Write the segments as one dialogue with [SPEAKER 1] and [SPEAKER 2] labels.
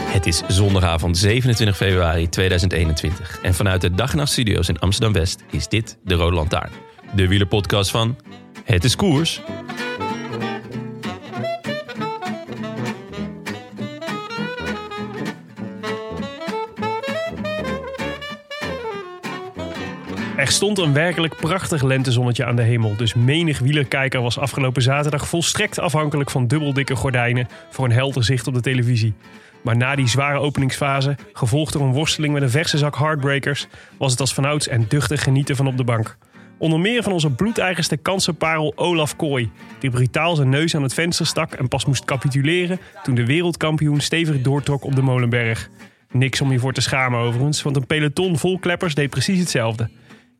[SPEAKER 1] Het is zondagavond 27 februari 2021 en vanuit de Dag en Nacht Studio's in Amsterdam-West is dit de Rode Lantaarn. De wielerpodcast van Het is Koers.
[SPEAKER 2] Er stond een werkelijk prachtig lentezonnetje aan de hemel, dus menig wielerkijker was afgelopen zaterdag volstrekt afhankelijk van dubbeldikke gordijnen voor een helder zicht op de televisie. Maar na die zware openingsfase, gevolgd door een worsteling met een verse zak hardbreakers, was het als vanouds en duchtig genieten van op de bank. Onder meer van onze bloedeigenste kansenparel Olaf Kooi, die brutaal zijn neus aan het venster stak en pas moest capituleren toen de wereldkampioen stevig doortrok op de Molenberg. Niks om je voor te schamen overigens, want een peloton vol kleppers deed precies hetzelfde.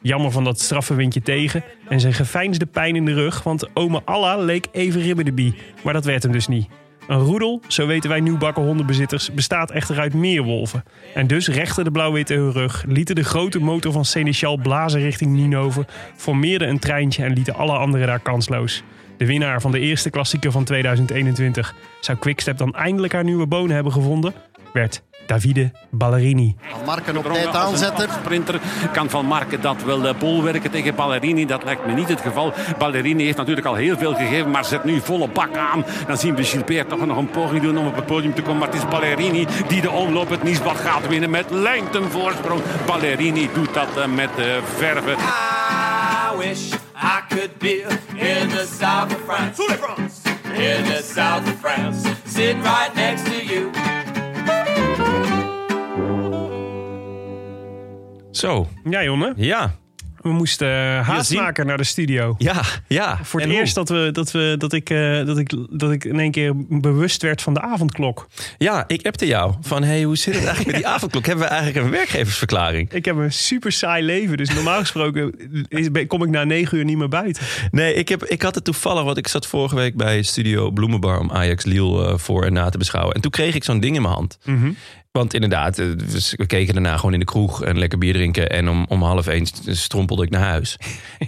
[SPEAKER 2] Jammer van dat straffe windje tegen en zijn geveinsde pijn in de rug, want ome Allah leek even ribbedebie, maar dat werd hem dus niet. Een roedel, zo weten wij nieuwbakken hondenbezitters, bestaat echter uit meer wolven. En dus rechten de blauw-witte hun rug, lieten de grote motor van Seneschal blazen richting Ninove, formeerden een treintje en lieten alle anderen daar kansloos. De winnaar van de eerste klassieker van 2021. Zou Quickstep dan eindelijk haar nieuwe bonen hebben gevonden? Werd Davide Ballerini.
[SPEAKER 3] Van Marken op
[SPEAKER 4] Gedrongen
[SPEAKER 3] tijd
[SPEAKER 4] als een
[SPEAKER 3] aanzetten.
[SPEAKER 4] Sprinter kan Van Marken dat wel eh, bolwerken tegen Ballerini. Dat lijkt me niet het geval. Ballerini heeft natuurlijk al heel veel gegeven, maar zet nu volle bak aan. Dan zien we Gilbert toch nog een poging doen om op het podium te komen. Maar het is Ballerini die de omloop het Niesbad gaat winnen met lengten voorsprong. Ballerini doet dat eh, met eh, verve.
[SPEAKER 5] I wish I could be in the south of France. In the south of France. Sitting right next to you.
[SPEAKER 1] Zo,
[SPEAKER 2] Ja jongen,
[SPEAKER 1] ja,
[SPEAKER 2] we moesten eh, haast
[SPEAKER 1] Ja, zie-
[SPEAKER 2] maken naar de studio.
[SPEAKER 1] ja, ja.
[SPEAKER 2] Voor het
[SPEAKER 1] En hoe?
[SPEAKER 2] eerst dat, we, dat, we, dat, ik, eh, dat, ik, dat ik in één keer bewust werd van de avondklok.
[SPEAKER 1] Ja, ik appte jou van hey, hoe zit het eigenlijk met die avondklok? Hebben we eigenlijk een werkgeversverklaring?
[SPEAKER 2] Ik heb een super saai leven, dus normaal gesproken is- ben- kom ik na negen uur niet meer buiten.
[SPEAKER 1] Nee, ik, heb, ik had het toevallig, want ik zat vorige week bij Studio Bloemenbar om Ajax Liel eh, voor en na te beschouwen. En toen kreeg ik zo'n ding in mijn hand.
[SPEAKER 2] Mhm.
[SPEAKER 1] Want inderdaad, eh, we we keken daarna gewoon in de kroeg en lekker bier drinken. En om, om half één st- strompelde ik naar huis.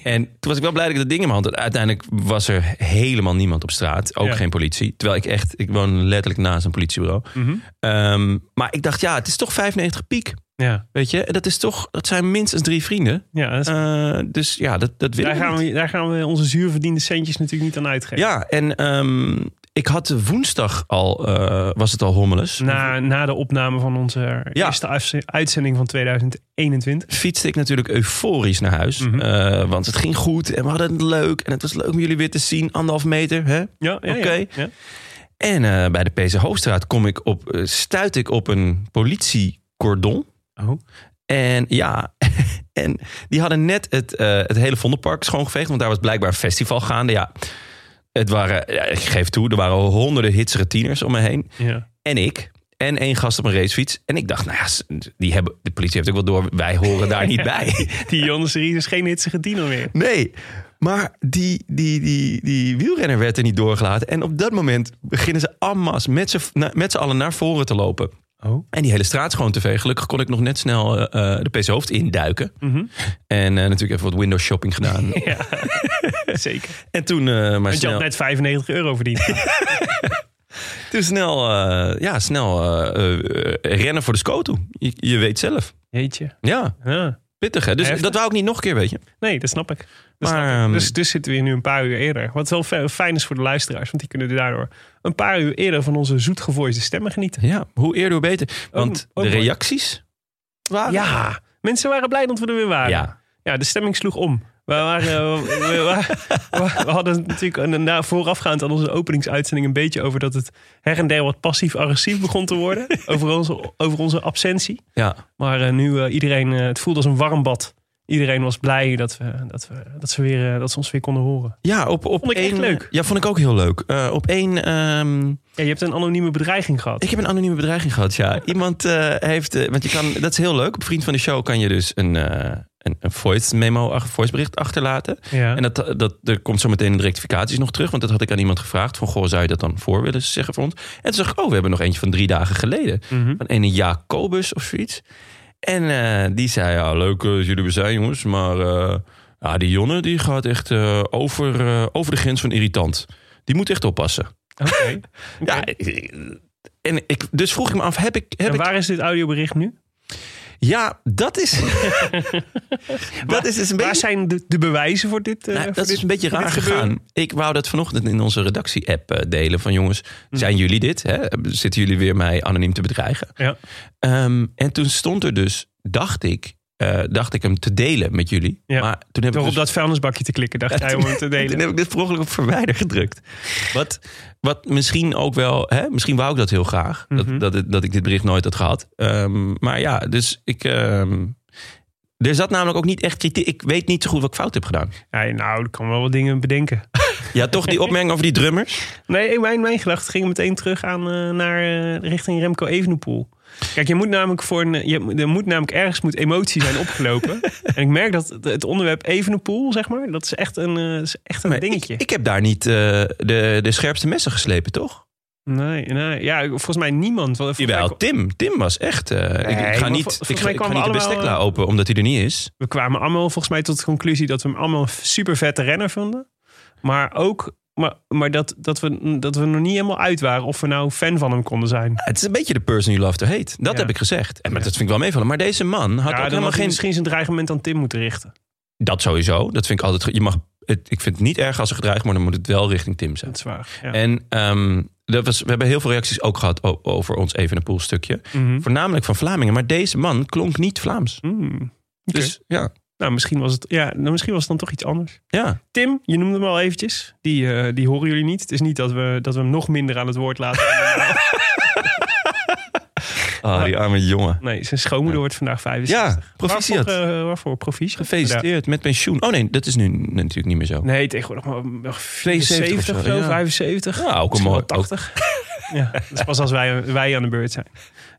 [SPEAKER 1] en toen was ik wel blij dat ik dat ding in mijn hand had. Uiteindelijk was er helemaal niemand op straat. Ook
[SPEAKER 2] Ja.
[SPEAKER 1] geen politie. Terwijl ik echt, ik woon letterlijk naast een politiebureau.
[SPEAKER 2] Mhm.
[SPEAKER 1] Ehm, maar ik dacht, ja, het is toch 95 piek.
[SPEAKER 2] Ja,
[SPEAKER 1] Weet je, dat is toch, dat zijn minstens drie vrienden.
[SPEAKER 2] ja dat is-
[SPEAKER 1] Eh, dus ja, dat, dat willen
[SPEAKER 2] daar,
[SPEAKER 1] we
[SPEAKER 2] gaan
[SPEAKER 1] niet.
[SPEAKER 2] we, daar gaan we onze zuurverdiende centjes natuurlijk niet aan uitgeven.
[SPEAKER 1] Ja, en ehm, ik had woensdag al, eh, was het al hommeles.
[SPEAKER 2] Na, na de opname van onze
[SPEAKER 1] Ja.
[SPEAKER 2] eerste afze- uitzending van 2021.
[SPEAKER 1] Fietste ik natuurlijk euforisch naar huis. Eh, want het ging goed en we hadden het leuk. En het was leuk om jullie weer te zien. Anderhalf meter. Hè?
[SPEAKER 2] Ja, ja, ja.
[SPEAKER 1] Oké.
[SPEAKER 2] ja.
[SPEAKER 1] En eh, bij de PC Hoofdstraat kom ik op, eh, stuit ik op een politiecordon.
[SPEAKER 2] Oh.
[SPEAKER 1] En ja, en die hadden net het, eh, het hele Vondelpark schoongeveegd. Want daar was blijkbaar een festival gaande. Ja, het waren, ja, ik geef toe, er waren honderden hitsere tieners om me heen.
[SPEAKER 2] ja.
[SPEAKER 1] en ik. En één gast op een racefiets. En ik dacht, nou ja, s- die hebben, de politie heeft ook wel door. Wij horen daar niet bij.
[SPEAKER 2] Die Jan de Series is geen hitsige tiener meer.
[SPEAKER 1] Nee, maar die, die, die, die wielrenner werd er niet doorgelaten. En op dat moment beginnen ze ammas met z'n na- met z'n allen naar voren te lopen.
[SPEAKER 2] Oh.
[SPEAKER 1] En die hele straat schoon te vegen. Gelukkig kon ik nog net snel eh, eh, de PC Hoofd induiken.
[SPEAKER 2] Mhm.
[SPEAKER 1] En eh, natuurlijk even wat window shopping gedaan.
[SPEAKER 2] Zeker.
[SPEAKER 1] En toen eh, maar
[SPEAKER 2] Want je had
[SPEAKER 1] snel,
[SPEAKER 2] net 95 euro verdiend.
[SPEAKER 1] toen snel, eh, ja, snel eh, eh, eh, rennen voor de scoto. Je, je weet zelf.
[SPEAKER 2] Jeetje.
[SPEAKER 1] Ja.
[SPEAKER 2] Ja.
[SPEAKER 1] Pittig, hè? Dus
[SPEAKER 2] Heftig.
[SPEAKER 1] dat wou ik niet nog een keer, weet je.
[SPEAKER 2] Nee, dat snap ik.
[SPEAKER 1] Maar,
[SPEAKER 2] Dat snap ik.
[SPEAKER 1] ehm,
[SPEAKER 2] Dus, dus zitten we hier nu een paar uur eerder. Wat wel fe- fijn is voor de luisteraars, want die kunnen daardoor een paar uur eerder van onze zoetgevoiste stemmen genieten.
[SPEAKER 1] Ja, hoe eerder, hoe beter. Want
[SPEAKER 2] ook
[SPEAKER 1] de
[SPEAKER 2] mooi.
[SPEAKER 1] reacties waren...
[SPEAKER 2] Ja, mensen waren blij dat we er weer waren.
[SPEAKER 1] Ja.
[SPEAKER 2] Ja, de stemming sloeg om. We, waren, we, we- we- we hadden natuurlijk een- na, voorafgaand aan onze openingsuitzending een beetje over dat het her en der wat passief-agressief begon te worden. over, onze, over onze absentie.
[SPEAKER 1] ja.
[SPEAKER 2] Maar eh, nu eh, iedereen, eh, het voelde als een warm bad. Iedereen was blij dat, we, dat, we, dat, ze, weer, eh, dat ze ons weer konden horen.
[SPEAKER 1] Ja, op, op
[SPEAKER 2] Vond ik echt
[SPEAKER 1] één-
[SPEAKER 2] leuk.
[SPEAKER 1] Ja, vond ik ook heel leuk. Eh, op één... ehm,
[SPEAKER 2] Ja, je hebt een anonieme bedreiging gehad.
[SPEAKER 1] Ik heb een anonieme bedreiging gehad, ja. Iemand eh, heeft... eh, want je kan... Dat is heel leuk. Op Vriend van de Show kan je dus een, eh, een, een voice memo, ach- voice bericht achterlaten.
[SPEAKER 2] ja.
[SPEAKER 1] En dat, dat, er komt zo meteen in de rectificaties nog terug. Want dat had ik aan iemand gevraagd. Van, goh, zou je dat dan voor willen zeggen voor ons? En toen zag ik, oh, we hebben nog eentje van drie dagen geleden.
[SPEAKER 2] Mhm.
[SPEAKER 1] Van een Jacobus of zoiets. En eh, die zei, ja, leuk eh, dat jullie er zijn, jongens. Maar eh, ja, die Jonne, die gaat echt eh, over, eh, over de grens van irritant. Die moet echt oppassen.
[SPEAKER 2] Oké. Oké.
[SPEAKER 1] Ja, eh, en ik, dus vroeg ik me af, heb ik... Heb
[SPEAKER 2] En
[SPEAKER 1] ik
[SPEAKER 2] waar is dit audiobericht nu?
[SPEAKER 1] ja, dat is... dat is dus een
[SPEAKER 2] Waar
[SPEAKER 1] beetje...
[SPEAKER 2] zijn de, de bewijzen voor dit? eh,
[SPEAKER 1] Nou,
[SPEAKER 2] voor
[SPEAKER 1] dat
[SPEAKER 2] dit-
[SPEAKER 1] is een beetje
[SPEAKER 2] voor dit
[SPEAKER 1] raar
[SPEAKER 2] gebeuren?
[SPEAKER 1] gegaan. Ik wou dat vanochtend in onze redactie-app eh, delen. Van jongens,
[SPEAKER 2] Hm.
[SPEAKER 1] zijn jullie dit? Hè? Zitten jullie weer mij anoniem te bedreigen?
[SPEAKER 2] Ja.
[SPEAKER 1] Ehm, en toen stond er dus, dacht ik, eh, dacht ik hem te delen met jullie.
[SPEAKER 2] Ja.
[SPEAKER 1] Maar toen heb
[SPEAKER 2] Door
[SPEAKER 1] ik
[SPEAKER 2] op
[SPEAKER 1] dus,
[SPEAKER 2] dat vuilnisbakje te klikken, dacht jij om hem te
[SPEAKER 1] toen
[SPEAKER 2] delen.
[SPEAKER 1] heb ik dit per ongeluk op verwijder gedrukt. Wat, wat misschien ook wel, hè? misschien wou ik dat heel graag.
[SPEAKER 2] Mhm.
[SPEAKER 1] dat, dat, het- dat ik dit bericht nooit had gehad. Ehm, maar ja, dus ik... ehm, er zat namelijk ook niet echt kritiek. Ik weet niet zo goed wat ik fout heb gedaan.
[SPEAKER 2] Ja, nou, ik kan wel wat dingen bedenken.
[SPEAKER 1] Ja, toch die opmerking over die drummers.
[SPEAKER 2] Nee, mijn, mijn gedachten gingen meteen terug aan, eh, naar, eh, richting Remco Evenepoel. Kijk, je moet namelijk voor een, je, er moet namelijk ergens moet emotie zijn opgelopen. en ik merk dat het- het onderwerp Evenepoel, zeg maar, dat is echt een, eh, is echt een
[SPEAKER 1] Maar
[SPEAKER 2] dingetje.
[SPEAKER 1] Ik, ik heb daar niet eh, de, de scherpste messen geslepen, toch?
[SPEAKER 2] nee, nee, ja, volgens mij niemand. Wel, volgens mij-
[SPEAKER 1] Jawel, Tim. Tim was echt... eh, ik, ik
[SPEAKER 2] maar
[SPEAKER 1] ga
[SPEAKER 2] vol-
[SPEAKER 1] niet,
[SPEAKER 2] volgens
[SPEAKER 1] ik ga,
[SPEAKER 2] mij
[SPEAKER 1] ik ga
[SPEAKER 2] kwamen
[SPEAKER 1] niet de
[SPEAKER 2] we
[SPEAKER 1] bestek
[SPEAKER 2] allemaal,
[SPEAKER 1] la open, omdat hij er niet is.
[SPEAKER 2] we kwamen allemaal volgens mij tot de conclusie dat we hem allemaal een super vette renner vonden. Maar ook maar, maar dat, dat, we, dat we nog niet helemaal uit waren of we nou fan van hem konden zijn.
[SPEAKER 1] Het is een beetje de person you love to hate. Dat
[SPEAKER 2] Ja.
[SPEAKER 1] heb ik gezegd. En, maar
[SPEAKER 2] Ja.
[SPEAKER 1] dat vind ik wel meevallen. Maar deze man had
[SPEAKER 2] ja,
[SPEAKER 1] ook
[SPEAKER 2] dan
[SPEAKER 1] helemaal
[SPEAKER 2] had hij
[SPEAKER 1] geen...
[SPEAKER 2] misschien zijn dreigement aan Tim moeten richten.
[SPEAKER 1] Dat sowieso. Dat vind ik altijd... goed. Je mag, het, ik vind het niet erg als er gedreigd wordt, maar dan moet het wel richting Tim zijn.
[SPEAKER 2] Dat is waar. Ja.
[SPEAKER 1] En ehm, dat was, we hebben heel veel reacties ook gehad o- over ons Evenepoel stukje.
[SPEAKER 2] Mhm.
[SPEAKER 1] Voornamelijk van Vlamingen. Maar deze man klonk niet Vlaams.
[SPEAKER 2] Hmm.
[SPEAKER 1] Dus ja.
[SPEAKER 2] Nou, misschien was, het, ja, nou, misschien was het dan toch iets anders.
[SPEAKER 1] ja.
[SPEAKER 2] Tim, je noemde hem al eventjes. Die, eh, die horen jullie niet. Het is niet dat we, dat we hem nog minder aan het woord laten.
[SPEAKER 1] Ah, die arme jongen.
[SPEAKER 2] nee, zijn schoonmoeder wordt vandaag 65.
[SPEAKER 1] Ja, proficiat.
[SPEAKER 2] Waarvoor, eh, waarvoor? Proficiat.
[SPEAKER 1] Gefeliciteerd met pensioen. Oh nee, dat is nu natuurlijk niet meer zo.
[SPEAKER 2] Ja. Nee, tegenwoordig maar maar
[SPEAKER 1] 72 of
[SPEAKER 2] 74
[SPEAKER 1] zo,
[SPEAKER 2] of zo,
[SPEAKER 1] ja.
[SPEAKER 2] 75.
[SPEAKER 1] Ja, ook een
[SPEAKER 2] Misschien
[SPEAKER 1] mooi.
[SPEAKER 2] wel 80. ja, dat is pas als wij, wij aan de beurt zijn.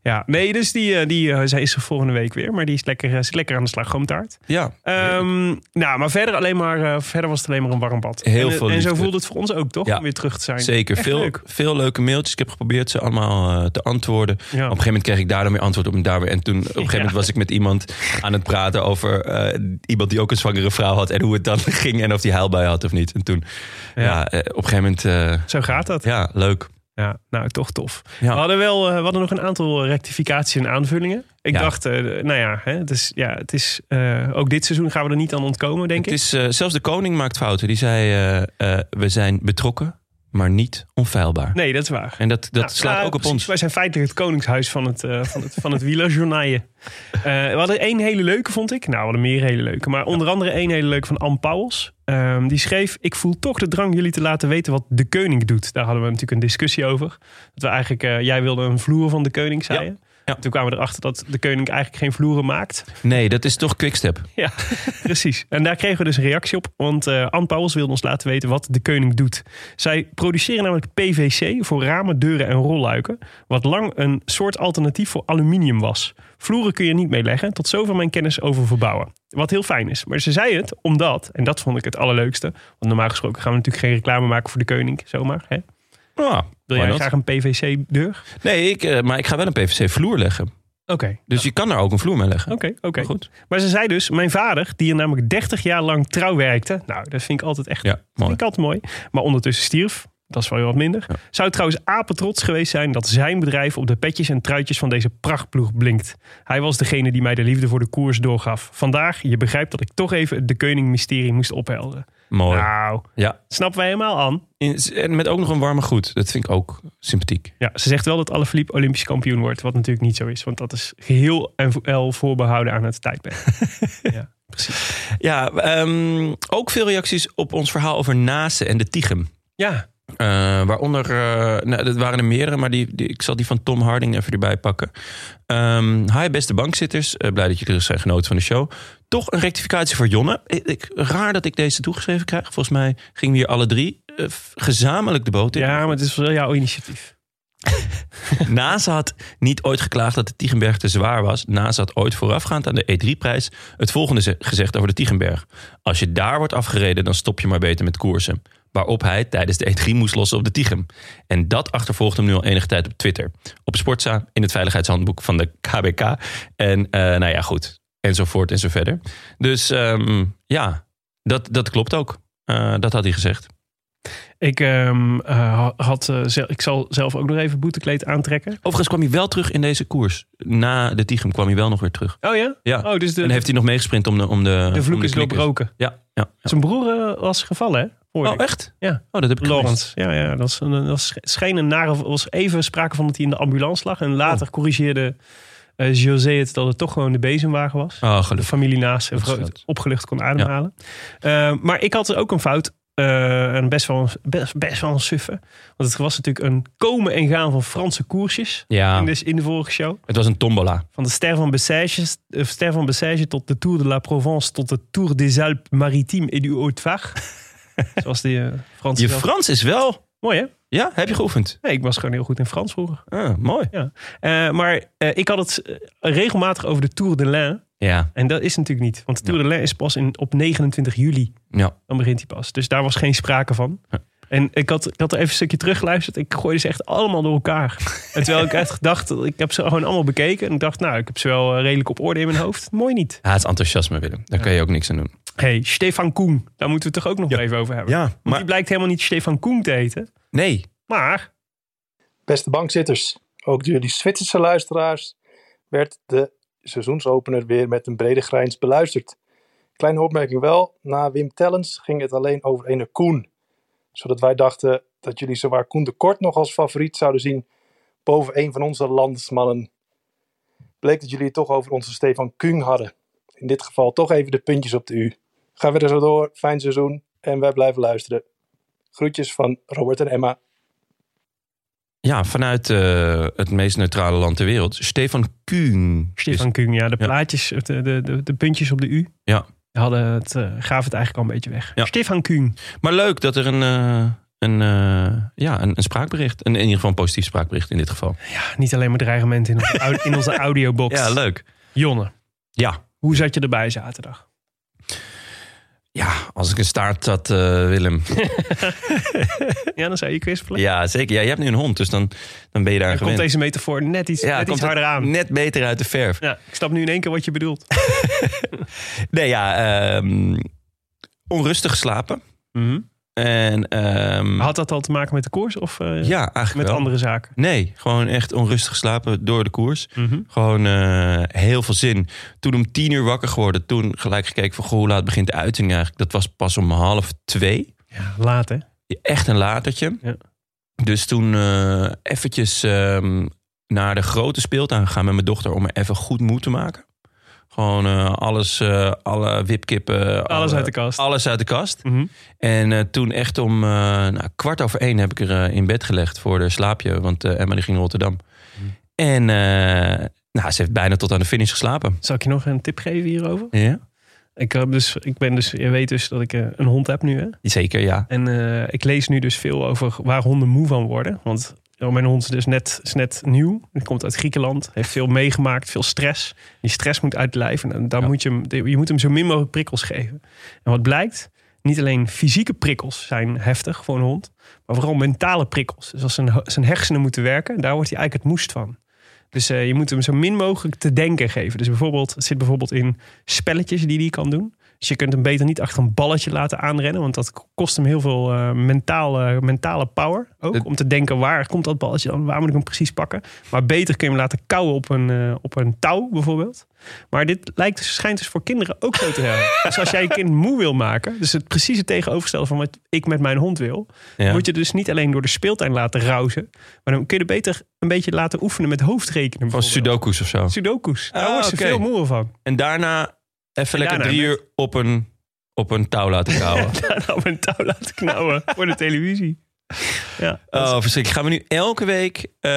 [SPEAKER 2] Ja, nee, dus die, eh, die eh, zij is er volgende week weer. Maar die is lekker, eh, zit lekker aan de slag, groomtaart.
[SPEAKER 1] ook- ja,
[SPEAKER 2] Ehm, nou, maar verder, alleen maar, eh, verder was het alleen maar een warm bad.
[SPEAKER 1] Heel
[SPEAKER 2] en, eh,
[SPEAKER 1] veel
[SPEAKER 2] En zo
[SPEAKER 1] liefde.
[SPEAKER 2] voelde het voor ons ook, toch?
[SPEAKER 1] Ja.
[SPEAKER 2] Om weer terug te zijn.
[SPEAKER 1] zeker.
[SPEAKER 2] Echt
[SPEAKER 1] Veel,
[SPEAKER 2] leuk.
[SPEAKER 1] veel leuke mailtjes. Ik heb geprobeerd ze allemaal eh, te antwoorden. Op een
[SPEAKER 2] Ja.
[SPEAKER 1] gegeven moment kreeg ik daar dan weer antwoord op en daar weer. En toen op een gegeven moment was ik met iemand aan het praten over eh, iemand die ook een zwangere vrouw had. En hoe het dan ging en of die huilbui had of niet. En toen, ja, eh, op een gegeven moment, eh,
[SPEAKER 2] Zo gaat dat. Ja,
[SPEAKER 1] ja, leuk.
[SPEAKER 2] nou, toch tof.
[SPEAKER 1] Ja.
[SPEAKER 2] We, hadden wel, eh, we hadden nog een aantal rectificaties en aanvullingen. Ik
[SPEAKER 1] Ja.
[SPEAKER 2] dacht, eh, nou ja, hè, het is, ja het is, eh, ook dit seizoen gaan we er niet aan ontkomen, denk
[SPEAKER 1] Het
[SPEAKER 2] ik.
[SPEAKER 1] is, eh, zelfs de koning maakt fouten. Die zei, eh, eh, we zijn betrokken, maar niet onfeilbaar.
[SPEAKER 2] Nee, dat is waar.
[SPEAKER 1] En dat, dat
[SPEAKER 2] Nou,
[SPEAKER 1] slaat
[SPEAKER 2] ja,
[SPEAKER 1] ook op
[SPEAKER 2] precies.
[SPEAKER 1] ons.
[SPEAKER 2] Wij zijn feitelijk het koningshuis van het, eh van het, van het wielerjournaille. Eh, we hadden één hele leuke, vond ik. Nou, we hadden meer hele leuke. Maar onder andere één hele leuke van Ann Pauwels. Ehm, die schreef, ik voel toch de drang jullie te laten weten wat de koning doet. Daar hadden we natuurlijk een discussie over. Dat we eigenlijk, eh, jij wilde een vloer van de koning, zei
[SPEAKER 1] Ja.
[SPEAKER 2] je.
[SPEAKER 1] Ja.
[SPEAKER 2] Toen kwamen we erachter dat de koning eigenlijk geen vloeren maakt.
[SPEAKER 1] Nee, dat is toch quickstep.
[SPEAKER 2] Ja, precies. En daar kregen we dus een reactie op. Want eh Ann Pauwels wilde ons laten weten wat de Keuning doet. Zij produceren namelijk PVC voor ramen, deuren en rolluiken. Wat lang een soort alternatief voor aluminium was. Vloeren kun je niet mee leggen. Tot zover mijn kennis over verbouwen. Wat heel fijn is. Maar ze zei het omdat, en dat vond ik het allerleukste. Want normaal gesproken gaan we natuurlijk geen reclame maken voor de Keuning. Zomaar. Hè?
[SPEAKER 1] Ja,
[SPEAKER 2] Wil
[SPEAKER 1] why
[SPEAKER 2] jij
[SPEAKER 1] not?
[SPEAKER 2] graag een PVC-deur?
[SPEAKER 1] Nee, ik, eh, maar ik ga wel een PVC-vloer leggen.
[SPEAKER 2] Oké.
[SPEAKER 1] Dus je kan er ook een vloer mee leggen.
[SPEAKER 2] Oké, oké.
[SPEAKER 1] Maar Goed.
[SPEAKER 2] Maar ze zei dus, mijn vader, die er namelijk 30 jaar lang trouw werkte. Nou, dat vind ik altijd echt
[SPEAKER 1] Ja, mooi.
[SPEAKER 2] Vind ik altijd mooi. Maar ondertussen stierf. Dat is wel weer wat minder. Zou trouwens apetrots geweest zijn dat zijn bedrijf op de petjes en truitjes van deze prachtploeg blinkt. Hij was degene die mij de liefde voor de koers doorgaf. Vandaag, je begrijpt dat ik toch even het de Keuning mysterie moest ophelderen.
[SPEAKER 1] Mooi.
[SPEAKER 2] Nou,
[SPEAKER 1] Ja.
[SPEAKER 2] snappen wij helemaal aan.
[SPEAKER 1] In- en met ook nog een warme groet. Dat vind ik ook sympathiek.
[SPEAKER 2] Ja, ze zegt wel dat Alaphilippe Olympisch kampioen wordt, wat natuurlijk niet zo is. Want dat is geheel en wel voorbehouden aan het tijdperk. ja, precies.
[SPEAKER 1] Ja, ehm, ook veel reacties op ons verhaal over Nase en de Tichem.
[SPEAKER 2] Ja,
[SPEAKER 1] Eh, waaronder, eh, nou, dat waren er meerdere, maar die, die, ik zal die van Tom Harding even erbij pakken. Ehm, hi, beste bankzitters. Eh, blij dat jullie zijn genoten van de show. Toch een rectificatie voor Jonne. Ik, ik- raar dat ik deze toegeschreven krijg. Volgens mij gingen we hier alle drie eh, f- gezamenlijk de boot in.
[SPEAKER 2] ja maar het is wel jouw initiatief.
[SPEAKER 1] NASA had niet ooit geklaagd dat de Tiegenberg te zwaar was. NASA had ooit voorafgaand aan de E3-prijs het volgende ze- gezegd over de Tiegenberg. Als je daar wordt afgereden, dan stop je maar beter met koersen. Waarop hij tijdens de E3 moest lossen op de Tiegem. En dat achtervolgt hem nu al enige tijd op Twitter. Op Sportza, in het veiligheidshandboek van de KBK. En eh, nou ja, goed. Enzovoort en zo verder. Dus ehm, ja, dat, dat klopt ook. Eh, dat had hij gezegd.
[SPEAKER 2] Ik, ehm, eh, had, eh, zel- ik zal zelf ook nog even boetekleed aantrekken.
[SPEAKER 1] Overigens kwam hij wel terug in deze koers. Na de Tiegem kwam hij wel nog weer terug.
[SPEAKER 2] Oh ja?
[SPEAKER 1] Ja.
[SPEAKER 2] Oh, dus de,
[SPEAKER 1] en heeft hij nog meegesprint om de om de,
[SPEAKER 2] de
[SPEAKER 1] om
[SPEAKER 2] vloek
[SPEAKER 1] de
[SPEAKER 2] is
[SPEAKER 1] knikkers.
[SPEAKER 2] doorbroken.
[SPEAKER 1] Ja, ja. ja.
[SPEAKER 2] Zijn broer eh, was gevallen, hè? Hoorde
[SPEAKER 1] Oh
[SPEAKER 2] ik.
[SPEAKER 1] echt?
[SPEAKER 2] Ja.
[SPEAKER 1] Oh, dat heb ik gemist.
[SPEAKER 2] Lawrence. Ja, ja, dat, is een, dat is- scheen een nare... was even sprake van dat hij in de ambulance lag. En
[SPEAKER 1] Oh.
[SPEAKER 2] later corrigeerde eh, José het dat het toch gewoon de bezemwagen was.
[SPEAKER 1] Oh,
[SPEAKER 2] De
[SPEAKER 1] gelukkig.
[SPEAKER 2] familie naast en
[SPEAKER 1] Dat
[SPEAKER 2] vro-
[SPEAKER 1] scheelt.
[SPEAKER 2] opgelucht kon ademhalen. Eh, maar ik had ook een fout. eh, en best wel, een- best, best wel een suffe. Want het was natuurlijk een komen en gaan van Franse koersjes.
[SPEAKER 1] Ja,
[SPEAKER 2] In, de, in de vorige show.
[SPEAKER 1] het was een tombola.
[SPEAKER 2] Van de Ster van Bessèges, eh, Ster van Bessèges tot de Tour de la Provence. Tot de Tour des Alpes Maritimes et du Haut-Var. Zoals die eh, Franse
[SPEAKER 1] Je
[SPEAKER 2] zelf-
[SPEAKER 1] Frans is wel.
[SPEAKER 2] Mooi hè?
[SPEAKER 1] Ja, heb je geoefend?
[SPEAKER 2] Nee, ik was gewoon heel goed in Frans vroeger.
[SPEAKER 1] Ah, mooi.
[SPEAKER 2] Eh, maar eh, ik had het eh, regelmatig over de Tour de Lin.
[SPEAKER 1] Ja,
[SPEAKER 2] En dat is natuurlijk niet. Want de Tour de Lin is pas in, op 29 juli.
[SPEAKER 1] ja.
[SPEAKER 2] Dan begint hij pas. Dus daar was geen sprake van. En ik had, ik had er even een stukje teruggeluisterd. Ik gooide ze echt allemaal door elkaar. En terwijl ik echt gedacht, ik heb ze gewoon allemaal bekeken. En ik dacht, nou, ik heb ze wel eh, redelijk op orde in mijn hoofd. Mooi niet.
[SPEAKER 1] Ja, het is enthousiasme, Willem. Daar kun je ook niks aan doen.
[SPEAKER 2] hey, Stefan Koen. Daar moeten we het toch ook nog even over hebben.
[SPEAKER 1] Ja,
[SPEAKER 2] Maar...
[SPEAKER 1] maar
[SPEAKER 2] Die blijkt helemaal niet Stefan Koen te heten.
[SPEAKER 1] nee.
[SPEAKER 2] Maar
[SPEAKER 3] Beste bankzitters, ook door jullie Zwitserse luisteraars werd de seizoensopener weer met een brede grijns beluisterd. Kleine opmerking wel, na Wim Tellens ging het alleen over ene Koen. Zodat wij dachten dat jullie zowaar Koen de Kort nog als favoriet zouden zien boven een van onze landsmannen. Bleek dat jullie het toch over onze Stefan Kung hadden. In dit geval toch even de puntjes op de U. Ga verder zo door, fijn seizoen en wij blijven luisteren. Groetjes van Robert en Emma.
[SPEAKER 1] Ja, vanuit eh, het meest neutrale land ter wereld. Stefan Kuhn.
[SPEAKER 2] Stefan Kung, ja, de
[SPEAKER 1] Ja.
[SPEAKER 2] plaatjes, de, de, de, de puntjes op de U.
[SPEAKER 1] Ja.
[SPEAKER 2] Hadden het, eh, gaven het eigenlijk al een beetje weg.
[SPEAKER 1] Ja.
[SPEAKER 2] Stefan Kung.
[SPEAKER 1] Is- maar leuk dat er een, eh, een, eh, ja, een, een spraakbericht, een, in ieder geval een positief spraakbericht in dit geval.
[SPEAKER 2] Ja, niet alleen maar dreigementen in onze, au- in onze audiobox.
[SPEAKER 1] Ja, leuk.
[SPEAKER 2] Jonne,
[SPEAKER 1] Ja,
[SPEAKER 2] hoe zat je erbij zaterdag?
[SPEAKER 1] Ja, als ik een staart had, eh, Willem.
[SPEAKER 2] Ja, dan zou je kwispelen.
[SPEAKER 1] Ja, zeker. Ja, je hebt nu een hond, dus dan, dan ben je daar
[SPEAKER 2] Dan
[SPEAKER 1] aan
[SPEAKER 2] komt
[SPEAKER 1] gewend.
[SPEAKER 2] deze metafoor net iets,
[SPEAKER 1] ja,
[SPEAKER 2] net iets
[SPEAKER 1] het
[SPEAKER 2] harder aan.
[SPEAKER 1] Net beter uit de verf.
[SPEAKER 2] Ja, ik snap nu in één keer wat je bedoelt.
[SPEAKER 1] Nee, ja. ehm, onrustig geslapen. En, ehm,
[SPEAKER 2] Mhm. Had dat al te maken met de koers of eh,
[SPEAKER 1] ja, eigenlijk
[SPEAKER 2] met
[SPEAKER 1] wel.
[SPEAKER 2] andere zaken?
[SPEAKER 1] Nee, gewoon echt onrustig geslapen door de koers.
[SPEAKER 2] Mhm.
[SPEAKER 1] Gewoon eh, heel veel zin. Toen om tien uur wakker geworden. Toen gelijk gekeken van, goh, hoe laat begint de uiting eigenlijk? Dat was pas om half twee.
[SPEAKER 2] Ja, laat hè?
[SPEAKER 1] echt een latertje.
[SPEAKER 2] Ja.
[SPEAKER 1] Dus toen eh, eventjes ehm, naar de grote speeltuin gegaan met mijn dochter om me even goed moe te maken. Gewoon eh, alles, eh, alle wipkippen.
[SPEAKER 2] Alles
[SPEAKER 1] alle-
[SPEAKER 2] uit de kast.
[SPEAKER 1] Alles uit de kast.
[SPEAKER 2] Mhm.
[SPEAKER 1] En eh, toen echt om eh, nou, kwart over één heb ik er eh, in bed gelegd voor de slaapje. Want eh, Emma die ging naar Rotterdam.
[SPEAKER 2] Mm.
[SPEAKER 1] En eh, nou, ze heeft bijna tot aan de finish geslapen.
[SPEAKER 2] Zal ik je nog een tip geven hierover?
[SPEAKER 1] Ja?
[SPEAKER 2] Ik, heb dus, ik ben dus, je weet dus dat ik eh, een hond heb nu hè?
[SPEAKER 1] Zeker, ja.
[SPEAKER 2] En eh, ik lees nu dus veel over waar honden moe van worden. Want ja, mijn hond is dus net, is net nieuw. Hij komt uit Griekenland. Heeft veel meegemaakt, veel stress. Die stress moet uit het lijf. En dan- daar
[SPEAKER 1] Ja.
[SPEAKER 2] moet je, hem, je moet hem zo min mogelijk prikkels geven. En wat blijkt, niet alleen fysieke prikkels zijn heftig voor een hond. Maar vooral mentale prikkels. Dus als zijn, ho- zijn hersenen moeten werken, daar wordt hij eigenlijk het moest van. Dus eh, je moet hem zo min mogelijk te denken geven. Dus bijvoorbeeld, het zit bijvoorbeeld in spelletjes die hij kan doen. Dus je kunt hem beter niet achter een balletje laten aanrennen. Want dat kost hem heel veel eh, mentale, mentale power. Ook
[SPEAKER 1] Dat-
[SPEAKER 2] om te denken waar komt dat balletje dan? Waar moet ik hem precies pakken? Maar beter kun je hem laten kauwen op een, eh, op een touw bijvoorbeeld. Maar dit lijkt, schijnt dus voor kinderen ook zo te hebben. dus als jij je kind moe wil maken. Dus het precieze tegenovergestelde van wat ik met mijn hond wil.
[SPEAKER 1] Ja.
[SPEAKER 2] Moet je dus niet alleen door de speeltuin laten rouzen. Maar dan kun je er beter een beetje laten oefenen met hoofdrekenen.
[SPEAKER 1] Van
[SPEAKER 2] bijvoorbeeld.
[SPEAKER 1] sudoku's of zo.
[SPEAKER 2] Sudoku's. Daar
[SPEAKER 1] Ah,
[SPEAKER 2] wordt ze
[SPEAKER 1] oké.
[SPEAKER 2] veel moe van.
[SPEAKER 1] En daarna even lekker
[SPEAKER 2] daarna
[SPEAKER 1] drie
[SPEAKER 2] met-
[SPEAKER 1] uur op een, op een touw laten kauwen.
[SPEAKER 2] Daarna op een nou touw laten knauwen voor de televisie. Ja,
[SPEAKER 1] oh, verschrikkelijk. Gaan we nu elke week eh,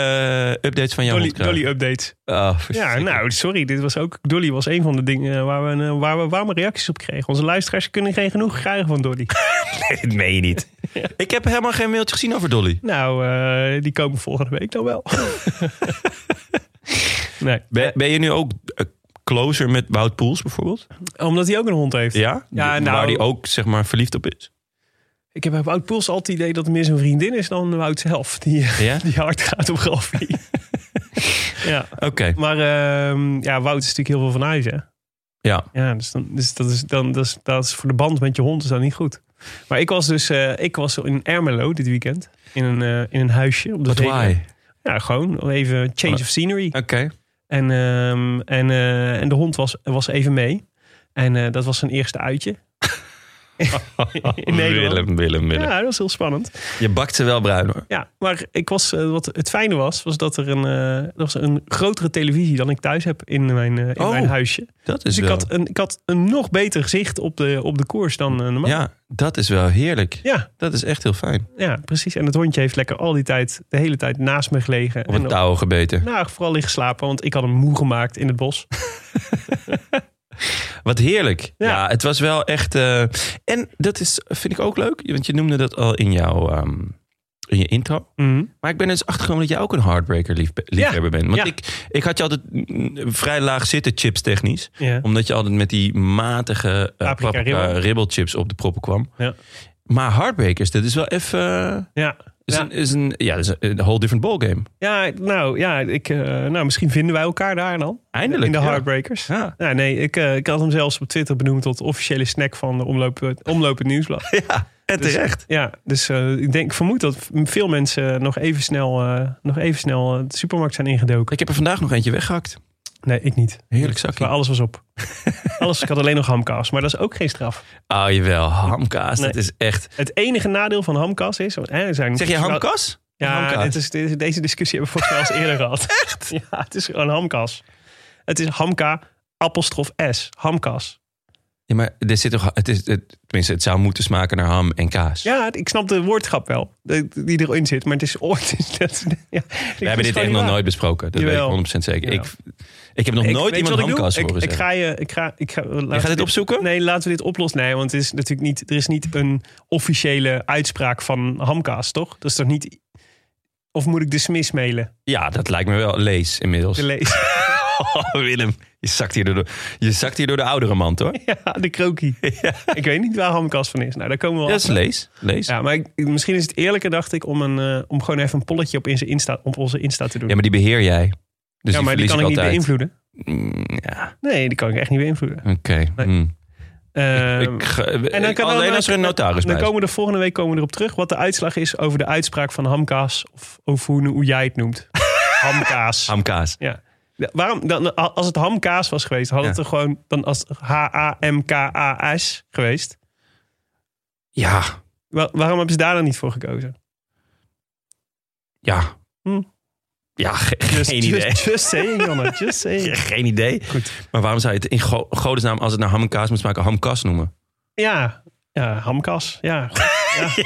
[SPEAKER 1] updates van jouw
[SPEAKER 2] Dolly,
[SPEAKER 1] hond krijgen?
[SPEAKER 2] Dolly updates.
[SPEAKER 1] Oh,
[SPEAKER 2] Ja,
[SPEAKER 1] verschrikkelijk.
[SPEAKER 2] nou, sorry. Dit was ook, Dolly was een van de dingen waar we, een, eh, waar we warme reacties op kregen. Onze luisteraars kunnen geen genoeg krijgen van Dolly.
[SPEAKER 1] Dit meen je niet. Ik heb helemaal geen mailtje gezien over Dolly.
[SPEAKER 2] nou, eh, die komen volgende week dan wel. nee.
[SPEAKER 1] Ben, ben je nu ook eh, closer met Wout Poels bijvoorbeeld?
[SPEAKER 2] Omdat hij ook een hond heeft.
[SPEAKER 1] Ja?
[SPEAKER 2] Ja, nou-
[SPEAKER 1] Waar die ook zeg maar verliefd op is?
[SPEAKER 2] Ik heb bij Wout Poels altijd het idee dat het meer zijn vriendin is dan Wout zelf. Die, eh,
[SPEAKER 1] Ja?
[SPEAKER 2] die hard gaat op Ralfie. ja.
[SPEAKER 1] Oké.
[SPEAKER 2] Maar ehm, ja, Wout is natuurlijk heel veel van huis, hè?
[SPEAKER 1] Ja.
[SPEAKER 2] Ja, dus, dan, dus dat, is, dan, dat, is, dat is voor de band met je hond is dat niet goed. Maar ik was dus eh, ik was in Ermelo dit weekend. In een, eh, in een huisje. Op de
[SPEAKER 1] But
[SPEAKER 2] zeven.
[SPEAKER 1] why?
[SPEAKER 2] Ja, gewoon even change of scenery.
[SPEAKER 1] Oké.
[SPEAKER 2] En, ehm, en, eh, en de hond was, was even mee. En eh, dat was zijn eerste uitje. In Nederland.
[SPEAKER 1] Willem, Willem, Willem.
[SPEAKER 2] Ja, dat was heel spannend.
[SPEAKER 1] Je bakt ze wel bruin hoor.
[SPEAKER 2] Ja, maar ik was, eh, wat het fijne was, was dat er een, eh, er was een grotere televisie dan ik thuis heb in mijn, eh, in
[SPEAKER 1] Oh.
[SPEAKER 2] mijn huisje.
[SPEAKER 1] Dat is
[SPEAKER 2] Dus ik
[SPEAKER 1] wel...
[SPEAKER 2] had, een, ik had een nog beter gezicht op de, op de koers dan eh, normaal.
[SPEAKER 1] Ja, dat is wel heerlijk.
[SPEAKER 2] Ja,
[SPEAKER 1] Dat is echt heel fijn.
[SPEAKER 2] ja, precies. En het hondje heeft lekker al die tijd, de hele tijd naast me gelegen.
[SPEAKER 1] Op
[SPEAKER 2] en
[SPEAKER 1] een touw gebeten.
[SPEAKER 2] nou, vooral liggen slapen, want ik had hem moe gemaakt in het bos.
[SPEAKER 1] Wat heerlijk. Ja,
[SPEAKER 2] Ja.
[SPEAKER 1] het was wel echt... eh, en dat is, vind ik ook leuk, want je noemde dat al in jouw... ehm, in je intro. Maar ik ben er dus achtergekomen dat jij ook een heartbreaker lief, liefhebber bent. Want
[SPEAKER 2] ja.
[SPEAKER 1] ik, ik had je altijd mm, vrij laag zitten, chips technisch.
[SPEAKER 2] Ja.
[SPEAKER 1] Omdat je altijd met die matige eh
[SPEAKER 2] Paprika
[SPEAKER 1] paprika
[SPEAKER 2] ribbel.
[SPEAKER 1] ribbelchips op de proppen kwam.
[SPEAKER 2] Ja.
[SPEAKER 1] Maar heartbreakers, dat is wel even... eh,
[SPEAKER 2] Ja.
[SPEAKER 1] is
[SPEAKER 2] Ja.
[SPEAKER 1] een, is een, ja, dat is een whole different ballgame.
[SPEAKER 2] ja, nou, ja ik, eh, nou, misschien vinden wij elkaar daar dan.
[SPEAKER 1] Eindelijk,
[SPEAKER 2] In de
[SPEAKER 1] ja.
[SPEAKER 2] Heartbreakers.
[SPEAKER 1] Ja.
[SPEAKER 2] Ja, nee, ik, eh, ik had hem zelfs op Twitter benoemd tot officiële snack van de omloop, het Omlopend Nieuwsblad.
[SPEAKER 1] En terecht.
[SPEAKER 2] Ja, dus eh, ik denk, ik vermoed dat veel mensen nog even snel, eh, nog even snel eh, de supermarkt zijn ingedoken.
[SPEAKER 1] Ik heb er vandaag nog eentje weggehakt.
[SPEAKER 2] Nee, ik niet.
[SPEAKER 1] Heerlijk
[SPEAKER 2] Maar
[SPEAKER 1] zakje.
[SPEAKER 2] alles was op. alles, ik had alleen nog hamkaas, maar dat is ook geen straf.
[SPEAKER 1] Oh, jawel. Hamkaas, dat
[SPEAKER 2] Nee.
[SPEAKER 1] is echt...
[SPEAKER 2] Het enige nadeel van hamkaas is... want, Hè, er zijn
[SPEAKER 1] Zeg je hamkas?
[SPEAKER 2] Ja,
[SPEAKER 1] Hamkaas.
[SPEAKER 2] dit is, dit is- deze discussie hebben we volgens mij al eens eerder gehad. Echt? Ja, het is gewoon hamkaas. Het is hamka, apostrof S, hamkaas.
[SPEAKER 1] Ja, maar er zit toch, het is, het, tenminste, het zou moeten smaken naar ham en kaas.
[SPEAKER 2] Ja, ik snap de woordgrap wel, de- die erin zit. Maar het is ooit... Dat, ja,
[SPEAKER 1] We hebben dit echt nog nooit besproken. Dat
[SPEAKER 2] Jawel.
[SPEAKER 1] weet ik 100% zeker.
[SPEAKER 2] Jawel.
[SPEAKER 1] Ik, ik heb nog nooit
[SPEAKER 2] weet
[SPEAKER 1] iemand
[SPEAKER 2] je wat ik doe?
[SPEAKER 1] hamkaas
[SPEAKER 2] ik,
[SPEAKER 1] horen
[SPEAKER 2] ik
[SPEAKER 1] zeggen.
[SPEAKER 2] ga je, ik ga, ik ga, laten we
[SPEAKER 1] dit opzoeken?
[SPEAKER 2] Nee, laten we dit oplossen. Nee, want het is natuurlijk niet, er is niet een officiële uitspraak van hamkaas, toch? Dat is toch niet... Of moet ik de smis mailen?
[SPEAKER 1] Ja, dat lijkt me wel. Lees inmiddels.
[SPEAKER 2] De lees.
[SPEAKER 1] Oh, Willem, je zakt, hier door de, je zakt hier door de oudere man, hoor.
[SPEAKER 2] Ja, de krokie. Ik weet niet waar hamkaas van is. Nou, daar komen we wel
[SPEAKER 1] Dat is
[SPEAKER 2] achter.
[SPEAKER 1] lees. lees. Ja.
[SPEAKER 2] Ja, maar ik- misschien is het eerlijker, dacht ik, om, een, eh, om gewoon even een polletje op, in zijn Insta, op onze Insta te doen. Ja,
[SPEAKER 1] maar die beheer jij. Dus
[SPEAKER 2] maar,
[SPEAKER 1] die, verlies
[SPEAKER 2] die kan ik
[SPEAKER 1] ik
[SPEAKER 2] niet
[SPEAKER 1] altijd.
[SPEAKER 2] beïnvloeden.
[SPEAKER 1] Mm, ja,
[SPEAKER 2] Nee, die kan ik echt niet beïnvloeden.
[SPEAKER 1] oké. mm.
[SPEAKER 2] Ehm,
[SPEAKER 1] Ik ga-
[SPEAKER 2] en dan
[SPEAKER 1] ik-
[SPEAKER 2] kan
[SPEAKER 1] alleen
[SPEAKER 2] dan-
[SPEAKER 1] als er een notaris bij
[SPEAKER 2] dan
[SPEAKER 1] is.
[SPEAKER 2] komen we er volgende week komen we erop terug wat de uitslag is over de uitspraak van hamkaas. Of, of hoe, hoe jij het noemt. hamkaas.
[SPEAKER 1] Hamkaas.
[SPEAKER 2] Ja. Ja, Waarom, dan, als het hamkaas was geweest, had het
[SPEAKER 1] Ja.
[SPEAKER 2] er gewoon dan als H-A-M-K-A-S geweest.
[SPEAKER 1] Ja,
[SPEAKER 2] Wa- waarom hebben ze daar dan niet voor gekozen?
[SPEAKER 1] ja.
[SPEAKER 2] Hm. Dus-
[SPEAKER 1] Ja, ge-
[SPEAKER 2] Just,
[SPEAKER 1] geen idee.
[SPEAKER 2] Just, just saying, Jonne. Just saying.
[SPEAKER 1] Geen idee.
[SPEAKER 2] Goed.
[SPEAKER 1] Maar waarom zou je het in go- godesnaam, als het naar ham en kaas moet smaken, hamkas noemen?
[SPEAKER 2] Ja, ja hamkas. Ja. goed. ja.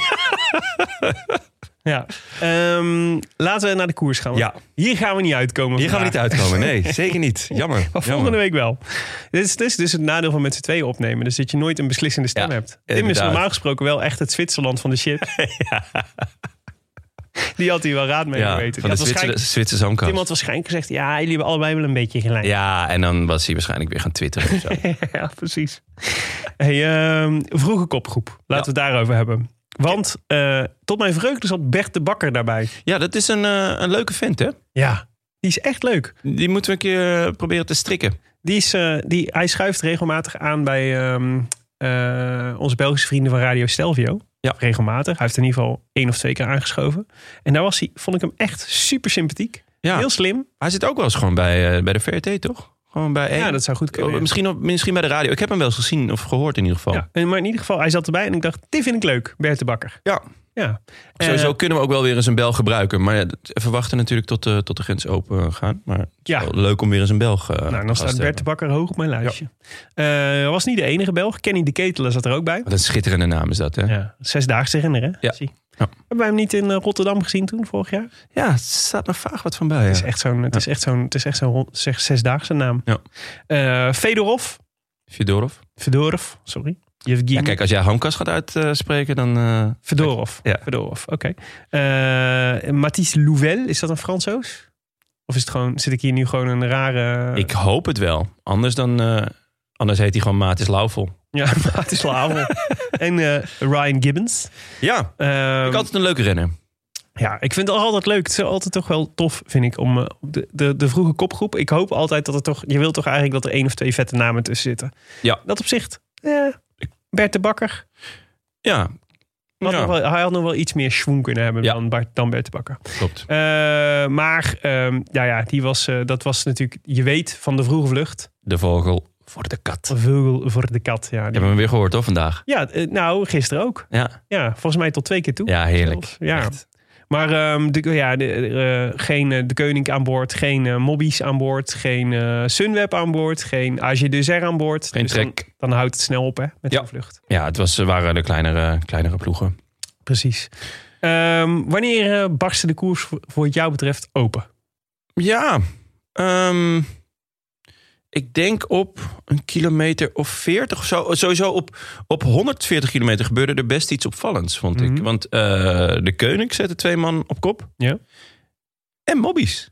[SPEAKER 2] ja. Ehm, laten we naar de koers gaan.
[SPEAKER 1] Ja.
[SPEAKER 2] Hier gaan we niet uitkomen.
[SPEAKER 1] Hier gaan we
[SPEAKER 2] vandaag.
[SPEAKER 1] niet uitkomen. Nee, zeker niet. Jammer.
[SPEAKER 2] Maar volgende week wel. Dit is, dit is dus het nadeel van met z'n tweeën opnemen. Dus dat je nooit een beslissende stem
[SPEAKER 1] Ja,
[SPEAKER 2] hebt. Tim is
[SPEAKER 1] inderdaad.
[SPEAKER 2] normaal gesproken wel echt het Zwitserland van de shit. Die had hij wel raad mee
[SPEAKER 1] Ja,
[SPEAKER 2] geweten.
[SPEAKER 1] van de
[SPEAKER 2] Die had
[SPEAKER 1] Zwitser,
[SPEAKER 2] waarschijnlijk-
[SPEAKER 1] Zwitserse hamkas.
[SPEAKER 2] Tim had waarschijnlijk gezegd... Ja, jullie hebben allebei wel een beetje gelijk.
[SPEAKER 1] Ja, en dan was hij waarschijnlijk weer gaan twitteren of zo.
[SPEAKER 2] ja, precies. Hey, ehm, vroege kopgroep. Laten we het daarover hebben. Want eh, tot mijn vreugde zat Bert de Bakker daarbij.
[SPEAKER 1] Ja, dat is een, eh, een leuke vent, hè?
[SPEAKER 2] Ja. Die is echt leuk.
[SPEAKER 1] Die moeten we een keer eh, proberen te strikken.
[SPEAKER 2] Die is, eh, die, hij schuift regelmatig aan bij ehm, eh, onze Belgische vrienden van Radio Stelvio.
[SPEAKER 1] Ja.
[SPEAKER 2] Regelmatig. Hij heeft in ieder geval één of twee keer aangeschoven. En daar was hij, vond ik hem echt super sympathiek.
[SPEAKER 1] Ja.
[SPEAKER 2] Heel slim.
[SPEAKER 1] Hij zit ook wel eens gewoon bij, eh, bij de VRT, toch? Gewoon bij één.
[SPEAKER 2] Ja, dat zou goed kunnen.
[SPEAKER 1] Oh, misschien, op- misschien bij de radio. Ik heb hem wel eens gezien of gehoord in ieder geval.
[SPEAKER 2] Ja. En- Maar in ieder geval, hij zat erbij en ik dacht, dit vind ik leuk, Bert de Bakker.
[SPEAKER 1] Ja.
[SPEAKER 2] Ja.
[SPEAKER 1] Sowieso
[SPEAKER 2] Eh,
[SPEAKER 1] kunnen we ook wel weer eens een bel gebruiken. Maar ja, dat- even wachten natuurlijk tot, de tot de grens open eh, gaan. Maar het is
[SPEAKER 2] Ja.
[SPEAKER 1] wel leuk om weer eens een Belg eh,
[SPEAKER 2] nou, dan
[SPEAKER 1] gast
[SPEAKER 2] staat
[SPEAKER 1] te
[SPEAKER 2] Bert de
[SPEAKER 1] hebben.
[SPEAKER 2] Bakker hoog op mijn lijstje. Eh, was niet de enige Belg. Kenny de Ketelen zat er ook bij.
[SPEAKER 1] Wat een schitterende naam is dat, hè? Ja,
[SPEAKER 2] Ja. Zesdaagse renner, hè?
[SPEAKER 1] Ja.
[SPEAKER 2] Zie.
[SPEAKER 1] Ja.
[SPEAKER 2] Hebben wij hem niet in eh, Rotterdam gezien toen, vorig jaar?
[SPEAKER 1] er staat nog vaag wat van bij.
[SPEAKER 2] Het
[SPEAKER 1] ja.
[SPEAKER 2] is echt zo'n, het is echt zo'n, het is echt zo'n rond- zeg- zesdaagse naam.
[SPEAKER 1] Ja.
[SPEAKER 2] Eh, Fedorov,
[SPEAKER 1] Fedorov.
[SPEAKER 2] Fedorov, sorry. Yevgeny
[SPEAKER 1] Ja, kijk, als jij Hamkas gaat uitspreken, dan... eh,
[SPEAKER 2] Fedorov.
[SPEAKER 1] Ja.
[SPEAKER 2] Fedorov, oké. Eh, Mathis Louvel, is dat een Fransoos? Of is het gewoon, zit ik hier nu gewoon een rare...
[SPEAKER 1] Ik hoop het wel. Anders dan... eh, anders heet hij gewoon Matis Lauvel.
[SPEAKER 2] Ja, Mathis Louvel. en eh, Ryan Gibbons.
[SPEAKER 1] Ja,
[SPEAKER 2] Ehm,
[SPEAKER 1] ik altijd een leuke renner.
[SPEAKER 2] Ja, ik vind het altijd leuk. Het is altijd toch wel tof, vind ik, om eh, de, de, de vroege kopgroep. Ik hoop altijd dat er toch... Je wilt toch eigenlijk dat er één of twee vette namen tussen zitten.
[SPEAKER 1] Ja.
[SPEAKER 2] Dat opzicht. Ja. Bert de Bakker.
[SPEAKER 1] Ja,
[SPEAKER 2] Had
[SPEAKER 1] Ja.
[SPEAKER 2] nog wel- hij had nog wel iets meer schwoen kunnen hebben
[SPEAKER 1] Ja.
[SPEAKER 2] dan, Bart, dan Bert de Bakker.
[SPEAKER 1] klopt.
[SPEAKER 2] Eh, maar ehm, ja, ja, die was, eh, dat was natuurlijk... Je weet van de vroege vlucht.
[SPEAKER 1] De vogel voor de kat.
[SPEAKER 2] Een vogel voor de kat. Ja,
[SPEAKER 1] Ik
[SPEAKER 2] die-
[SPEAKER 1] heb hem weer gehoord, toch, vandaag?
[SPEAKER 2] ja eh, nou, gisteren ook.
[SPEAKER 1] Ja,
[SPEAKER 2] Ja, volgens mij tot twee keer toe.
[SPEAKER 1] ja heerlijk.
[SPEAKER 2] Zelfs, Ja.
[SPEAKER 1] Echt.
[SPEAKER 2] Maar ehm, de, ja, de, eh, geen eh, De Koning aan boord, geen eh, Mobbies aan boord, geen eh, Sunweb aan boord, geen AG de Zer aan boord. Dus
[SPEAKER 1] Geen
[SPEAKER 2] dan,
[SPEAKER 1] trek.
[SPEAKER 2] dan houdt het snel op hè, met
[SPEAKER 1] Ja.
[SPEAKER 2] de vlucht.
[SPEAKER 1] Ja, het was, eh, waren de kleinere, kleinere ploegen.
[SPEAKER 2] Precies. Ehm, wanneer eh, barstte de koers voor, voor wat jou betreft open?
[SPEAKER 1] Ja, ehm, ik denk op een kilometer of 40 of zo. Sowieso op, op 140 kilometer gebeurde er best iets opvallends, vond ik.
[SPEAKER 2] Mhm.
[SPEAKER 1] Want eh, de Koning zette twee man op kop.
[SPEAKER 2] Ja.
[SPEAKER 1] En mobbies.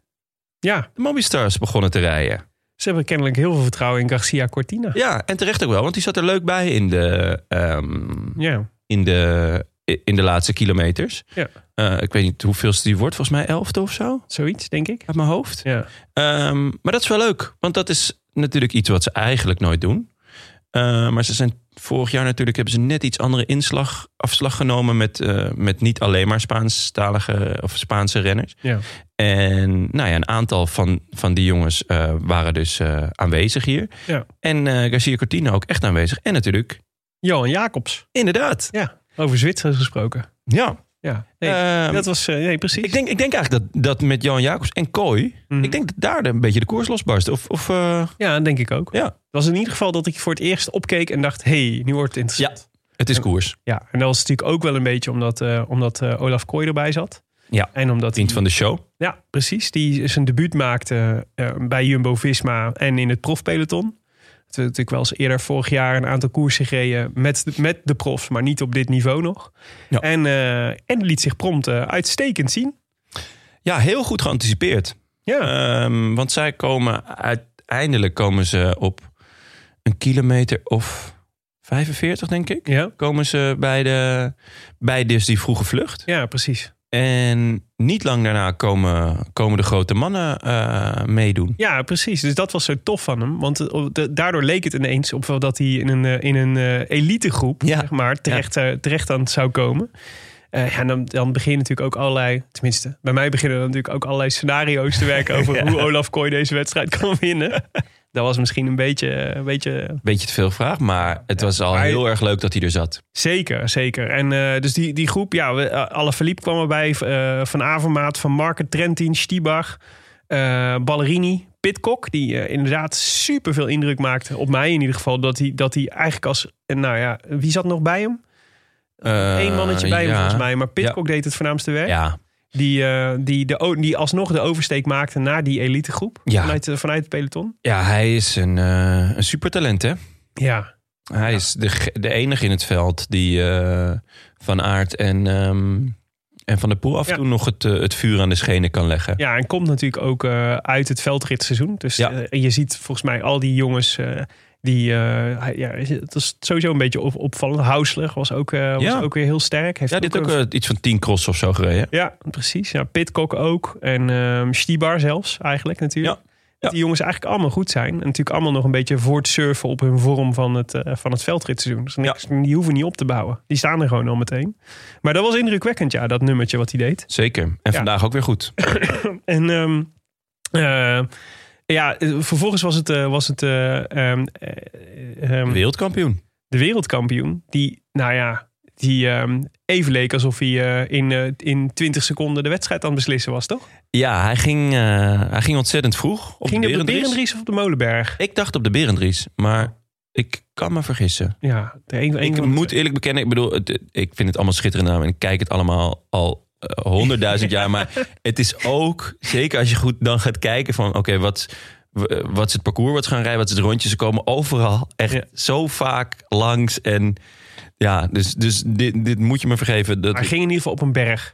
[SPEAKER 2] Ja,
[SPEAKER 1] De Mobbystars begonnen te rijden.
[SPEAKER 2] ze hebben kennelijk heel veel vertrouwen in Garcia Cortina.
[SPEAKER 1] Ja, en terecht ook wel, want die zat er leuk bij in de, ehm,
[SPEAKER 2] Ja,
[SPEAKER 1] in de, in de laatste kilometers.
[SPEAKER 2] Ja.
[SPEAKER 1] Eh, ik weet niet hoeveelste die wordt, volgens mij elfde of zo,
[SPEAKER 2] zoiets denk ik.
[SPEAKER 1] uit mijn hoofd.
[SPEAKER 2] Ja.
[SPEAKER 1] Ehm, maar dat is wel leuk, want dat is natuurlijk iets wat ze eigenlijk nooit doen. Eh, maar ze zijn vorig jaar natuurlijk hebben ze net iets andere inslag, afslag genomen met, eh, met niet alleen maar Spaanstalige of Spaanse renners.
[SPEAKER 2] Ja.
[SPEAKER 1] En nou ja, een aantal van, van die jongens eh, waren dus eh, aanwezig hier.
[SPEAKER 2] Ja.
[SPEAKER 1] En eh, Garcia Cortina ook echt aanwezig. En natuurlijk,
[SPEAKER 2] Johan Jacobs,
[SPEAKER 1] inderdaad.
[SPEAKER 2] over Zwitsers gesproken.
[SPEAKER 1] Ja.
[SPEAKER 2] Ja, nee,
[SPEAKER 1] Ehm,
[SPEAKER 2] dat was, eh, nee precies.
[SPEAKER 1] ik, denk, ik denk eigenlijk dat, dat met Johan Jacobs en Kooi...
[SPEAKER 2] Mhm.
[SPEAKER 1] Ik denk dat daar de- een beetje de koers losbarst. Of, of eh,
[SPEAKER 2] Ja, denk ik ook.
[SPEAKER 1] Ja.
[SPEAKER 2] Het was in ieder geval dat ik voor het eerst opkeek en dacht... hey, nu wordt het interessant.
[SPEAKER 1] het is koers.
[SPEAKER 2] Ja, en dat was natuurlijk ook wel een beetje omdat, eh, omdat eh, Olaf Kooi erbij zat.
[SPEAKER 1] Ja.
[SPEAKER 2] En omdat
[SPEAKER 1] Vriend van de show.
[SPEAKER 2] Ja, precies. Die zijn debuut maakte eh, bij Jumbo-Visma en in het profpeloton. Het heeft natuurlijk wel eens eerder vorig jaar een aantal koersen gereden met, met de profs, maar niet op dit niveau nog.
[SPEAKER 1] Ja.
[SPEAKER 2] En, eh, en liet zich prompt eh, uitstekend zien.
[SPEAKER 1] Ja, heel goed geanticipeerd.
[SPEAKER 2] Ja,
[SPEAKER 1] Ehm, want zij komen uiteindelijk komen ze op een kilometer of 45, denk ik.
[SPEAKER 2] ja.
[SPEAKER 1] Komen ze bij, de, bij dus die vroege vlucht.
[SPEAKER 2] ja precies.
[SPEAKER 1] En niet lang daarna komen, komen de grote mannen eh, meedoen.
[SPEAKER 2] Ja, precies. Dus dat was zo tof van hem. Want eh, op de- daardoor leek het ineens op wel dat hij in een, eh, in een eh, elitegroep
[SPEAKER 1] Ja.
[SPEAKER 2] zeg maar, terecht, eh, terecht aan zou komen. Eh, ja, en dan, dan beginnen natuurlijk ook allerlei, tenminste, bij mij beginnen dan natuurlijk ook allerlei scenario's te werken over hoe Olaf Kooi deze wedstrijd kan winnen. Dat was misschien een beetje, eh, een beetje
[SPEAKER 1] Beetje te veel vraag, maar het was al
[SPEAKER 2] maar-
[SPEAKER 1] heel erg leuk dat hij er zat.
[SPEAKER 2] Zeker, zeker. En eh, dus die, die groep, ja, we- eh, Alaphilippe kwam erbij. eh, van Avermaat, Van Marken, Trentin, Stiebach, eh, Ballerini, Pitcock. Die eh, inderdaad super veel indruk maakte. Op mij in ieder geval. Dat hij, dat hij eigenlijk als... en nou ja, wie zat nog bij hem?
[SPEAKER 1] Eh,
[SPEAKER 2] Eén mannetje bij hem
[SPEAKER 1] ja.
[SPEAKER 2] volgens mij. Maar Pitcock deed het voornaamste werk.
[SPEAKER 1] Ja,
[SPEAKER 2] Die, eh, die, de, o- die alsnog de oversteek maakte naar die elitegroep.
[SPEAKER 1] Ja.
[SPEAKER 2] Vanuit, eh, vanuit het peloton.
[SPEAKER 1] ja hij is een, eh een supertalent, hè?
[SPEAKER 2] Ja,
[SPEAKER 1] Hij is de, ge- de enige in het veld die eh, Van Aert en, ehm, en Van der Poel af en
[SPEAKER 2] Ja.
[SPEAKER 1] toe nog het, eh, het vuur aan de schenen kan leggen.
[SPEAKER 2] Ja, en komt natuurlijk ook eh, uit het veldritseizoen. Dus
[SPEAKER 1] Ja.
[SPEAKER 2] eh, je ziet volgens mij al die jongens eh, die... eh, hij- ja, het is sowieso een beetje op, opvallend. Hausler was ook, eh, was
[SPEAKER 1] Ja.
[SPEAKER 2] ook weer heel sterk. Heeft
[SPEAKER 1] Ja, dit ook
[SPEAKER 2] een-
[SPEAKER 1] eh, iets van 10 cross of zo gereden.
[SPEAKER 2] ja, precies. Ja, Pitcock ook. En ehm Stibar zelfs eigenlijk natuurlijk.
[SPEAKER 1] Ja.
[SPEAKER 2] Dat die jongens eigenlijk allemaal goed zijn. En natuurlijk allemaal nog een beetje voor het surfen op hun vorm van het, eh, van het veldritseizoen. Dus niks, die hoeven niet op te bouwen. Die staan er gewoon al meteen. Maar dat was indrukwekkend, ja, dat nummertje wat hij deed.
[SPEAKER 1] Zeker. En
[SPEAKER 2] Ja.
[SPEAKER 1] vandaag ook weer goed.
[SPEAKER 2] En ehm, eh, ja, eh, vervolgens was het, eh, was het eh, ehm, eh, ehm,
[SPEAKER 1] Wereldkampioen.
[SPEAKER 2] de wereldkampioen. Die, nou ja, die ehm, even leek alsof hij eh, in, eh, in 20 seconden de wedstrijd aan het beslissen was, toch?
[SPEAKER 1] Ja, hij ging, eh, hij ging ontzettend vroeg. Op
[SPEAKER 2] Ging
[SPEAKER 1] de
[SPEAKER 2] hij op de
[SPEAKER 1] Berendries.
[SPEAKER 2] Berendries of op de Molenberg?
[SPEAKER 1] Ik dacht op de Berendries, maar ik kan me vergissen.
[SPEAKER 2] Ja, de een, een
[SPEAKER 1] Ik
[SPEAKER 2] van de
[SPEAKER 1] moet eerlijk bekennen, ik bedoel, het- ik vind het allemaal schitterend naam en ik kijk het allemaal al eh, honderdduizend jaar. Maar het is ook, zeker als je goed dan gaat kijken van, oké, wat, w- eh, wat is het parcours wat ze gaan rijden, wat is het rondje, ze komen overal echt
[SPEAKER 2] Ja.
[SPEAKER 1] zo vaak langs en ja, dus, dus dit, dit moet je me vergeven. Dat,
[SPEAKER 2] Hij ging in ieder geval op een berg.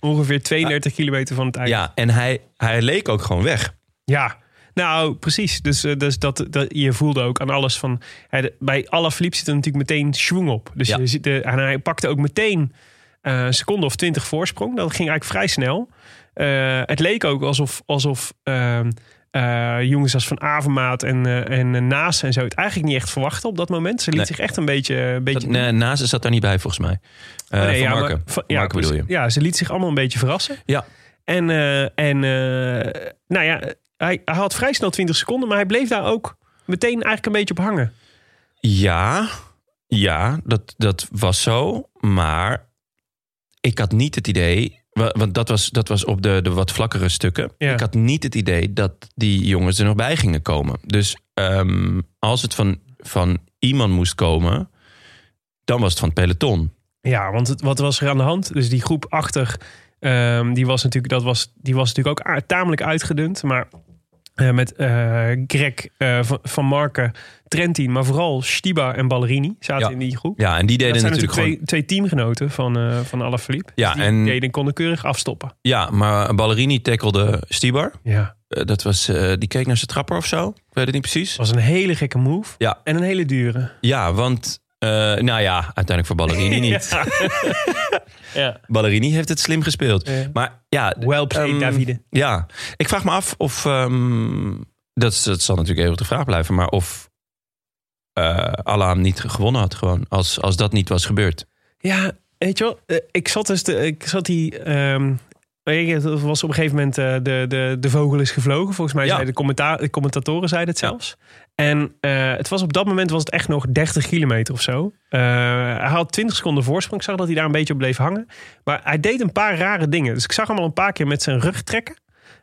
[SPEAKER 2] Ongeveer 32 kilometer van het eind.
[SPEAKER 1] ja, en hij, hij leek ook gewoon weg.
[SPEAKER 2] Ja. Nou, precies. Dus, eh, dus dat, dat, je voelde ook aan alles van... Hij, de- bij Alaphilippe zit er natuurlijk meteen schwung op. Dus
[SPEAKER 1] Ja.
[SPEAKER 2] je ziet de, en hij pakte ook meteen eh, een seconde of twintig voorsprong. Dat ging eigenlijk vrij snel. Eh, het leek ook alsof, alsof ehm, eh, jongens als Van Avermaat en, eh en eh, Naas en zo... het eigenlijk niet echt verwachten op dat moment. Ze liet
[SPEAKER 1] Nee.
[SPEAKER 2] zich echt een beetje... eh, Een
[SPEAKER 1] Dat,
[SPEAKER 2] beetje
[SPEAKER 1] nee, Naast zat daar niet bij volgens mij. Eh
[SPEAKER 2] Nee,
[SPEAKER 1] van
[SPEAKER 2] ja,
[SPEAKER 1] Marken.
[SPEAKER 2] maar-
[SPEAKER 1] Van
[SPEAKER 2] ja,
[SPEAKER 1] Marken bedoel je.
[SPEAKER 2] precies. Ja, ze liet zich allemaal een beetje verrassen.
[SPEAKER 1] Ja.
[SPEAKER 2] En, eh, en eh, nou ja, hij, hij had vrij snel 20 seconden, maar hij bleef daar ook meteen eigenlijk een beetje op hangen.
[SPEAKER 1] Ja, ja dat, dat was zo. Maar ik had niet het idee. wa- Want dat was, dat was op de, de wat vlakkere stukken.
[SPEAKER 2] Ja.
[SPEAKER 1] Ik had niet het idee dat die jongens er nog bij gingen komen. Dus ehm, als het van, van iemand moest komen. dan was het van het peloton.
[SPEAKER 2] Ja, want het, wat was er aan de hand? Dus die groep achter, ehm, die, was natuurlijk, dat was, die was natuurlijk ook a- tamelijk uitgedund. Maar eh, met eh, Greg eh, van, van Marken, Trentin, maar vooral Stiba en Ballerini zaten
[SPEAKER 1] Ja.
[SPEAKER 2] in die groep.
[SPEAKER 1] Ja, en die deden
[SPEAKER 2] dat zijn
[SPEAKER 1] natuurlijk
[SPEAKER 2] twee,
[SPEAKER 1] gewoon.
[SPEAKER 2] twee teamgenoten van, eh van Alaphilippe.
[SPEAKER 1] Ja,
[SPEAKER 2] Dus die
[SPEAKER 1] en-
[SPEAKER 2] deden konden keurig afstoppen.
[SPEAKER 1] Ja, maar Ballerini tackelde Stibar.
[SPEAKER 2] Ja.
[SPEAKER 1] Eh, dat was, eh, die keek naar zijn trapper of zo. Ik weet het niet precies.
[SPEAKER 2] Het was een hele gekke move.
[SPEAKER 1] Ja.
[SPEAKER 2] En een hele dure.
[SPEAKER 1] Ja, want. eh, nou ja, uiteindelijk voor Ballerini niet.
[SPEAKER 2] Ja.
[SPEAKER 1] Ballerini heeft het slim gespeeld.
[SPEAKER 2] Ja.
[SPEAKER 1] Maar ja,
[SPEAKER 2] Well played,
[SPEAKER 1] ehm,
[SPEAKER 2] Davide.
[SPEAKER 1] Ja, ik vraag me af of. ehm, dat, is- dat zal natuurlijk even de vraag blijven. Maar of. eh Alaam niet gewonnen had, gewoon. Als, als dat niet was gebeurd.
[SPEAKER 2] Ja, weet je wel. eh, Ik zat dus... De, ik zat die... ehm, weet je, het was op een gegeven moment... eh, de, de, de vogel is gevlogen. Volgens mij
[SPEAKER 1] Ja.
[SPEAKER 2] zeiden de, commenta- de commentatoren zeiden het zelfs. En eh, het was op dat moment was het echt nog 30 kilometer of zo. Eh, hij had 20 seconden voorsprong. Ik zag dat hij daar een beetje op bleef hangen. Maar hij deed een paar rare dingen. Dus ik zag hem al een paar keer met zijn rug trekken.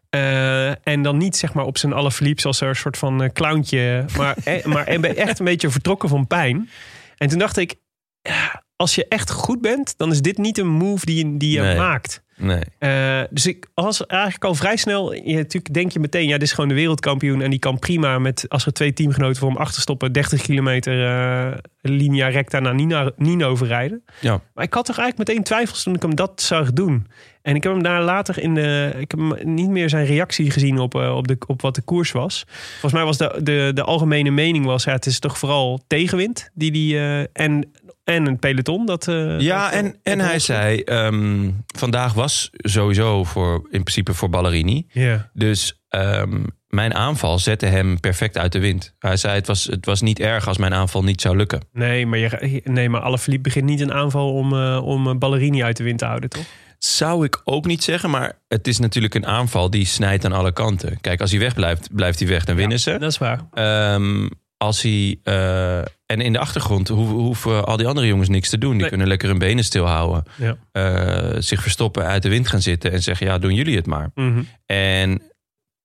[SPEAKER 2] Eh, en dan niet zeg maar op zijn allerverliep als er een soort van eh, clowntje. Maar, eh, maar en ben echt een beetje vertrokken van pijn. En toen dacht ik, ja, als je echt goed bent, dan is dit niet een move die je, die je
[SPEAKER 1] Nee.
[SPEAKER 2] maakt.
[SPEAKER 1] Nee.
[SPEAKER 2] Eh, dus ik was eigenlijk al vrij snel. Je, natuurlijk denk je meteen, ja, dit is gewoon de wereldkampioen. En die kan prima met, als er twee teamgenoten voor hem achterstoppen, 30 kilometer eh linea recta naar Nina, Nino verrijden.
[SPEAKER 1] Ja.
[SPEAKER 2] Maar ik had toch eigenlijk meteen twijfels toen ik hem dat zag doen. En ik heb hem daar later in de. Ik heb hem niet meer zijn reactie gezien op, eh, op, de, op wat de koers was. Volgens mij was de, de, de algemene mening was, ja, het is toch vooral tegenwind die die. eh, en, en een peloton. Dat, eh,
[SPEAKER 1] Ja,
[SPEAKER 2] dat- dat
[SPEAKER 1] en, en hij
[SPEAKER 2] was.
[SPEAKER 1] zei. ehm, vandaag was sowieso voor, in principe voor Ballerini.
[SPEAKER 2] Ja.
[SPEAKER 1] Dus ehm, mijn aanval zette hem perfect uit de wind. Hij zei: het was, het was niet erg als mijn aanval niet zou lukken.
[SPEAKER 2] Nee, maar, je, eh, nee, maar Alaphilippe begint niet een aanval om, eh, om eh, Ballerini uit de wind te houden, toch?
[SPEAKER 1] Zou ik ook niet zeggen, maar het is natuurlijk een aanval die snijdt aan alle kanten. Kijk, als hij weg blijft, blijft hij weg, dan winnen ze.
[SPEAKER 2] Dat is waar.
[SPEAKER 1] Ehm, als hij, eh, en in de achtergrond hoe- hoeven al die andere jongens niks te doen. Die
[SPEAKER 2] Nee.
[SPEAKER 1] kunnen lekker hun benen stilhouden.
[SPEAKER 2] Ja.
[SPEAKER 1] Eh, zich verstoppen, uit de wind gaan zitten en zeggen: ja, doen jullie het maar.
[SPEAKER 2] Mhm.
[SPEAKER 1] En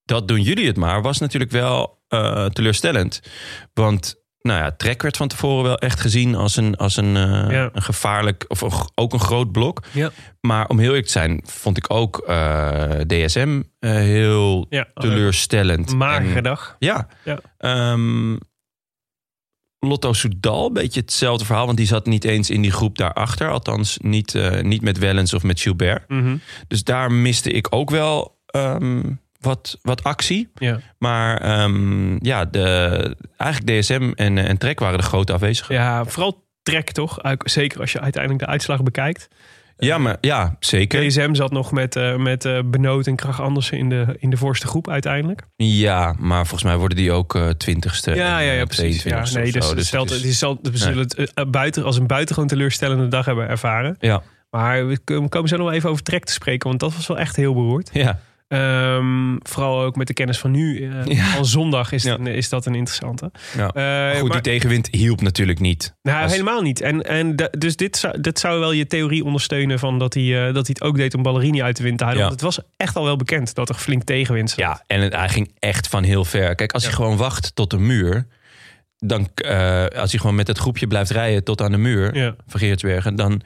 [SPEAKER 1] dat doen jullie het maar was natuurlijk wel eh, teleurstellend. Want nou ja, Trek werd van tevoren wel echt gezien als een, als een, eh,
[SPEAKER 2] Ja.
[SPEAKER 1] een gevaarlijk, of een g- ook een groot blok.
[SPEAKER 2] Ja.
[SPEAKER 1] Maar om heel eerlijk te zijn, vond ik ook eh, DSM eh, heel
[SPEAKER 2] Oh, Ja,
[SPEAKER 1] teleurstellend.
[SPEAKER 2] magere
[SPEAKER 1] En-
[SPEAKER 2] dag.
[SPEAKER 1] ja.
[SPEAKER 2] Ja.
[SPEAKER 1] Ehm, Lotto Soudal, een beetje hetzelfde verhaal. Want die zat niet eens in die groep daarachter. Althans, niet, eh, niet met Wellens of met Gilbert.
[SPEAKER 2] Mhm.
[SPEAKER 1] Dus daar miste ik ook wel ehm, wat, wat actie.
[SPEAKER 2] ja.
[SPEAKER 1] Maar ehm, ja, de, eigenlijk DSM en, eh, en Trek waren de grote afwezigen.
[SPEAKER 2] ja, vooral trek toch? Uit- Zeker als je uiteindelijk de uitslag bekijkt.
[SPEAKER 1] Ja, maar, ja zeker.
[SPEAKER 2] KSM zat nog met, eh, met eh, Benoot en Krach Andersen in de, in de voorste groep uiteindelijk.
[SPEAKER 1] Ja, maar volgens mij worden die ook eh, twintigste.
[SPEAKER 2] Ja,
[SPEAKER 1] en,
[SPEAKER 2] ja, ja,
[SPEAKER 1] eh,
[SPEAKER 2] precies. Ja,
[SPEAKER 1] 22ste
[SPEAKER 2] nee,
[SPEAKER 1] of
[SPEAKER 2] dus,
[SPEAKER 1] zo.
[SPEAKER 2] het
[SPEAKER 1] Dus
[SPEAKER 2] stelt,
[SPEAKER 1] het is-
[SPEAKER 2] het is- zal- we zullen het eh, eh, buiten, als een buitengewoon teleurstellende dag hebben ervaren.
[SPEAKER 1] Ja,
[SPEAKER 2] Maar we k- we komen zo nog wel even over trek te spreken, want dat was wel echt heel beroerd.
[SPEAKER 1] ja.
[SPEAKER 2] Ehm, vooral ook met de kennis van nu. eh,
[SPEAKER 1] Ja.
[SPEAKER 2] Al zondag is,
[SPEAKER 1] Ja.
[SPEAKER 2] het een- is dat een interessante.
[SPEAKER 1] ja.
[SPEAKER 2] Eh,
[SPEAKER 1] Maar Goed,
[SPEAKER 2] maar-
[SPEAKER 1] die tegenwind hielp natuurlijk niet.
[SPEAKER 2] nou,
[SPEAKER 1] Als-
[SPEAKER 2] helemaal niet. En, en da- dus dit zou, dit zou wel je theorie ondersteunen van dat hij, eh, dat hij het ook deed om Ballerini uit de wind te houden.
[SPEAKER 1] Ja.
[SPEAKER 2] Want het was echt al wel bekend dat er flink tegenwind zat.
[SPEAKER 1] Ja, en het, hij ging echt van heel ver. Kijk, als hij gewoon wacht tot de muur... Dan, eh, als hij gewoon met het groepje blijft rijden tot aan de muur
[SPEAKER 2] Ja.
[SPEAKER 1] van Geertsbergen... Dan,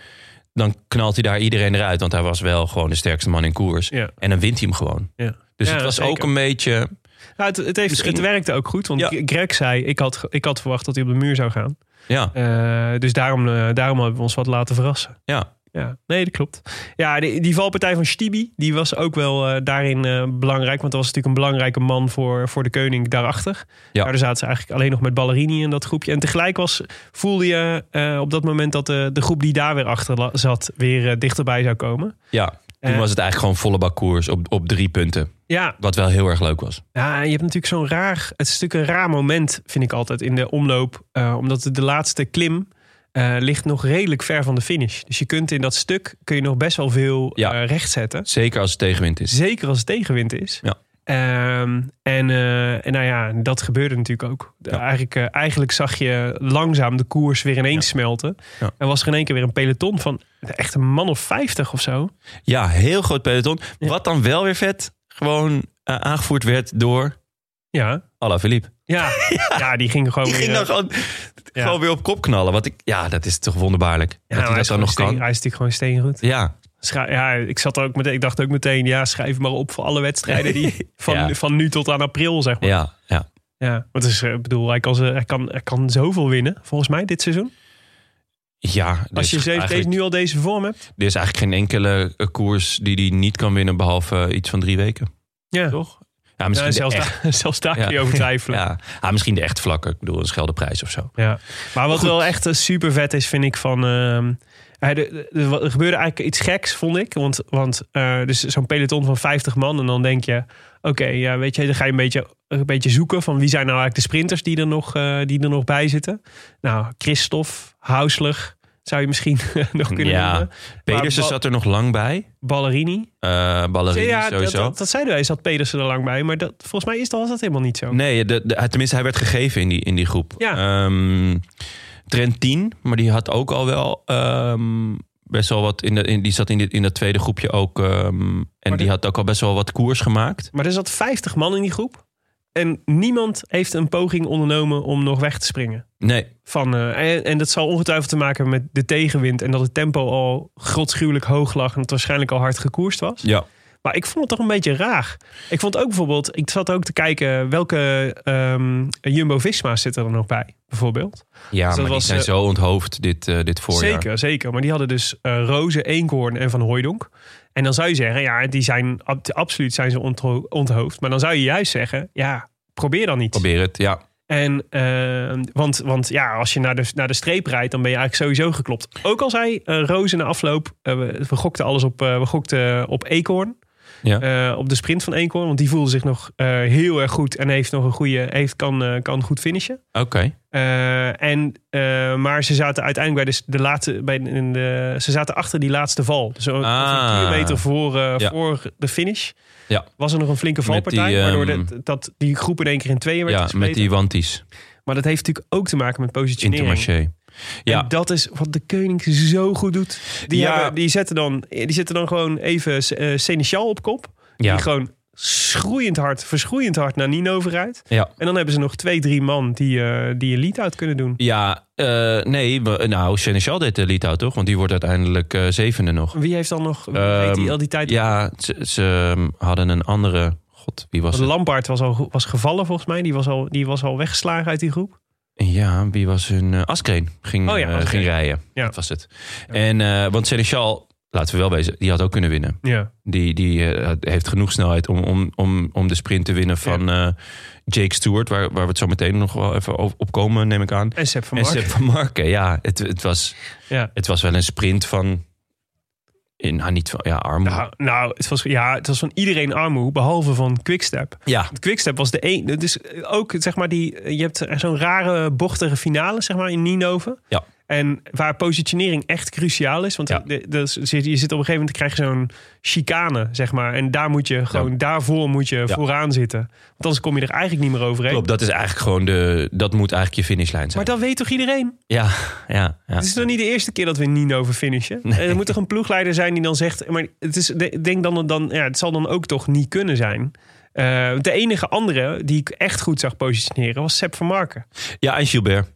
[SPEAKER 1] dan knalt hij daar iedereen eruit. Want hij was wel gewoon de sterkste man in koers.
[SPEAKER 2] Ja.
[SPEAKER 1] En dan wint hij hem gewoon.
[SPEAKER 2] Ja.
[SPEAKER 1] Dus
[SPEAKER 2] Ja,
[SPEAKER 1] het was
[SPEAKER 2] zeker.
[SPEAKER 1] ook een beetje...
[SPEAKER 2] Nou, het, het, heeft,
[SPEAKER 1] Misschien-
[SPEAKER 2] het werkte ook goed, want
[SPEAKER 1] Ja.
[SPEAKER 2] Greg zei: ik had, ge- ik had verwacht dat hij op de muur zou gaan.
[SPEAKER 1] Ja,
[SPEAKER 2] Eh, dus daarom, eh, daarom hebben we ons wat laten verrassen.
[SPEAKER 1] ja.
[SPEAKER 2] Ja, nee, dat klopt. Ja, die, die valpartij van Stibi, die was ook wel eh, daarin eh, belangrijk. Want dat was natuurlijk een belangrijke man voor, voor de koning daarachter. Nou,
[SPEAKER 1] Ja.
[SPEAKER 2] Daar zaten ze eigenlijk alleen nog met Ballerini in dat groepje. En tegelijk was, voelde je eh, op dat moment dat de, de groep die daar weer achter la- zat... weer eh, dichterbij zou komen.
[SPEAKER 1] ja. Toen
[SPEAKER 2] Eh.
[SPEAKER 1] was het eigenlijk gewoon volle bak koers op, op drie punten.
[SPEAKER 2] Ja,
[SPEAKER 1] Wat wel heel erg leuk was.
[SPEAKER 2] Ja, en je hebt natuurlijk zo'n raar. Het is natuurlijk een raar moment, vind ik altijd, in de omloop. eh, omdat de laatste klim eh, ligt nog redelijk ver van de finish. Dus je kunt in dat stuk kun je nog best wel veel
[SPEAKER 1] Ja.
[SPEAKER 2] eh, recht zetten.
[SPEAKER 1] Zeker als het tegenwind is.
[SPEAKER 2] Zeker als het tegenwind is.
[SPEAKER 1] Ja.
[SPEAKER 2] Ehm, en, eh, en nou ja, dat gebeurde natuurlijk ook. De- Eigenlijk, eh, eigenlijk zag je langzaam de koers weer ineens smelten.
[SPEAKER 1] Ja.
[SPEAKER 2] En was er in één keer weer een peloton van echt een man of 50 of zo.
[SPEAKER 1] Ja, heel groot peloton.
[SPEAKER 2] Ja.
[SPEAKER 1] Wat dan wel weer vet, gewoon eh, aangevoerd werd door
[SPEAKER 2] Ja,
[SPEAKER 1] Alaphilippe.
[SPEAKER 2] ja. Oh, ja. die ging gewoon
[SPEAKER 1] Die
[SPEAKER 2] weer,
[SPEAKER 1] ging
[SPEAKER 2] eh,
[SPEAKER 1] dan gewoon, gewoon weer op kop knallen. Wat ik, ja, dat is toch wonderbaarlijk.
[SPEAKER 2] ja,
[SPEAKER 1] dat
[SPEAKER 2] maar
[SPEAKER 1] hij
[SPEAKER 2] hij
[SPEAKER 1] dat
[SPEAKER 2] is
[SPEAKER 1] dan nog
[SPEAKER 2] gewoon
[SPEAKER 1] kan.
[SPEAKER 2] steen- Hij is natuurlijk gewoon steengoed.
[SPEAKER 1] Ja,
[SPEAKER 2] Schra- ja, ik, zat er ook meteen, ik dacht ook meteen, ja, schrijf maar op voor alle wedstrijden die van,
[SPEAKER 1] Ja.
[SPEAKER 2] van nu tot aan april, zeg maar. Ja.
[SPEAKER 1] ja, ja.
[SPEAKER 2] Want dus, ik bedoel, hij kan, ze, hij, kan, hij kan zoveel winnen, volgens mij, dit seizoen.
[SPEAKER 1] Ja, er
[SPEAKER 2] Als
[SPEAKER 1] is
[SPEAKER 2] je ze-
[SPEAKER 1] eigenlijk-
[SPEAKER 2] deze, nu al deze vorm hebt.
[SPEAKER 1] Er is eigenlijk geen enkele eh, koers die hij niet kan winnen, behalve eh, iets van drie weken.
[SPEAKER 2] Ja,
[SPEAKER 1] Toch? Ja,
[SPEAKER 2] Ja,
[SPEAKER 1] misschien,
[SPEAKER 2] zelfs,
[SPEAKER 1] de, echt,
[SPEAKER 2] daar, zelfs daar
[SPEAKER 1] Ja.
[SPEAKER 2] kun je over twijfelen. Ja.
[SPEAKER 1] ja, ja, misschien de echt vlakke. Ik bedoel, een Scheldeprijs of zo.
[SPEAKER 2] Maar wat
[SPEAKER 1] goed.
[SPEAKER 2] wel echt super vet is, vind ik van... ehm, hij- de- de- wat- er gebeurde eigenlijk iets geks, vond ik. Want, want eh, dus zo'n peloton van 50 man. En dan denk je, oké, ja, weet je, dan ga je een beetje, een beetje zoeken van wie zijn nou eigenlijk de sprinters die er nog, eh, die er nog bij zitten. Nou, Christophe, Hausler zou je misschien nog kunnen
[SPEAKER 1] Ja.
[SPEAKER 2] noemen.
[SPEAKER 1] Pedersen
[SPEAKER 2] Ba-
[SPEAKER 1] zat er nog lang bij.
[SPEAKER 2] Ballerini.
[SPEAKER 1] Eh Ballerini
[SPEAKER 2] ja, dat,
[SPEAKER 1] sowieso.
[SPEAKER 2] dat, dat zeiden wij, zat Pedersen er lang bij. Maar dat, volgens mij is dat, was dat helemaal niet zo.
[SPEAKER 1] Nee, de, de- tenminste, hij werd gegeven in die, in die groep.
[SPEAKER 2] Ja.
[SPEAKER 1] Ehm, Trent 10, maar die had ook al wel ehm, best wel wat. In de, in, die zat in, dit in dat tweede groepje ook. ehm, en
[SPEAKER 2] dit-
[SPEAKER 1] die had ook al best wel wat koers gemaakt.
[SPEAKER 2] Maar er zat 50 man in die groep. En niemand heeft een poging ondernomen om nog weg te springen.
[SPEAKER 1] Nee,
[SPEAKER 2] Van, eh, en, en dat zal ongetwijfeld te maken hebben met de tegenwind. En dat het tempo al grotschuwelijk hoog lag. En het waarschijnlijk al hard gekoerst was.
[SPEAKER 1] ja.
[SPEAKER 2] Maar ik vond het toch een beetje raar. Ik vond ook bijvoorbeeld. Ik zat ook te kijken welke ehm, Jumbo Visma zit er dan nog bij. Bijvoorbeeld.
[SPEAKER 1] Ja, maar
[SPEAKER 2] was,
[SPEAKER 1] die zijn
[SPEAKER 2] eh,
[SPEAKER 1] zo onthoofd dit, eh, dit voorjaar.
[SPEAKER 2] Zeker, zeker. Maar die hadden dus eh Roze, Eenkhoorn en Van Hooijdonk. En dan zou je zeggen, ja, die zijn ab- absoluut zijn ze ontho- onthoofd. Maar dan zou je juist zeggen, ja, probeer dan niet.
[SPEAKER 1] Probeer het, ja.
[SPEAKER 2] En, eh, want, want ja, als je naar de, naar de streep rijdt, dan ben je eigenlijk sowieso geklopt. Ook al zei eh Roos in de afloop, eh, we, we gokten alles op, eh, we gokten op Eekhoorn.
[SPEAKER 1] Ja.
[SPEAKER 2] Eh, op de sprint van Eekhoorn, want die voelde zich nog eh, heel erg goed en heeft nog een goede, heeft, kan, eh, kan goed finishen.
[SPEAKER 1] Oké.
[SPEAKER 2] Eh, en, eh, maar ze zaten uiteindelijk bij de, de laatste, bij de, in de- ze zaten achter die laatste val. Dus ongeveer
[SPEAKER 1] Ah.
[SPEAKER 2] een kilometer voor, eh,
[SPEAKER 1] Ja.
[SPEAKER 2] voor de finish
[SPEAKER 1] Ja.
[SPEAKER 2] was er nog een flinke
[SPEAKER 1] Met
[SPEAKER 2] valpartij.
[SPEAKER 1] die,
[SPEAKER 2] waardoor
[SPEAKER 1] ehm,
[SPEAKER 2] dat- dat die groep in één keer in tweeën werd
[SPEAKER 1] Ja,
[SPEAKER 2] gespleten.
[SPEAKER 1] met die wanties.
[SPEAKER 2] Maar dat heeft natuurlijk ook te maken met positionering.
[SPEAKER 1] Intermarché.
[SPEAKER 2] En
[SPEAKER 1] Ja,
[SPEAKER 2] dat is wat de koning zo goed doet. Die,
[SPEAKER 1] Ja.
[SPEAKER 2] hebben, die, zetten, dan, die zetten dan gewoon even eh Seneschal op kop.
[SPEAKER 1] ja,
[SPEAKER 2] Die gewoon schroeiend hard, verschroeiend hard naar Nino vooruit.
[SPEAKER 1] ja.
[SPEAKER 2] En dan hebben ze nog twee, drie man die, eh, die een lead-out kunnen doen.
[SPEAKER 1] Ja, eh, nee, we- nou, Seneschal deed de lead-out, toch? Want die wordt uiteindelijk eh, zevende nog.
[SPEAKER 2] Wie heeft dan nog,
[SPEAKER 1] Ehm,
[SPEAKER 2] weet die al die tijd...
[SPEAKER 1] Ja, ze, ze, ehm, hadden een andere. God, wie was
[SPEAKER 2] Want
[SPEAKER 1] het?
[SPEAKER 2] Lampaard was al was gevallen volgens mij. Die was, al, die was al weggeslagen uit die groep.
[SPEAKER 1] Ja, wie was hun? eh, Askreen ging,
[SPEAKER 2] Oh ja,
[SPEAKER 1] eh,
[SPEAKER 2] Askreen.
[SPEAKER 1] ging rijden.
[SPEAKER 2] Ja.
[SPEAKER 1] Dat was het. En, eh, want Seneschal, laten we wel wezen, die had ook kunnen winnen.
[SPEAKER 2] Ja.
[SPEAKER 1] Die, die eh, heeft genoeg snelheid om, om, om, om de sprint te winnen van eh, Jake Stewart. Waar, waar we het zo meteen nog wel even op op komen, neem ik aan.
[SPEAKER 2] En Sepp van
[SPEAKER 1] En
[SPEAKER 2] Marken.
[SPEAKER 1] Sepp van Marken, ja. Het, het, was,
[SPEAKER 2] Ja.
[SPEAKER 1] het was wel een sprint van In, ah, niet van, ja, armoede.
[SPEAKER 2] Nou, nou, het was, ja, het was van iedereen armoe, behalve van Quickstep.
[SPEAKER 1] ja.
[SPEAKER 2] Want Quickstep was de een. Dus ook zeg maar die. Je hebt zo'n rare bochtige finale zeg maar in Ninove.
[SPEAKER 1] Ja.
[SPEAKER 2] En waar positionering echt cruciaal is. Want
[SPEAKER 1] Ja.
[SPEAKER 2] de- de- dus je je zit op een gegeven moment krijg je zo'n chicane, zeg maar. En daar moet je gewoon, daarvoor moet je vooraan zitten. Want anders kom je er eigenlijk niet meer overheen.
[SPEAKER 1] Klopt, dat is eigenlijk gewoon de. Dat moet eigenlijk je finishlijn zijn.
[SPEAKER 2] Maar dat weet toch iedereen?
[SPEAKER 1] ja, ja, ja.
[SPEAKER 2] Het is toch niet de eerste keer dat we in Ninove finishen?
[SPEAKER 1] Nee.
[SPEAKER 2] Er moet toch een ploegleider zijn die dan zegt... Maar het, is, ik denk dan, dan, ja, het zal dan ook toch niet kunnen zijn. Eh, de enige andere die ik echt goed zag positioneren was Sepp van Marken.
[SPEAKER 1] Ja, en Gilbert.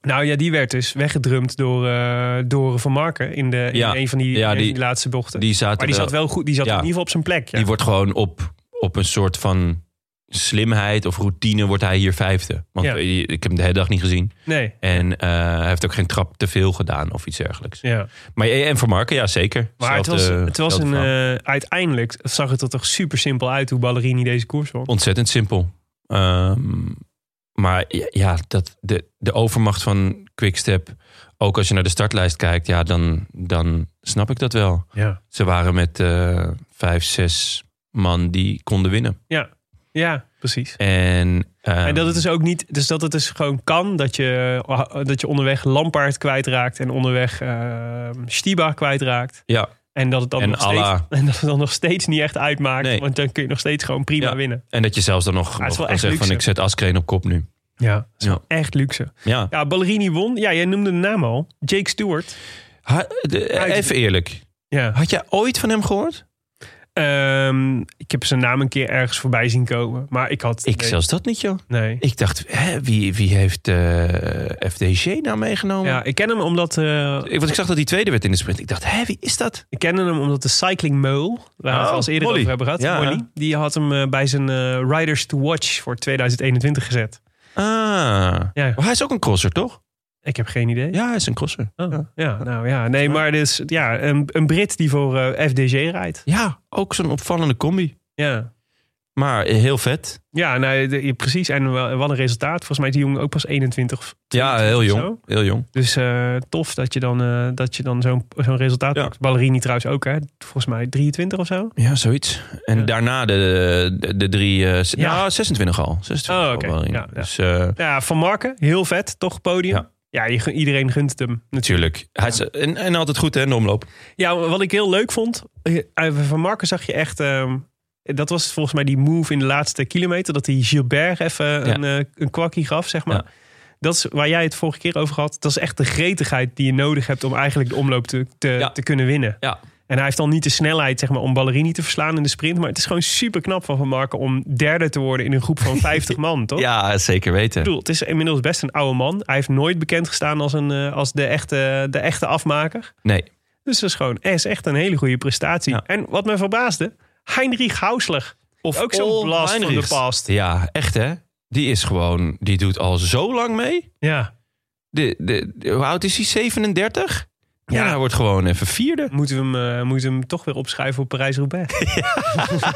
[SPEAKER 2] Nou ja, die werd dus weggedrumd door, eh, door Van Marken in, de, in
[SPEAKER 1] Ja,
[SPEAKER 2] een van die,
[SPEAKER 1] ja,
[SPEAKER 2] een van die
[SPEAKER 1] die-
[SPEAKER 2] laatste bochten.
[SPEAKER 1] Die zaten
[SPEAKER 2] maar die
[SPEAKER 1] wel-
[SPEAKER 2] zat wel goed, die zat
[SPEAKER 1] Ja.
[SPEAKER 2] in ieder geval op zijn plek. Ja.
[SPEAKER 1] Die wordt gewoon op, op een soort van slimheid of routine wordt hij hier vijfde. Want
[SPEAKER 2] Ja.
[SPEAKER 1] eh, ik heb hem de hele dag niet gezien.
[SPEAKER 2] Nee.
[SPEAKER 1] En eh, hij heeft ook geen trap te veel gedaan of iets dergelijks.
[SPEAKER 2] Ja.
[SPEAKER 1] Maar eh, en voor Marken, ja zeker.
[SPEAKER 2] Maar het was,
[SPEAKER 1] Zelfde-
[SPEAKER 2] het was
[SPEAKER 1] zelfde
[SPEAKER 2] een,
[SPEAKER 1] verhaal.
[SPEAKER 2] eh, uiteindelijk zag het er toch super simpel uit hoe Ballerini deze koers won.
[SPEAKER 1] Ontzettend simpel. Ehm, maar ja, ja, dat, de, de overmacht van Quickstep... ook als je naar de startlijst kijkt, ja, dan, dan snap ik dat wel.
[SPEAKER 2] Ja.
[SPEAKER 1] Ze waren met eh, vijf, zes man die konden winnen.
[SPEAKER 2] ja, precies.
[SPEAKER 1] En, ehm,
[SPEAKER 2] En dat het dus ook niet, dus dat het dus gewoon kan dat je, eh, dat je onderweg Lampaard kwijtraakt en onderweg eh, Stiba kwijtraakt.
[SPEAKER 1] Ja,
[SPEAKER 2] En dat het dan,
[SPEAKER 1] En
[SPEAKER 2] nog steeds,
[SPEAKER 1] Allah.
[SPEAKER 2] en dat het dan nog steeds niet echt uitmaakt,
[SPEAKER 1] Nee.
[SPEAKER 2] want dan kun je nog steeds gewoon prima
[SPEAKER 1] Ja.
[SPEAKER 2] winnen.
[SPEAKER 1] en dat je zelfs dan nog
[SPEAKER 2] het is wel
[SPEAKER 1] nog kan
[SPEAKER 2] echt
[SPEAKER 1] zeggen van ik
[SPEAKER 2] luxe.
[SPEAKER 1] zet Askreen op kop nu.
[SPEAKER 2] Ja,
[SPEAKER 1] Ja.
[SPEAKER 2] echt luxe.
[SPEAKER 1] ja.
[SPEAKER 2] Ja, Ballerini won. Ja, jij noemde de naam al. Jake Stewart.
[SPEAKER 1] Ha- de- even eerlijk.
[SPEAKER 2] Ja.
[SPEAKER 1] Had jij ooit van hem gehoord?
[SPEAKER 2] Ehm, ik heb zijn naam een keer ergens voorbij zien komen, maar ik had
[SPEAKER 1] Ik
[SPEAKER 2] nee,
[SPEAKER 1] zelfs dat niet, joh.
[SPEAKER 2] Nee.
[SPEAKER 1] Ik dacht, hè, wie, wie heeft eh, FDG nou meegenomen?
[SPEAKER 2] Ja, ik ken hem omdat eh,
[SPEAKER 1] Ik, want ik zag dat hij tweede werd in de sprint. Ik dacht, hè, wie is dat?
[SPEAKER 2] Ik kende hem omdat de Cycling Mole, waar we het
[SPEAKER 1] Oh,
[SPEAKER 2] al eens eerder
[SPEAKER 1] Molly.
[SPEAKER 2] over hebben gehad,
[SPEAKER 1] Ja.
[SPEAKER 2] Molly, die had hem eh, bij zijn eh, Riders to Watch voor 2021 gezet.
[SPEAKER 1] Ah,
[SPEAKER 2] Ja.
[SPEAKER 1] Maar hij is ook een crosser, toch?
[SPEAKER 2] Ik heb geen idee.
[SPEAKER 1] Ja, hij is een crosser.
[SPEAKER 2] Oh, ja. nou ja. Nee, maar dus, ja, een, een Brit die voor eh, FDG rijdt.
[SPEAKER 1] Ja, ook zo'n opvallende combi.
[SPEAKER 2] Ja,
[SPEAKER 1] Maar eh, heel vet.
[SPEAKER 2] ja nou, de- ja, precies. En wel- wat een resultaat. Volgens mij is die jongen ook pas 21. of-
[SPEAKER 1] Ja, heel
[SPEAKER 2] Zo?
[SPEAKER 1] jong. Heel jong.
[SPEAKER 2] Dus eh, tof dat je dan, eh, dat je dan zo'n zo'n resultaat
[SPEAKER 1] Ja.
[SPEAKER 2] pakt. Ballerini trouwens ook, hè? Volgens mij 23 of zo.
[SPEAKER 1] Ja, zoiets. En
[SPEAKER 2] Ja.
[SPEAKER 1] daarna de, de, de drie... eh, s-
[SPEAKER 2] Ja.
[SPEAKER 1] Nou, 26 al. 26
[SPEAKER 2] Oh,
[SPEAKER 1] al
[SPEAKER 2] oké.
[SPEAKER 1] wel,
[SPEAKER 2] Ja, ja.
[SPEAKER 1] Dus eh,
[SPEAKER 2] Ja, Van Marken, heel vet. Toch podium. Ja,
[SPEAKER 1] Ja.
[SPEAKER 2] je gun- iedereen gunt het hem.
[SPEAKER 1] natuurlijk. Hij is, en, en altijd goed hè, in de omloop.
[SPEAKER 2] Ja, wat ik heel leuk vond. eh, Van Marken zag je echt. ehm, dat was volgens mij die move in de laatste kilometer. Dat hij Gilbert even een, eh, een kwakkie gaf, zeg maar.
[SPEAKER 1] Ja.
[SPEAKER 2] Dat is waar jij het vorige keer over had. Dat is echt de gretigheid die je nodig hebt om eigenlijk de omloop te, te,
[SPEAKER 1] Ja.
[SPEAKER 2] te kunnen winnen.
[SPEAKER 1] Ja.
[SPEAKER 2] En hij heeft dan niet de snelheid zeg maar, om Ballerini te verslaan in de sprint. Maar het is gewoon super knap van Van Marken om derde te worden in een groep van 50 man, toch?
[SPEAKER 1] Ja, zeker
[SPEAKER 2] Ik
[SPEAKER 1] weten.
[SPEAKER 2] bedoel, het is inmiddels best een oude man. Hij heeft nooit bekendgestaan als, een, eh, als de, echte, de echte afmaker.
[SPEAKER 1] Nee.
[SPEAKER 2] Dus dat is gewoon het is echt een hele goede prestatie.
[SPEAKER 1] Ja.
[SPEAKER 2] En wat me verbaasde, Heinrich Hausler.
[SPEAKER 1] Of
[SPEAKER 2] Ook zo'n
[SPEAKER 1] Ol
[SPEAKER 2] blast van de
[SPEAKER 1] Heinrichs.
[SPEAKER 2] past.
[SPEAKER 1] Ja, echt hè. Die is gewoon... Die doet al zo lang mee.
[SPEAKER 2] Ja.
[SPEAKER 1] De, de, de- hoe oud is hij? 37? Ja,
[SPEAKER 2] Ja.
[SPEAKER 1] hij wordt gewoon even vierde.
[SPEAKER 2] Moeten we hem, eh, moeten we hem toch weer opschuiven op Parijs-Roubaix? Ja.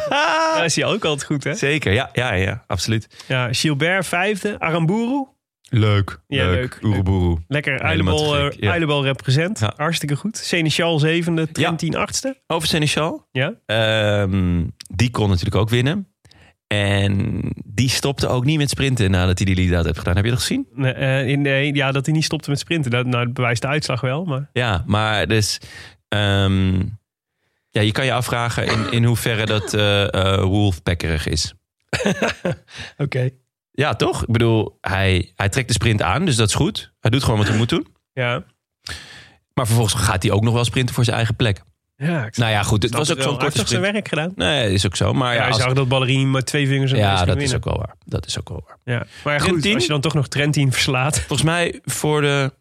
[SPEAKER 2] Daar is hij ook altijd goed, hè?
[SPEAKER 1] Zeker, ja, ja, ja, absoluut.
[SPEAKER 2] Ja, Gilbert vijfde, Aramburu.
[SPEAKER 1] Leuk.
[SPEAKER 2] Ja, leuk.
[SPEAKER 1] Oeroboeroe.
[SPEAKER 2] Lekker
[SPEAKER 1] Helemaal te
[SPEAKER 2] uilenbal eh,
[SPEAKER 1] gek, ja.
[SPEAKER 2] uilenbal represent.
[SPEAKER 1] Ja.
[SPEAKER 2] Hartstikke goed. Seneschal zevende, Trentin achtste.
[SPEAKER 1] Over Seneschal.
[SPEAKER 2] Ja.
[SPEAKER 1] Ehm, die kon natuurlijk ook winnen. En die stopte ook niet met sprinten nadat hij die lead-out heeft gedaan. Heb je dat gezien?
[SPEAKER 2] Nee, eh, nee, ja, dat hij niet stopte met sprinten. Dat, nou, dat bewijst de uitslag wel, maar...
[SPEAKER 1] Ja, maar dus... ehm, ja, je kan je afvragen in, in hoeverre dat eh eh, Wolfpackerig is.
[SPEAKER 2] Oké.
[SPEAKER 1] Ja, toch? Ik bedoel, hij, hij trekt de sprint aan, dus dat is goed. Hij doet gewoon wat hij moet doen.
[SPEAKER 2] Ja.
[SPEAKER 1] Maar vervolgens gaat hij ook nog wel sprinten voor zijn eigen plek.
[SPEAKER 2] Ja, ik
[SPEAKER 1] Nou ja, goed, het
[SPEAKER 2] snap
[SPEAKER 1] was
[SPEAKER 2] het
[SPEAKER 1] ook
[SPEAKER 2] wel.
[SPEAKER 1] zo'n
[SPEAKER 2] Hij heeft
[SPEAKER 1] korte
[SPEAKER 2] toch zijn
[SPEAKER 1] sprint.
[SPEAKER 2] werk gedaan.
[SPEAKER 1] Nee, is ook zo. Maar
[SPEAKER 2] Ja,
[SPEAKER 1] ja,
[SPEAKER 2] hij
[SPEAKER 1] als-
[SPEAKER 2] zag dat Ballerini met twee vingers en
[SPEAKER 1] ja dat
[SPEAKER 2] winnen.
[SPEAKER 1] is ook wel waar. Dat is ook wel waar.
[SPEAKER 2] Ja. Maar ja, goed,
[SPEAKER 1] Trentin?
[SPEAKER 2] als je dan toch nog Trentin verslaat.
[SPEAKER 1] Volgens mij voor de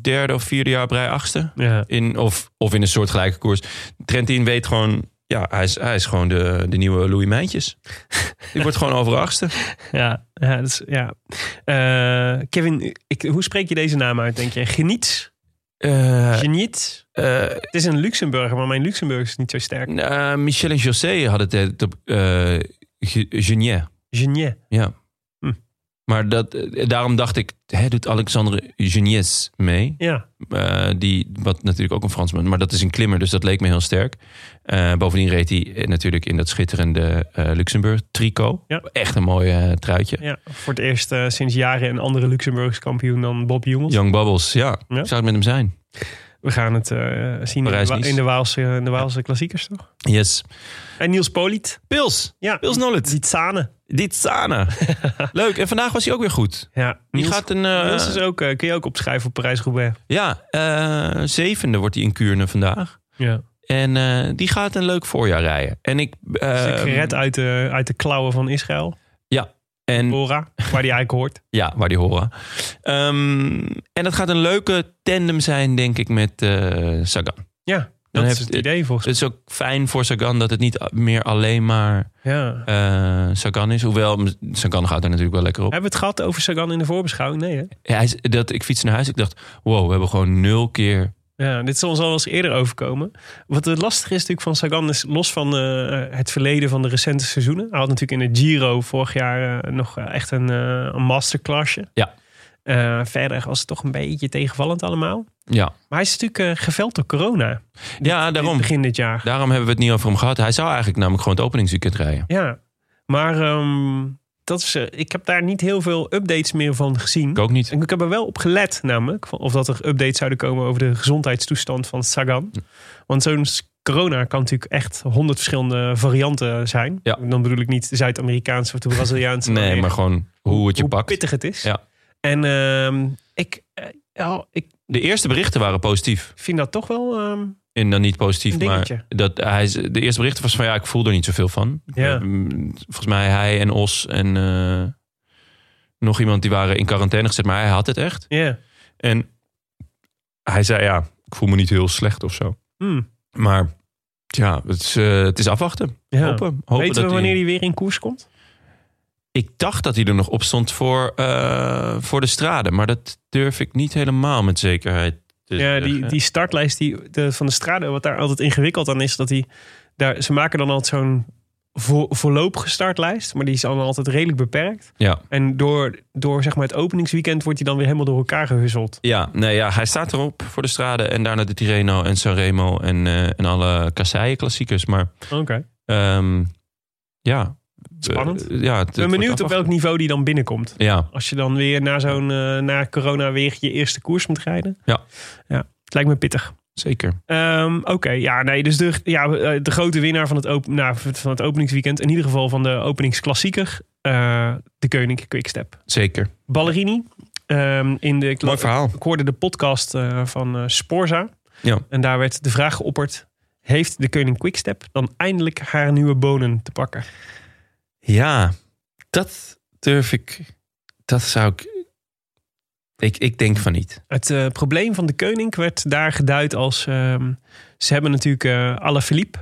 [SPEAKER 1] derde of vierde jaar op rij achtste.
[SPEAKER 2] Ja.
[SPEAKER 1] In, of, of in een soort gelijke koers. Trentin weet gewoon... Ja, hij is, hij is gewoon de, de nieuwe Louis Mijntjes. Die wordt gewoon over achtste.
[SPEAKER 2] Ja, ja, dat is- ja. Eh, Kevin, ik, hoe spreek je deze naam uit, denk je? Geniet?
[SPEAKER 1] Eh,
[SPEAKER 2] Geniet?
[SPEAKER 1] eh,
[SPEAKER 2] Het is een Luxemburger, maar mijn Luxemburg is niet zo sterk.
[SPEAKER 1] eh, Michel en José hadden het op eh Ge- Genier.
[SPEAKER 2] Geniet.
[SPEAKER 1] Ja.
[SPEAKER 2] Hm.
[SPEAKER 1] Maar dat, eh, daarom dacht ik, hè, doet Alexandre Genies mee?
[SPEAKER 2] Ja.
[SPEAKER 1] Eh, die, wat natuurlijk ook een Fransman, maar dat is een klimmer, dus dat leek me heel sterk. Eh, bovendien reed hij eh, natuurlijk in dat schitterende eh, Luxemburg tricot.
[SPEAKER 2] Ja.
[SPEAKER 1] Echt een mooi eh, truitje.
[SPEAKER 2] ja. Voor het eerst eh, sinds jaren een andere Luxemburgs kampioen dan Bob Jungels.
[SPEAKER 1] Young Bubbles, ja.
[SPEAKER 2] Ja.
[SPEAKER 1] Ik zou het met hem zijn.
[SPEAKER 2] We gaan het eh, zien in de, Wa-
[SPEAKER 1] Parijs-Nice.
[SPEAKER 2] in de Waalse, in de Waalse klassiekers, toch?
[SPEAKER 1] Yes.
[SPEAKER 2] En Niels Poliet.
[SPEAKER 1] Pils.
[SPEAKER 2] Ja.
[SPEAKER 1] Pils Nollet.
[SPEAKER 2] Die Tsane.
[SPEAKER 1] Dit Sana. Leuk. En vandaag was hij ook weer goed.
[SPEAKER 2] Ja.
[SPEAKER 1] Die
[SPEAKER 2] Niels-
[SPEAKER 1] gaat een... eh,
[SPEAKER 2] Niels is ook, eh, kun je ook opschrijven op Parijs-Roubaix.
[SPEAKER 1] Ja, eh, zevende wordt hij in Kuurne vandaag.
[SPEAKER 2] Ja.
[SPEAKER 1] En eh, die gaat een leuk voorjaar rijden. En ik... eh,
[SPEAKER 2] Is gered uit de, uit de klauwen van Israël.
[SPEAKER 1] en
[SPEAKER 2] Bora, waar die eigenlijk hoort.
[SPEAKER 1] Ja, waar die horen. Ehm, en dat gaat een leuke tandem zijn, denk ik, met eh, Sagan.
[SPEAKER 2] Ja, dat
[SPEAKER 1] Dan
[SPEAKER 2] is
[SPEAKER 1] heeft-
[SPEAKER 2] het idee volgens
[SPEAKER 1] Het is ook fijn voor Sagan dat het niet meer alleen maar
[SPEAKER 2] mij. Ja.
[SPEAKER 1] eh, Sagan is. Hoewel, m- Sagan gaat er natuurlijk wel lekker op.
[SPEAKER 2] Hebben we het gehad over Sagan in de voorbeschouwing? Nee, hè?
[SPEAKER 1] Ja, hij is- dat, ik fiets naar huis, ik dacht, wow, we hebben gewoon nul keer...
[SPEAKER 2] Ja, dit is ons al wel eens eerder overkomen. Wat het lastige is natuurlijk van Sagan is los van eh, het verleden van de recente seizoenen. Hij had natuurlijk in de Giro vorig jaar eh, nog eh, echt een, eh, een masterclassje.
[SPEAKER 1] Ja.
[SPEAKER 2] Eh, verder was het toch een beetje tegenvallend allemaal.
[SPEAKER 1] Ja,
[SPEAKER 2] Maar hij is natuurlijk eh, geveld door corona.
[SPEAKER 1] ja daarom,
[SPEAKER 2] Begin dit jaar.
[SPEAKER 1] daarom hebben we het niet over hem gehad. Hij zou eigenlijk namelijk gewoon het openingsweekend rijden.
[SPEAKER 2] Ja, maar ehm, dat is, eh, ik heb daar niet heel veel updates meer van gezien.
[SPEAKER 1] Ik ook niet.
[SPEAKER 2] En ik heb er wel op gelet namelijk, van of dat er updates zouden komen over de gezondheidstoestand van Sagan.
[SPEAKER 1] Hm.
[SPEAKER 2] Want zo'n s- corona kan natuurlijk echt honderd verschillende varianten zijn.
[SPEAKER 1] Ja.
[SPEAKER 2] Dan bedoel ik niet de Zuid-Amerikaanse of de Braziliaanse.
[SPEAKER 1] Nee, maar gewoon hoe het je
[SPEAKER 2] hoe
[SPEAKER 1] pakt.
[SPEAKER 2] pittig het is.
[SPEAKER 1] Ja.
[SPEAKER 2] En ehm, ik, eh, ja, ik
[SPEAKER 1] De eerste berichten waren positief.
[SPEAKER 2] vind dat toch wel... ehm,
[SPEAKER 1] En dan niet positief,
[SPEAKER 2] Een dingetje.
[SPEAKER 1] maar dat hij, is- de eerste bericht was van ja, ik voel er niet zoveel van.
[SPEAKER 2] Ja.
[SPEAKER 1] Eh, mm, Volgens mij hij en Os en eh, nog iemand die waren in quarantaine gezet, maar hij had het echt.
[SPEAKER 2] ja.
[SPEAKER 1] En hij zei ja, ik voel me niet heel slecht of zo.
[SPEAKER 2] Hmm,
[SPEAKER 1] Maar ja, het is, eh, het is afwachten.
[SPEAKER 2] ja.
[SPEAKER 1] Hopen. hopen
[SPEAKER 2] Weten we
[SPEAKER 1] dat
[SPEAKER 2] wanneer
[SPEAKER 1] hij,
[SPEAKER 2] hij weer in koers komt?
[SPEAKER 1] Ik dacht dat hij er nog op stond voor, eh, voor de straden, maar dat durf ik niet helemaal met zekerheid te
[SPEAKER 2] Ja, die,
[SPEAKER 1] zeggen.
[SPEAKER 2] die startlijst die, de, van de Strade, wat daar altijd ingewikkeld aan is, dat die, daar, ze maken dan altijd zo'n vo, voorlopige startlijst, maar die is dan altijd redelijk beperkt.
[SPEAKER 1] ja.
[SPEAKER 2] En door, door zeg maar het openingsweekend wordt die dan weer helemaal door elkaar gehuzzeld.
[SPEAKER 1] Ja, nee, ja, hij staat erop voor de strade. En daarna de Tirreno en Sanremo en, eh, en alle kasseien klassiekers. Maar
[SPEAKER 2] Oké.
[SPEAKER 1] ehm, ja.
[SPEAKER 2] Spannend.
[SPEAKER 1] Eh, ja, het- het wordt
[SPEAKER 2] Ik ben benieuwd op
[SPEAKER 1] afwachten.
[SPEAKER 2] welk niveau die dan binnenkomt.
[SPEAKER 1] Ja,
[SPEAKER 2] Als je dan weer na zo'n eh, na corona weer je eerste koers moet rijden.
[SPEAKER 1] Ja.
[SPEAKER 2] ja het lijkt me pittig.
[SPEAKER 1] zeker.
[SPEAKER 2] Ehm, Oké, ja, nee, dus de, ja, eh, de grote winnaar van het, op, nou, van het openingsweekend, in ieder geval van de openingsklassieker, eh de Koning Quickstep.
[SPEAKER 1] Zeker.
[SPEAKER 2] Ballerini. Ehm, in de, ik,
[SPEAKER 1] Mooi verhaal.
[SPEAKER 2] ik hoorde de podcast eh, van eh, Sporza.
[SPEAKER 1] Ja.
[SPEAKER 2] En daar werd de vraag geopperd. Heeft de koning Quickstep dan eindelijk haar nieuwe bonen te pakken?
[SPEAKER 1] Ja, dat durf ik. Dat zou ik. Ik, ik denk van niet.
[SPEAKER 2] Het eh, probleem van de koning werd daar geduid als... ehm, ze hebben natuurlijk eh Alaphilippe.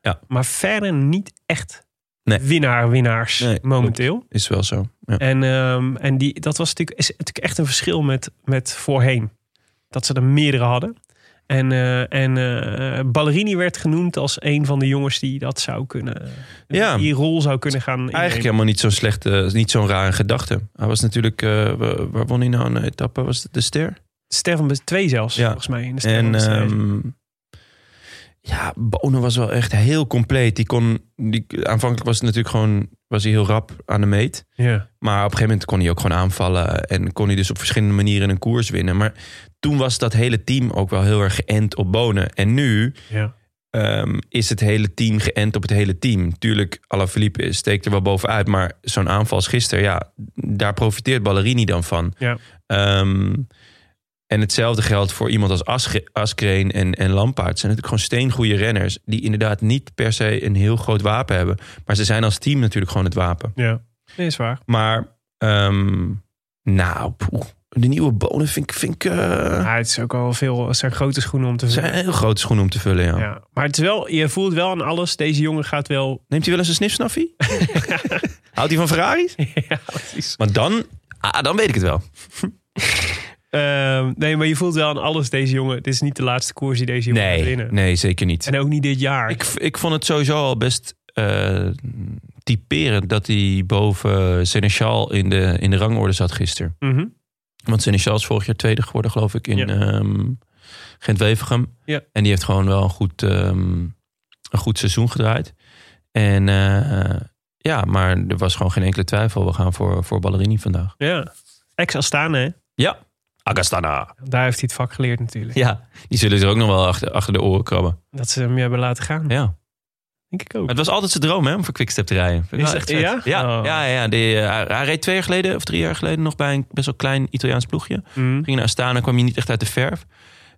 [SPEAKER 1] Ja.
[SPEAKER 2] Maar verder niet echt
[SPEAKER 1] Nee.
[SPEAKER 2] winnaar-winnaars
[SPEAKER 1] Nee, klopt.
[SPEAKER 2] momenteel.
[SPEAKER 1] Is wel zo. Ja.
[SPEAKER 2] En, ehm, en die, dat was natuurlijk, is natuurlijk echt een verschil met, met voorheen. Dat ze er meerdere hadden. En, eh, en eh, Ballerini werd genoemd als een van de jongens die dat zou kunnen.
[SPEAKER 1] Ja.
[SPEAKER 2] Die rol zou kunnen gaan. innemen.
[SPEAKER 1] Eigenlijk helemaal niet zo'n slechte, niet zo'n rare gedachte. Hij was natuurlijk, eh, wa- waar won hij nou een etappe? Was het de ster?
[SPEAKER 2] Ster van de twee zelfs,
[SPEAKER 1] Ja.
[SPEAKER 2] volgens mij. In de Ster van
[SPEAKER 1] En
[SPEAKER 2] de Twee.
[SPEAKER 1] ehm, ja, Bonen was wel echt heel compleet. Die kon, die, aanvankelijk was het natuurlijk gewoon was hij heel rap aan de meet.
[SPEAKER 2] ja.
[SPEAKER 1] Maar op een gegeven moment kon hij ook gewoon aanvallen. En kon hij dus op verschillende manieren een koers winnen. Maar toen was dat hele team ook wel heel erg geënt op Bonen. En nu
[SPEAKER 2] Ja.
[SPEAKER 1] ehm, is het hele team geënt op het hele team. Tuurlijk, Alaphilippe steekt er wel bovenuit. Maar zo'n aanval als gisteren, ja, daar profiteert Ballerini dan van.
[SPEAKER 2] Ja.
[SPEAKER 1] Ehm, en hetzelfde geldt voor iemand als Asge- Askreen en, en Lampaard. Ze zijn natuurlijk gewoon steengoede renners. Die inderdaad niet per se een heel groot wapen hebben. Maar ze zijn als team natuurlijk gewoon het wapen.
[SPEAKER 2] ja. Nee, is waar.
[SPEAKER 1] Maar, ehm, nou, poeh, de nieuwe bonen vind ik... Vind ik eh,
[SPEAKER 2] Ja, Ah, het is ook al veel. Het zijn grote schoenen om te
[SPEAKER 1] zijn
[SPEAKER 2] vullen.
[SPEAKER 1] heel grote schoenen om te vullen, ja.
[SPEAKER 2] Ja. Maar het is wel, je voelt wel aan alles. Deze jongen gaat wel.
[SPEAKER 1] Neemt hij wel eens een snifsnaffie? Houdt hij van Ferraris?
[SPEAKER 2] ja, precies.
[SPEAKER 1] Maar dan, ah, dan weet ik het wel.
[SPEAKER 2] Ehm, nee, maar je voelt wel aan alles. Deze jongen. Dit is niet de laatste koers die deze jongen gaat
[SPEAKER 1] Nee,
[SPEAKER 2] winnen.
[SPEAKER 1] nee zeker niet.
[SPEAKER 2] En ook niet dit jaar.
[SPEAKER 1] Ik, ik vond het sowieso al best eh, typerend dat hij boven Seneschal in de, in de rangorde zat gisteren.
[SPEAKER 2] Mhm.
[SPEAKER 1] Want Seneschal is vorig jaar tweede geworden, geloof ik, in
[SPEAKER 2] Ja.
[SPEAKER 1] ehm, Gent-Wevergem.
[SPEAKER 2] Ja.
[SPEAKER 1] En die heeft gewoon wel een goed, ehm, een goed seizoen gedraaid. En eh, ja, maar er was gewoon geen enkele twijfel. We gaan voor, voor Ballerini vandaag.
[SPEAKER 2] Ja. Ex-Astana, hè?
[SPEAKER 1] Ja, Agastana.
[SPEAKER 2] Daar heeft hij het vak geleerd natuurlijk.
[SPEAKER 1] Ja, die zullen ze ook nog wel achter, achter de oren krabben.
[SPEAKER 2] Dat ze hem hebben laten gaan.
[SPEAKER 1] Ja.
[SPEAKER 2] Denk ik ook.
[SPEAKER 1] Maar het was altijd zijn droom hè, om voor Quickstep te rijden. Vind ik
[SPEAKER 2] Is
[SPEAKER 1] wel
[SPEAKER 2] het-
[SPEAKER 1] echt vet.
[SPEAKER 2] ja?
[SPEAKER 1] Ja,
[SPEAKER 2] Oh.
[SPEAKER 1] ja, ja. Die, eh, hij, hij reed twee jaar geleden of drie jaar geleden nog bij een best wel klein Italiaans ploegje.
[SPEAKER 2] Mhm.
[SPEAKER 1] Ging naar Astana, kwam hij niet echt uit de verf.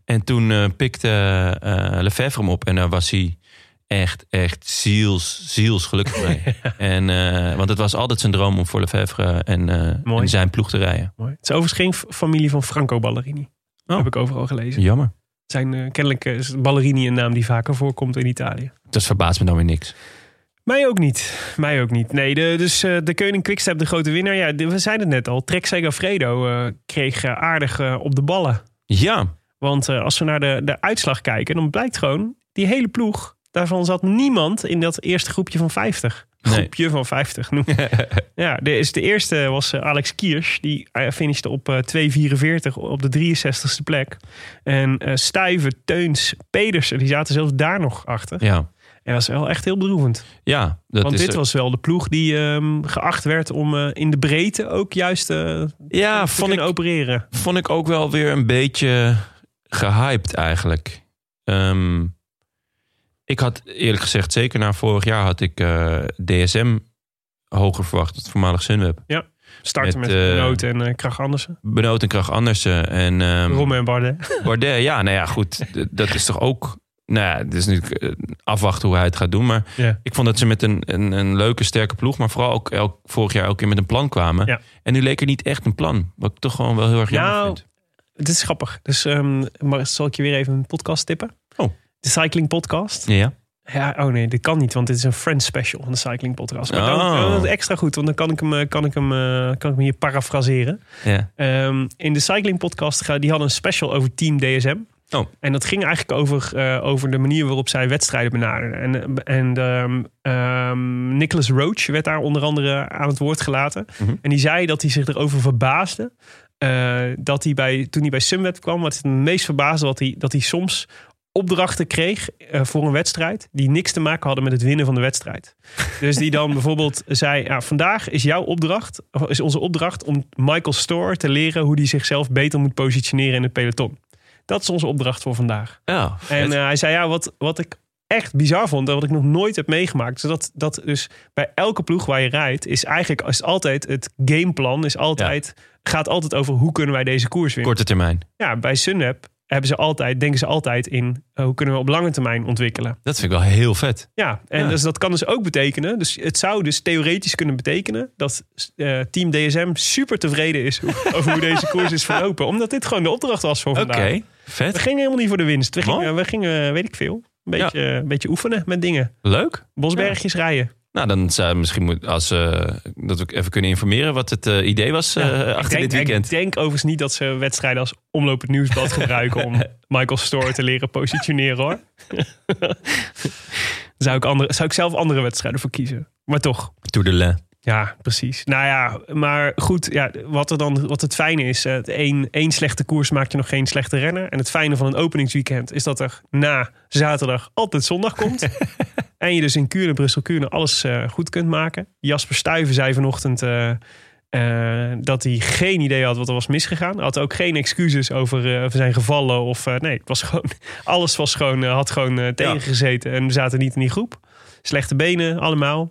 [SPEAKER 1] En toen eh, pikte eh Lefebvre hem op en daar was hij echt, echt ziels, ziels gelukkig mee. en, eh, want het was altijd zijn droom om voor Lefebvre en, eh,
[SPEAKER 2] Mooi.
[SPEAKER 1] en zijn ploeg te rijden.
[SPEAKER 2] Mooi. Het is overigens geen f- familie van Franco Ballerini.
[SPEAKER 1] Oh.
[SPEAKER 2] Heb ik overal gelezen.
[SPEAKER 1] Jammer.
[SPEAKER 2] Zijn, eh, kennelijk eh, is Ballerini een naam die vaker voorkomt in Italië.
[SPEAKER 1] Dat verbaast me dan weer niks.
[SPEAKER 2] Mij ook niet. Mij ook niet. Nee, de, dus eh, de Koning Quickstep, de grote winnaar. Ja, de- we zeiden het net al. Trek Segafredo eh, kreeg eh, aardig eh, op de ballen.
[SPEAKER 1] Ja,
[SPEAKER 2] Want eh, als we naar de, de uitslag kijken, dan blijkt gewoon... die hele ploeg, daarvan zat niemand in dat eerste groepje van 50.
[SPEAKER 1] Nee.
[SPEAKER 2] Groepje van 50 noem Ja, de, is de eerste was eh, Alex Kiers. Die eh, finishte op eh 2,44 op de 63ste plek. En eh Stuyven, Teuns, Pedersen, die zaten zelfs daar nog achter.
[SPEAKER 1] ja.
[SPEAKER 2] En dat is wel echt heel bedroevend.
[SPEAKER 1] ja dat
[SPEAKER 2] Want
[SPEAKER 1] is
[SPEAKER 2] dit
[SPEAKER 1] er-
[SPEAKER 2] was wel de ploeg die ehm, geacht werd om eh, in de breedte ook juist eh,
[SPEAKER 1] ja,
[SPEAKER 2] te
[SPEAKER 1] vond ik
[SPEAKER 2] kunnen opereren.
[SPEAKER 1] vond ik ook wel weer een beetje gehyped eigenlijk. Ehm, ik had eerlijk gezegd, zeker na vorig jaar had ik eh, DSM hoger verwacht. Het voormalig Sunweb.
[SPEAKER 2] Starten
[SPEAKER 1] Met,
[SPEAKER 2] met,
[SPEAKER 1] eh,
[SPEAKER 2] Noot en eh Krach Andersen.
[SPEAKER 1] Benoot en Krach Andersen en ehm,
[SPEAKER 2] Romme en Bardet.
[SPEAKER 1] Bardet. Ja, nou ja, goed. d- Dat is toch ook... Nou ja, het is nu eh, afwachten hoe hij het gaat doen. Maar
[SPEAKER 2] Ja.
[SPEAKER 1] ik vond dat ze met een, een, een leuke, sterke ploeg... maar vooral ook elk, vorig jaar ook weer met een plan kwamen.
[SPEAKER 2] Ja.
[SPEAKER 1] En nu leek er niet echt een plan. Wat ik toch gewoon wel heel erg jammer
[SPEAKER 2] Nou,
[SPEAKER 1] vind.
[SPEAKER 2] Het is grappig. Dus ehm, maar zal ik je weer even een podcast tippen?
[SPEAKER 1] Oh.
[SPEAKER 2] De Cycling Podcast.
[SPEAKER 1] Ja,
[SPEAKER 2] Ja, oh nee, dit kan niet, want dit is een Friends special van de Cycling Podcast. Maar dan,
[SPEAKER 1] Oh.
[SPEAKER 2] dan is het extra goed, want dan kan ik hem, eh, kan ik hem, eh, kan ik hem hier parafraseren.
[SPEAKER 1] ja.
[SPEAKER 2] Ehm, in de Cycling Podcast, ga- die hadden een special over Team DSM.
[SPEAKER 1] Oh.
[SPEAKER 2] En dat ging eigenlijk over, eh, over de manier waarop zij wedstrijden benaderden. En, en ehm, ehm, Nicholas Roach werd daar onder andere aan het woord gelaten.
[SPEAKER 1] Mhm.
[SPEAKER 2] En die zei dat hij zich erover verbaasde. eh, dat hij bij, toen hij bij Sunweb kwam, wat het meest verbaasde, wat hij, dat hij soms opdrachten kreeg eh, voor een wedstrijd die niks te maken hadden met het winnen van de wedstrijd. Dus die dan bijvoorbeeld zei: ja, vandaag is jouw opdracht, of is onze opdracht om Michael Store te leren hoe hij zichzelf beter moet positioneren in het peloton. Dat is onze opdracht voor vandaag.
[SPEAKER 1] ja.
[SPEAKER 2] En eh, hij zei: ja, wat, wat ik echt bizar vond en wat ik nog nooit heb meegemaakt, is dat, dat dus bij elke ploeg waar je rijdt is eigenlijk is altijd het gameplan is altijd gaat altijd over hoe kunnen wij deze koers winnen.
[SPEAKER 1] Korte termijn.
[SPEAKER 2] Ja, bij Sunweb hebben ze altijd, denken ze altijd in eh, hoe kunnen we op lange termijn ontwikkelen.
[SPEAKER 1] Dat vind ik wel heel vet.
[SPEAKER 2] Ja, en
[SPEAKER 1] Ja.
[SPEAKER 2] Dus dat kan dus ook betekenen. Dus het zou dus theoretisch kunnen betekenen dat eh, Team DSM super tevreden is hoe- over hoe deze koers is verlopen. Omdat dit gewoon de opdracht was voor
[SPEAKER 1] Oké,
[SPEAKER 2] vandaag. We
[SPEAKER 1] vet.
[SPEAKER 2] gingen helemaal niet voor de winst. We
[SPEAKER 1] Mooi.
[SPEAKER 2] gingen, we gingen eh, weet ik veel, een beetje, eh, een beetje oefenen met dingen.
[SPEAKER 1] Leuk.
[SPEAKER 2] Bosbergjes rijden.
[SPEAKER 1] Nou, dan zou misschien moet, als, eh, dat we even kunnen informeren wat het eh, idee was eh,
[SPEAKER 2] Ik
[SPEAKER 1] achter
[SPEAKER 2] denk,
[SPEAKER 1] dit weekend.
[SPEAKER 2] ik denk overigens niet dat ze wedstrijden als omloop het nieuwsblad gebruiken om Michael Store te leren positioneren hoor. zou, ik andere, zou ik zelf andere wedstrijden voor kiezen. Maar toch.
[SPEAKER 1] Toedelen.
[SPEAKER 2] Ja, precies. Nou ja, maar goed, ja, wat, er dan, wat het fijne is, eh, het één, één slechte koers maakt je nog geen slechte renner. En het fijne van een openingsweekend is dat er na zaterdag altijd zondag komt. en je dus in Kuurne, Brussel-Kuurne alles eh, goed kunt maken. Jasper Stuyven zei vanochtend eh, eh, dat hij geen idee had wat er was misgegaan. Hij had ook geen excuses over, eh, over zijn gevallen. Of, eh, nee, het was gewoon, alles was gewoon, eh, had gewoon eh, tegengezeten en we zaten niet in die groep. Slechte benen, allemaal.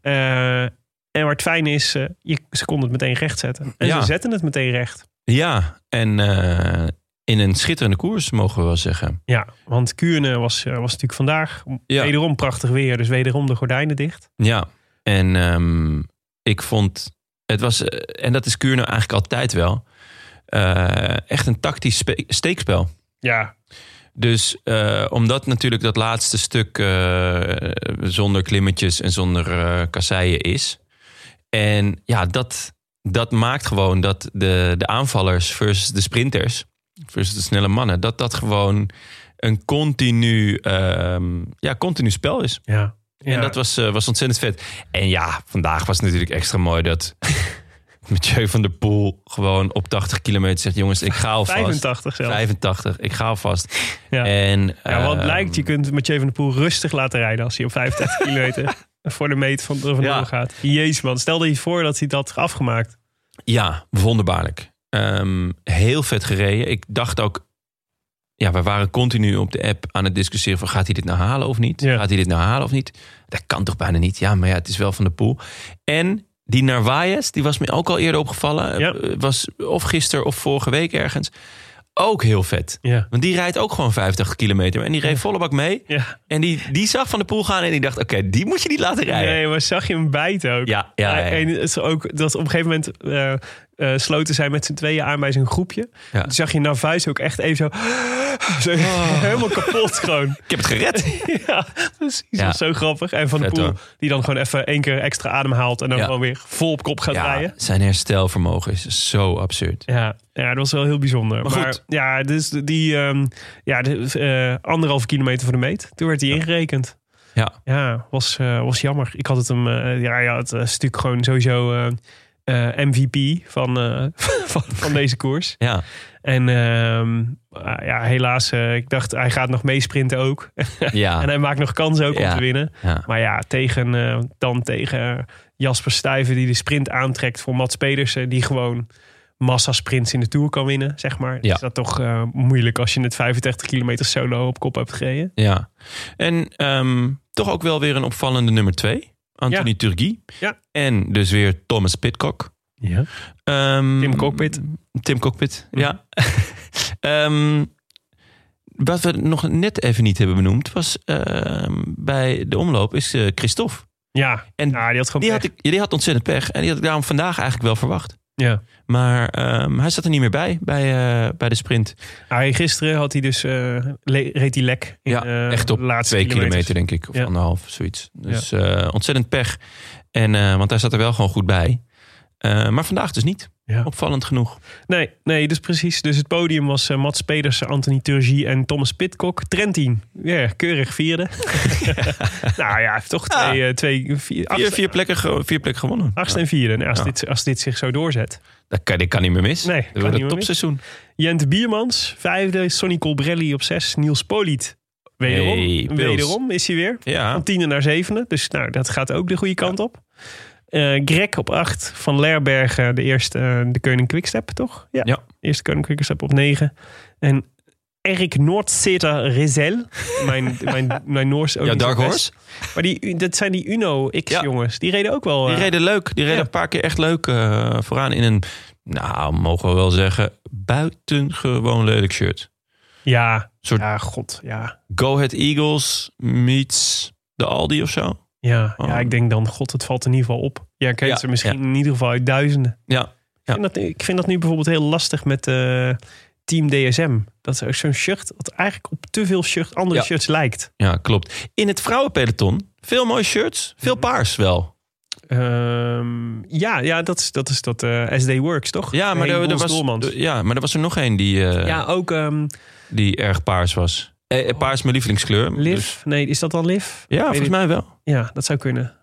[SPEAKER 2] Eh, en waar het fijn is, eh, je, ze konden het meteen recht zetten. En
[SPEAKER 1] Ja.
[SPEAKER 2] ze zetten het meteen recht.
[SPEAKER 1] Ja, en eh, in een schitterende koers, mogen we wel zeggen.
[SPEAKER 2] Ja, want Kuurne was, eh, was natuurlijk vandaag
[SPEAKER 1] Ja.
[SPEAKER 2] wederom prachtig weer. Dus wederom de gordijnen dicht.
[SPEAKER 1] Ja, en ehm, ik vond, het was, eh, en dat is Kuurne eigenlijk altijd wel, eh, echt een tactisch spe- steekspel.
[SPEAKER 2] Ja,
[SPEAKER 1] Dus eh, omdat natuurlijk dat laatste stuk eh, zonder klimmetjes en zonder eh, kasseien is. En ja, dat, dat maakt gewoon dat de, de aanvallers versus de sprinters, versus de snelle mannen, dat dat gewoon een continu, ehm, ja, continu spel is.
[SPEAKER 2] ja.
[SPEAKER 1] En dat was, eh, was ontzettend vet. En ja, vandaag was het natuurlijk extra mooi dat Mathieu van der Poel gewoon op 80 kilometer zegt... jongens, ik ga alvast.
[SPEAKER 2] 85 zelfs.
[SPEAKER 1] 85, ik ga alvast.
[SPEAKER 2] Ja.
[SPEAKER 1] En,
[SPEAKER 2] Ja, wat
[SPEAKER 1] ehm,
[SPEAKER 2] blijkt, je kunt Mathieu van der Poel rustig laten rijden als hij op 35 kilometer voor de meet van er vandoor
[SPEAKER 1] Ja.
[SPEAKER 2] gaat. Jezus man, stel je voor dat hij dat had afgemaakt.
[SPEAKER 1] Ja, wonderbaarlijk. Ehm, heel vet gereden. Ik dacht ook... Ja, we waren continu op de app aan het discussiëren van... gaat hij dit nou halen of niet?
[SPEAKER 2] Ja.
[SPEAKER 1] Gaat hij dit nou halen of niet? Dat kan toch bijna niet? Ja, maar ja, het is wel van de poel. En die Narvaez, die was me ook al eerder opgevallen.
[SPEAKER 2] Ja.
[SPEAKER 1] Eh, Was of gisteren of vorige week ergens. Ook heel vet.
[SPEAKER 2] Ja.
[SPEAKER 1] Want die rijdt ook gewoon 50 kilometer. En die reed volle bak mee.
[SPEAKER 2] Ja.
[SPEAKER 1] En die, die zag van de poel gaan en die dacht... oké, die moet je niet laten rijden.
[SPEAKER 2] Nee, maar zag je hem bijten ook?
[SPEAKER 1] Ja, ja, ja.
[SPEAKER 2] En het is ook dat op een gegeven moment eh, eh, sloten zij met z'n tweeën aan bij zijn groepje.
[SPEAKER 1] Ja. Oh.
[SPEAKER 2] Toen zag je Narvaez ook echt even zo, zo helemaal kapot gewoon.
[SPEAKER 1] Ik heb het gered.
[SPEAKER 2] ja, precies.
[SPEAKER 1] Ja.
[SPEAKER 2] Dat is zo grappig. En Van de
[SPEAKER 1] Vet,
[SPEAKER 2] Poel,
[SPEAKER 1] hoor.
[SPEAKER 2] die dan gewoon even één keer extra adem haalt en dan
[SPEAKER 1] Ja.
[SPEAKER 2] gewoon weer vol op kop gaat rijden.
[SPEAKER 1] zijn herstelvermogen is zo absurd.
[SPEAKER 2] Ja, ja, dat was wel heel bijzonder. Maar,
[SPEAKER 1] Maar goed.
[SPEAKER 2] ja, dus die ehm, ja, de, eh, anderhalve kilometer van de meet, toen werd hij ingerekend.
[SPEAKER 1] Ja.
[SPEAKER 2] Ja, was, eh, was jammer. Ik had het hem, eh, ja, ja, het eh, is natuurlijk gewoon sowieso eh, eh, MVP van, eh, van, van deze koers.
[SPEAKER 1] Ja,
[SPEAKER 2] En ehm, ah, ja, helaas, eh, ik dacht hij gaat nog meesprinten ook.
[SPEAKER 1] ja,
[SPEAKER 2] En hij maakt nog kans ook om
[SPEAKER 1] Ja.
[SPEAKER 2] te winnen.
[SPEAKER 1] ja.
[SPEAKER 2] Maar ja, tegen, eh, dan tegen Jasper Stuyven die de sprint aantrekt voor Mats Pedersen. Die gewoon massasprints in de Tour kan winnen, zeg maar.
[SPEAKER 1] Ja.
[SPEAKER 2] Is dat toch eh, moeilijk als je het 35 kilometer solo op kop hebt gereden?
[SPEAKER 1] ja. En ehm, toch ook wel weer een opvallende nummer twee. Anthony
[SPEAKER 2] Ja.
[SPEAKER 1] Turgie.
[SPEAKER 2] Ja.
[SPEAKER 1] En dus weer Thomas Pitcock.
[SPEAKER 2] Ja.
[SPEAKER 1] Ehm,
[SPEAKER 2] Tim Cockpit. Mhm.
[SPEAKER 1] Tim Cockpit, ja. Ehm, wat we nog net even niet hebben benoemd... was ehm, bij de omloop is eh, Christophe.
[SPEAKER 2] Ja,
[SPEAKER 1] En
[SPEAKER 2] ja, die had gewoon
[SPEAKER 1] Die had,
[SPEAKER 2] pech.
[SPEAKER 1] ik, ja, die had ontzettend pech. En die had ik daarom vandaag eigenlijk wel verwacht.
[SPEAKER 2] Ja.
[SPEAKER 1] Maar ehm, hij zat er niet meer bij, bij, eh, bij de sprint.
[SPEAKER 2] Nou, Hij, gisteren had hij dus, eh, le- reed hij lek. In,
[SPEAKER 1] Ja,
[SPEAKER 2] eh,
[SPEAKER 1] echt op
[SPEAKER 2] de laatste
[SPEAKER 1] twee
[SPEAKER 2] kilometers.
[SPEAKER 1] kilometer, denk ik. Of
[SPEAKER 2] Ja.
[SPEAKER 1] anderhalf, zoiets. Dus eh, ontzettend pech. En, eh, want hij zat er wel gewoon goed bij. Eh, maar vandaag dus niet.
[SPEAKER 2] Ja.
[SPEAKER 1] Opvallend genoeg.
[SPEAKER 2] Nee, nee, dus precies. Dus het podium was eh, Mats Pedersen, Anthony Turgie en Thomas Pitcock. Trentin, ja, keurig vierde. nou ja, hij heeft toch
[SPEAKER 1] Ja.
[SPEAKER 2] twee, eh, twee vier,
[SPEAKER 1] Vier,
[SPEAKER 2] achtste-
[SPEAKER 1] vier, plekken, ge- vier plekken gewonnen.
[SPEAKER 2] Achtste en vierde. Nou, als,
[SPEAKER 1] Ja.
[SPEAKER 2] dit, als dit zich zo doorzet.
[SPEAKER 1] Dat kan, dit kan niet meer mis.
[SPEAKER 2] Nee,
[SPEAKER 1] dat
[SPEAKER 2] kan
[SPEAKER 1] wordt
[SPEAKER 2] niet
[SPEAKER 1] een
[SPEAKER 2] meer
[SPEAKER 1] topseizoen.
[SPEAKER 2] Jent Biermans, vijfde. Sonny Colbrelli op zes. Niels Poliet. Wederom,
[SPEAKER 1] Hey, Pils.
[SPEAKER 2] wederom is hij weer.
[SPEAKER 1] Ja.
[SPEAKER 2] Van tiende naar zevende. Dus nou, dat gaat ook de goede kant op. Eh, Greg op acht. Van Lerbergen, de eerste, eh, de koning Quickstep, toch?
[SPEAKER 1] Ja.
[SPEAKER 2] Eerste koning Quickstep op negen. En Erik Noordzeter Rizel. Mijn, mijn, mijn Noors ook
[SPEAKER 1] Ja,
[SPEAKER 2] niet zo
[SPEAKER 1] Dark
[SPEAKER 2] best.
[SPEAKER 1] Horse.
[SPEAKER 2] Maar die, dat zijn die
[SPEAKER 1] Ja.
[SPEAKER 2] Uno-X-jongens. Die reden ook wel...
[SPEAKER 1] Die
[SPEAKER 2] eh,
[SPEAKER 1] reden leuk. Die reden
[SPEAKER 2] Ja.
[SPEAKER 1] een paar keer echt leuk eh, vooraan in een, nou, mogen we wel zeggen, buitengewoon lelijk shirt.
[SPEAKER 2] ja.
[SPEAKER 1] soort-
[SPEAKER 2] ja, god, ja.
[SPEAKER 1] Go Ahead Eagles meets de Aldi of zo.
[SPEAKER 2] Ja,
[SPEAKER 1] Oh.
[SPEAKER 2] ja, ik denk dan, god, het valt in ieder geval op. Ja, ik kent
[SPEAKER 1] Ja,
[SPEAKER 2] ze misschien in ieder geval uit duizenden.
[SPEAKER 1] Ja, ja.
[SPEAKER 2] Ik, vind dat, ik vind dat nu bijvoorbeeld heel lastig met eh, Team DSM. Dat is ook zo'n shirt dat eigenlijk op te veel shirt, andere
[SPEAKER 1] Ja.
[SPEAKER 2] shirts lijkt.
[SPEAKER 1] ja, klopt. In het vrouwenpeloton, veel mooie shirts, veel
[SPEAKER 2] Mhm.
[SPEAKER 1] paars wel.
[SPEAKER 2] Ehm, ja, ja, dat is dat, is dat eh, SD Works, toch?
[SPEAKER 1] Ja, maar,
[SPEAKER 2] Nee,
[SPEAKER 1] er, er
[SPEAKER 2] Boels
[SPEAKER 1] was,
[SPEAKER 2] Doelmans.
[SPEAKER 1] er- ja, maar er was er nog één die, eh,
[SPEAKER 2] ja, ook ehm,
[SPEAKER 1] die erg paars was. Eh, eh, paars mijn lievelingskleur.
[SPEAKER 2] Liv.
[SPEAKER 1] dus-
[SPEAKER 2] Nee, is dat dan Liv?
[SPEAKER 1] ja,
[SPEAKER 2] Weet
[SPEAKER 1] volgens
[SPEAKER 2] ik-
[SPEAKER 1] mij wel.
[SPEAKER 2] Ja, dat zou kunnen.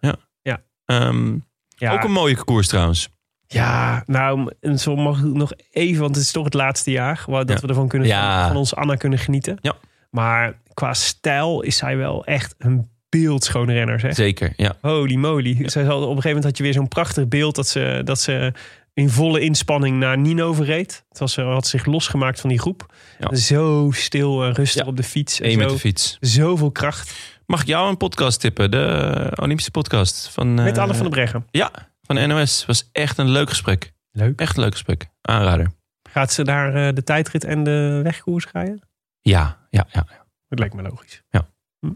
[SPEAKER 1] Ehm,
[SPEAKER 2] Ja.
[SPEAKER 1] Ook een mooie koers trouwens.
[SPEAKER 2] Ja, nou, en zo mag ik nog even, want het is toch het laatste jaar waar, dat
[SPEAKER 1] Ja.
[SPEAKER 2] we ervan kunnen,
[SPEAKER 1] Ja.
[SPEAKER 2] van ons Anna kunnen genieten.
[SPEAKER 1] Ja.
[SPEAKER 2] Maar qua stijl is zij wel echt een beeldschoon renner, zeg.
[SPEAKER 1] Zeker, ja.
[SPEAKER 2] Holy moly. Zij zal, op een gegeven moment had je weer zo'n prachtig beeld dat ze, dat ze in volle inspanning naar Nino verreed. Het was, ze had zich losgemaakt van die groep.
[SPEAKER 1] Ja.
[SPEAKER 2] Zo stil en rustig
[SPEAKER 1] Ja.
[SPEAKER 2] op de fiets. En
[SPEAKER 1] Eén met
[SPEAKER 2] zo,
[SPEAKER 1] de fiets.
[SPEAKER 2] zoveel kracht.
[SPEAKER 1] Mag ik jou een podcast tippen? De eh, Olympische podcast van, eh,
[SPEAKER 2] Met Anne van der Breggen.
[SPEAKER 1] Ja, van NOS. Was echt een leuk gesprek.
[SPEAKER 2] Leuk.
[SPEAKER 1] Echt een leuk gesprek. Aanrader.
[SPEAKER 2] Gaat ze daar eh, de tijdrit en de wegkoers rijden?
[SPEAKER 1] Ja, ja, ja.
[SPEAKER 2] Het lijkt me logisch.
[SPEAKER 1] Ja.
[SPEAKER 2] Hm.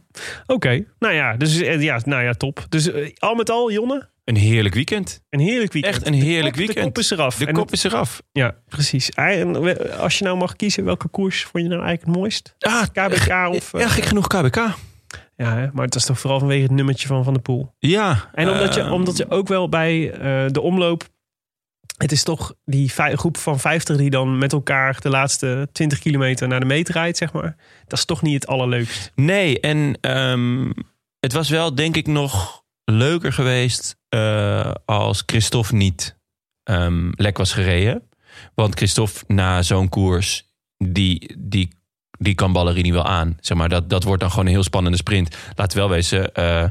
[SPEAKER 2] Oké, nou ja, dus eh, ja, nou ja, top. Dus eh, al met al, Jonne,
[SPEAKER 1] Een heerlijk weekend.
[SPEAKER 2] een heerlijk weekend.
[SPEAKER 1] Echt een
[SPEAKER 2] De
[SPEAKER 1] heerlijk
[SPEAKER 2] kop-
[SPEAKER 1] weekend.
[SPEAKER 2] De kop is eraf.
[SPEAKER 1] De
[SPEAKER 2] En
[SPEAKER 1] kop
[SPEAKER 2] het-
[SPEAKER 1] is eraf.
[SPEAKER 2] ja, precies. Ah, En we- als je nou mag kiezen, welke koers vond je nou eigenlijk het mooist?
[SPEAKER 1] Ah,
[SPEAKER 2] KBK of... eh,
[SPEAKER 1] Ja, gek genoeg KBK.
[SPEAKER 2] ja, hè, maar het is toch vooral vanwege het nummertje van Van de Poel.
[SPEAKER 1] Ja.
[SPEAKER 2] En omdat je,
[SPEAKER 1] ehm,
[SPEAKER 2] omdat je ook wel bij eh, de omloop... Het is toch die vij- groep van 50 die dan met elkaar de laatste 20 kilometer naar de meet rijdt, zeg maar. Dat is toch niet het allerleukst.
[SPEAKER 1] Nee, en ehm, Het was wel, denk ik, nog leuker geweest eh, als Christophe niet ehm, lek was gereden. Want Christophe na zo'n koers, die, die, die kan Ballerini wel aan. Zeg maar, dat, dat wordt dan gewoon een heel spannende sprint. Laat wel wezen, eh,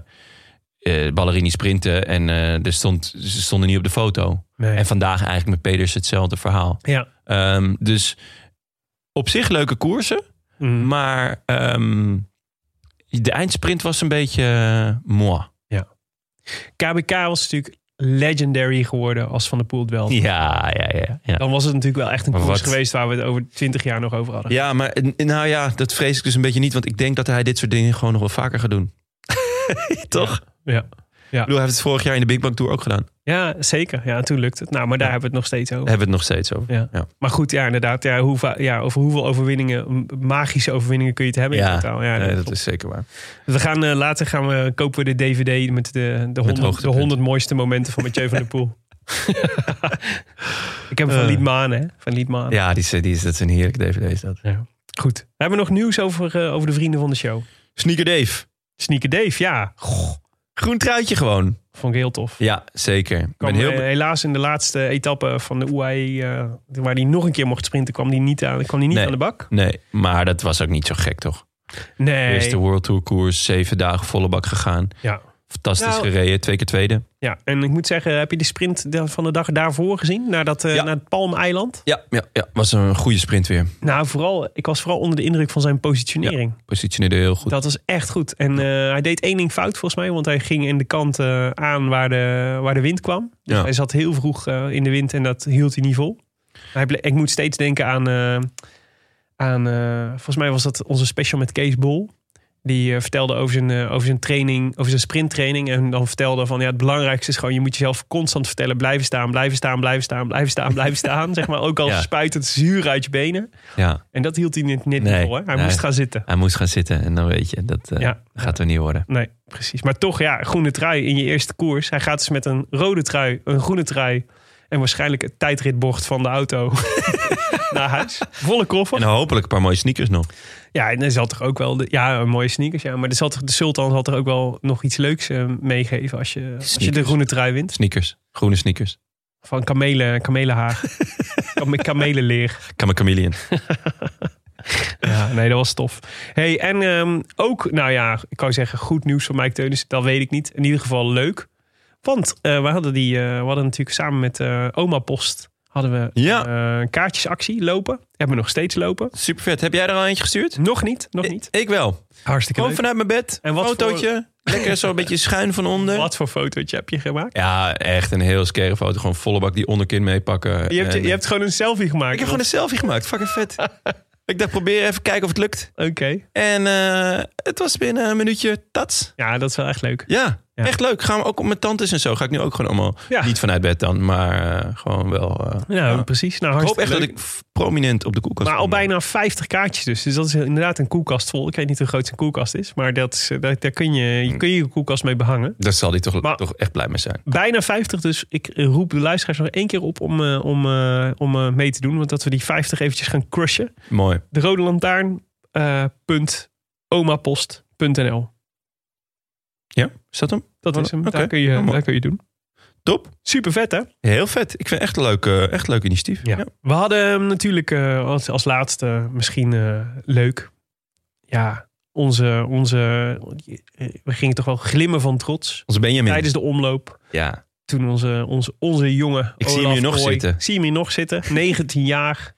[SPEAKER 1] eh, Ballerini sprinten en eh, er stond, ze stonden niet op de foto.
[SPEAKER 2] Nee.
[SPEAKER 1] En vandaag eigenlijk met Peters hetzelfde verhaal.
[SPEAKER 2] Ja.
[SPEAKER 1] Ehm, dus op zich leuke koersen.
[SPEAKER 2] Mm.
[SPEAKER 1] Maar ehm, de eindsprint was een beetje eh, moi.
[SPEAKER 2] KBK was natuurlijk legendary geworden als Van der Poel het wel.
[SPEAKER 1] Ja, ja, ja. ja.
[SPEAKER 2] Dan was het natuurlijk wel echt een
[SPEAKER 1] Maar
[SPEAKER 2] koers
[SPEAKER 1] wat-
[SPEAKER 2] geweest waar we het over 20 jaar nog over hadden.
[SPEAKER 1] Ja, maar eh, nou ja, dat vrees ik dus een beetje niet. Want ik denk dat hij dit soort dingen gewoon nog wel vaker gaat doen. Toch? Ik
[SPEAKER 2] Ja,
[SPEAKER 1] bedoel, hij heeft het vorig jaar in de Big Bang Tour ook gedaan. Daar
[SPEAKER 2] ja. zeker. Ja, en toen lukt het. Nou, maar daar hebben we het nog steeds over.
[SPEAKER 1] hebben we het nog steeds over.
[SPEAKER 2] Ja.
[SPEAKER 1] Ja.
[SPEAKER 2] Maar goed, ja, inderdaad. Ja, hoe va- ja, over hoeveel overwinningen, m- magische overwinningen kun je het hebben in totaal? Ja,
[SPEAKER 1] nee,
[SPEAKER 2] dat
[SPEAKER 1] dat
[SPEAKER 2] klopt.
[SPEAKER 1] is zeker waar.
[SPEAKER 2] We gaan eh, later gaan we, kopen we de DVD met de, de, 100, de
[SPEAKER 1] hoogtepunt.
[SPEAKER 2] 100 mooiste momenten van Mathieu van der Poel. Ik heb hem van
[SPEAKER 1] Eh.
[SPEAKER 2] Liedmaan, hè? Van Liedmaan.
[SPEAKER 1] Ja, die is, die is, dat is een heerlijke DVD. Is dat.
[SPEAKER 2] Goed. We hebben nog nieuws over, eh, over de vrienden van de show.
[SPEAKER 1] Sneaker Dave.
[SPEAKER 2] Sneaker Dave, ja. Goh,
[SPEAKER 1] Groen truitje gewoon.
[SPEAKER 2] vond ik heel tof.
[SPEAKER 1] Ja, zeker. Ik
[SPEAKER 2] Kwam,
[SPEAKER 1] ben heel...
[SPEAKER 2] eh,
[SPEAKER 1] be-
[SPEAKER 2] helaas in de laatste etappe van de UAE, eh, waar hij nog een keer mocht sprinten, kwam hij niet aan, kwam die niet
[SPEAKER 1] Nee.
[SPEAKER 2] aan de bak.
[SPEAKER 1] Nee, maar dat was ook niet zo gek, toch?
[SPEAKER 2] Nee.
[SPEAKER 1] Eerste World Tour koers, zeven dagen volle bak gegaan.
[SPEAKER 2] Ja.
[SPEAKER 1] Fantastisch
[SPEAKER 2] Nou-
[SPEAKER 1] gereden, twee keer tweede.
[SPEAKER 2] ja, en ik moet zeggen, heb je de sprint da- van de dag daarvoor gezien? Naar, dat, eh,
[SPEAKER 1] Ja.
[SPEAKER 2] naar het Palmeiland?
[SPEAKER 1] Ja, ja, ja, was een goede sprint weer.
[SPEAKER 2] Nou, vooral, ik was vooral onder de indruk van zijn positionering.
[SPEAKER 1] Positioneerde heel goed.
[SPEAKER 2] Dat was echt goed. En eh, hij deed één ding fout volgens mij, want hij ging in de kant eh, aan waar de, waar de wind kwam. Dus
[SPEAKER 1] Ja.
[SPEAKER 2] hij zat heel vroeg eh, in de wind en dat hield hij niet vol. Hij ble- ik moet steeds denken aan, eh, aan eh, volgens mij was dat onze special met Kees Bol. Die eh, vertelde over zijn, eh, over zijn training, over zijn sprinttraining. En dan vertelde van ja, het belangrijkste is gewoon, je moet jezelf constant vertellen: blijven staan, blijven staan, blijven staan, blijven staan, blijven staan. Zeg maar ook al
[SPEAKER 1] Ja.
[SPEAKER 2] spuit het zuur uit je benen.
[SPEAKER 1] Ja,
[SPEAKER 2] En dat hield hij net, net
[SPEAKER 1] Nee,
[SPEAKER 2] niet vol. Hè? Hij
[SPEAKER 1] nee.
[SPEAKER 2] moest gaan zitten.
[SPEAKER 1] hij moest gaan zitten en dan weet je, dat eh,
[SPEAKER 2] Ja.
[SPEAKER 1] gaat er niet worden.
[SPEAKER 2] Nee, precies. Maar toch, ja, groene trui in je eerste koers. Hij gaat dus met een rode trui, een groene trui en waarschijnlijk het tijdritbocht van de auto naar huis. Volle
[SPEAKER 1] En
[SPEAKER 2] koffer.
[SPEAKER 1] hopelijk een paar mooie sneakers nog.
[SPEAKER 2] Ja, en er zal toch ook wel, de, ja, een mooie sneakers, ja. Maar er zal toch, de Sultan zal toch ook wel nog iets leuks eh, meegeven als je, als je de
[SPEAKER 1] Sneakers.
[SPEAKER 2] groene trui wint.
[SPEAKER 1] Sneakers, groene sneakers.
[SPEAKER 2] Van kamelen, kamelenhaar. Kam- Kamelenleer.
[SPEAKER 1] Kama Chameleon.
[SPEAKER 2] Ja, nee, dat was tof. hey, en ehm, ook, nou ja, ik kan zeggen goed nieuws van Mike Teunis. Dat weet ik niet. In ieder geval leuk. Want eh, we, hadden die, eh, we hadden natuurlijk samen met eh, Oma Post hadden we
[SPEAKER 1] Ja.
[SPEAKER 2] eh, kaartjesactie lopen. Hebben we nog steeds lopen.
[SPEAKER 1] Super vet. Heb jij er al eentje gestuurd? Eh,
[SPEAKER 2] Nog niet, nog niet.
[SPEAKER 1] Ik, ik wel.
[SPEAKER 2] Hartstikke
[SPEAKER 1] Gewoon
[SPEAKER 2] leuk.
[SPEAKER 1] vanuit mijn bed.
[SPEAKER 2] En
[SPEAKER 1] Een
[SPEAKER 2] wat
[SPEAKER 1] fotootje. Lekker zo een beetje schuin van onder.
[SPEAKER 2] Wat voor fotootje heb je gemaakt?
[SPEAKER 1] Ja, echt een heel scare foto. Gewoon volle bak die onderkin meepakken.
[SPEAKER 2] Je hebt,
[SPEAKER 1] En-
[SPEAKER 2] je hebt gewoon een selfie gemaakt.
[SPEAKER 1] Eh, Ik heb gewoon een selfie gemaakt. Fucking vet. ik dacht, probeer even kijken of het lukt.
[SPEAKER 2] Oké.
[SPEAKER 1] En eh, het was binnen een minuutje tats.
[SPEAKER 2] Ja, dat is wel echt leuk.
[SPEAKER 1] Ja,
[SPEAKER 2] Ja.
[SPEAKER 1] echt leuk. Gaan we ook op mijn tantes en zo. Ga ik nu ook gewoon allemaal.
[SPEAKER 2] Ja.
[SPEAKER 1] Niet vanuit bed dan, maar eh, gewoon wel. eh,
[SPEAKER 2] Nou,
[SPEAKER 1] ja.
[SPEAKER 2] precies. Nou,
[SPEAKER 1] Ik hoop
[SPEAKER 2] hartstikke
[SPEAKER 1] echt dat ik
[SPEAKER 2] leuk.
[SPEAKER 1] f- prominent op de koelkast
[SPEAKER 2] Maar al
[SPEAKER 1] kom.
[SPEAKER 2] bijna 50 kaartjes dus. Dus dat is inderdaad een koelkast vol. Ik weet niet hoe groot zijn koelkast is. Maar dat is, eh, daar, daar kun je
[SPEAKER 1] Hm.
[SPEAKER 2] je, kun je, je koelkast mee behangen.
[SPEAKER 1] Daar zal hij toch,
[SPEAKER 2] Maar-
[SPEAKER 1] toch echt blij mee zijn.
[SPEAKER 2] Bijna 50, dus ik roep de luisteraars nog één keer op om, eh, om, eh, om eh, mee te doen. Want dat we die 50 eventjes gaan crushen.
[SPEAKER 1] Mooi.
[SPEAKER 2] De Rode Lantaarn. eh, punt omapost.nl.
[SPEAKER 1] Ja, is dat hem?
[SPEAKER 2] Dat is hem.
[SPEAKER 1] Oh, Oké,
[SPEAKER 2] Daar, kun je,
[SPEAKER 1] helemaal.
[SPEAKER 2] daar kun je doen.
[SPEAKER 1] Top.
[SPEAKER 2] Super vet, hè?
[SPEAKER 1] Heel vet. Ik vind het echt een leuk, eh, echt leuk initiatief.
[SPEAKER 2] Ja. We hadden ehm, natuurlijk eh, als, als laatste misschien eh, leuk. Ja, onze, onze. We gingen toch wel glimmen van trots.
[SPEAKER 1] Onze Benjamin.
[SPEAKER 2] Tijdens de omloop.
[SPEAKER 1] Ja.
[SPEAKER 2] Toen onze, onze, onze jongen.
[SPEAKER 1] Ik zie hem hier nog
[SPEAKER 2] Kooi-
[SPEAKER 1] zitten.
[SPEAKER 2] Ik Zie hem hier nog zitten. 19 jaar.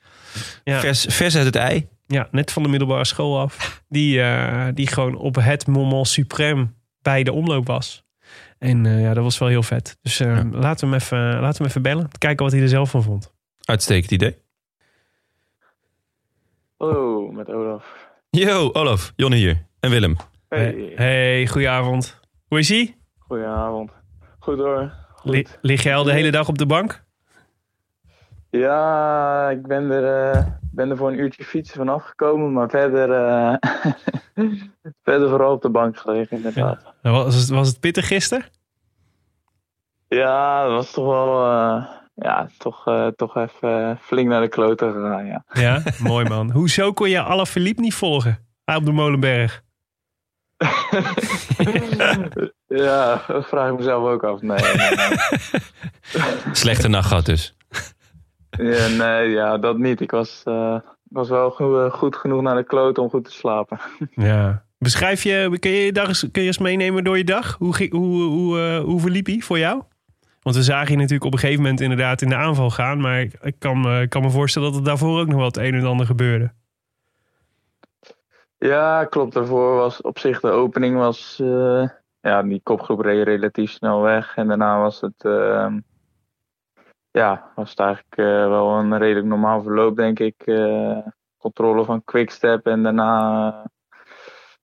[SPEAKER 2] Ja.
[SPEAKER 1] Vers, vers uit het ei.
[SPEAKER 2] Ja, net van de middelbare school af. Die, eh, die gewoon op het moment suprême bij de omloop was. En eh, ja, dat was wel heel vet. Dus eh,
[SPEAKER 1] Ja.
[SPEAKER 2] laten, we hem even, laten we hem even bellen. Kijken wat hij er zelf van vond.
[SPEAKER 1] Uitstekend idee.
[SPEAKER 6] Hallo, met Olaf.
[SPEAKER 1] Yo, Olaf. Jonne hier. En Willem.
[SPEAKER 6] Hey,
[SPEAKER 2] hey goedenavond. Hoe is ie?
[SPEAKER 6] goedenavond. Goed hoor. Goed.
[SPEAKER 2] Li- Lig jij al de hele dag op de bank?
[SPEAKER 6] Ja, ik ben er, eh, ben er voor een uurtje fietsen van afgekomen, maar verder, eh, verder vooral op de bank gelegen inderdaad. Ja,
[SPEAKER 2] Nou, Was het, was het pittig gisteren?
[SPEAKER 6] dat was toch wel, eh, ja, toch, eh, toch even flink naar de kloten gegaan, ja.
[SPEAKER 2] Ja, mooi man. Hoezo kon je Alaphilippe niet volgen? Hij op de Molenberg.
[SPEAKER 6] ja, dat vraag ik mezelf ook af. Nee, nee, nee.
[SPEAKER 1] Slechte nacht gehad dus.
[SPEAKER 6] Ja, nee, ja, dat niet. Ik was, eh, was wel go- eh, goed genoeg naar de kloot om goed te slapen.
[SPEAKER 2] Ja. Beschrijf je, kun je je dag eens, kun je eens meenemen door je dag? Hoe, ging- hoe, hoe, eh, hoe verliep die voor jou? Want we zagen je natuurlijk op een gegeven moment inderdaad in de aanval gaan. Maar ik, ik kan, me- ik kan me voorstellen dat er daarvoor ook nog wel het een en ander gebeurde.
[SPEAKER 6] Ja, klopt. Daarvoor was op zich de opening was... eh, ja, die kopgroep reed relatief snel weg. En daarna was het... ehm, ja, was het eigenlijk eh, wel een redelijk normaal verloop, denk ik. Eh, controle van Quickstep en daarna... eh,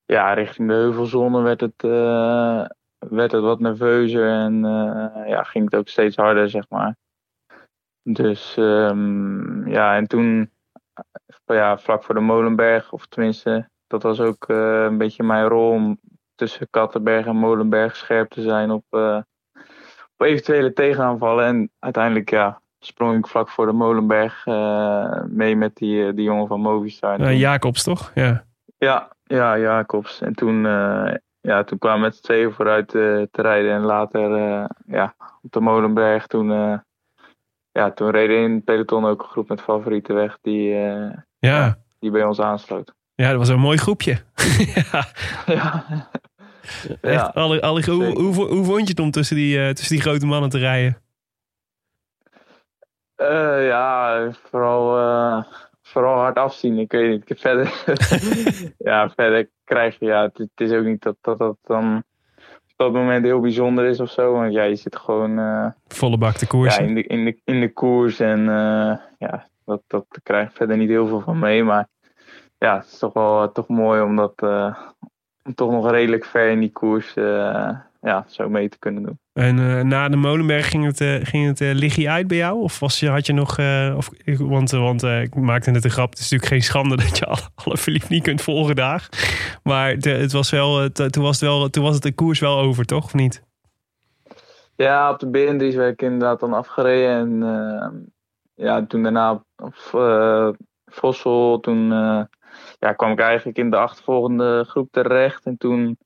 [SPEAKER 6] ja, richting de heuvelzone werd het, eh, werd het wat nerveuzer. En eh, ja, ging het ook steeds harder, zeg maar. Dus ehm, ja, en toen ja, vlak voor de Molenberg, of tenminste, dat was ook eh, een beetje mijn rol om tussen Kattenberg en Molenberg scherp te zijn op, eh, op eventuele tegenaanvallen. En uiteindelijk, ja, sprong ik vlak voor de Molenberg eh, mee met die, eh, die jongen van Movistar. En
[SPEAKER 2] Eh,
[SPEAKER 6] toen-
[SPEAKER 2] Jacobs, toch? Ja.
[SPEAKER 6] ja, ja, Jacobs. En toen, eh, ja, toen kwamen we met z'n tweeën vooruit eh, te rijden. En later eh, ja, op de Molenberg. Toen, eh, ja, toen reden in het peloton ook een groep met favorieten weg die, eh,
[SPEAKER 2] ja.
[SPEAKER 6] die bij ons aansloot.
[SPEAKER 2] Ja, dat was een mooi groepje. ja,
[SPEAKER 6] ja.
[SPEAKER 2] echt. Alle, alle, hoe,
[SPEAKER 6] Zeker.
[SPEAKER 2] hoe, hoe vond je het om tussen die, eh, tussen die grote mannen te rijden?
[SPEAKER 6] Eh, ja, vooral, eh, vooral hard afzien. Ik weet niet. Ik heb verder, ja, verder krijg je. Ja, het, het is ook niet dat dat, dat dan op dat moment heel bijzonder is of zo. Want ja, je zit gewoon. eh,
[SPEAKER 2] Volle bak te koersen.
[SPEAKER 6] Ja, in de, in de, in de koers. En eh, ja, dat, dat krijg ik verder niet heel veel van mee. Maar ja, het is toch wel eh, toch mooi om dat eh, om toch nog redelijk ver in die koers eh, ja, zo mee te kunnen doen.
[SPEAKER 2] En eh, na de Molenberg ging het, eh, ging het eh, liggie uit bij jou? Of was je, had je nog... eh, of, ik- want eh, want eh, ik maakte net een grap. Het is natuurlijk geen schande dat je alle, alle verliep niet kunt volgen daar. Maar de- het was wel, eh, t- toen, was het wel, toen was het de koers wel over, toch? Of niet?
[SPEAKER 6] Ja, op de Berendries werd ik inderdaad dan afgereden. En eh, ja, toen daarna op, op eh, Vossel, toen eh, ja, kwam ik eigenlijk in de achtervolgende groep terecht. En toen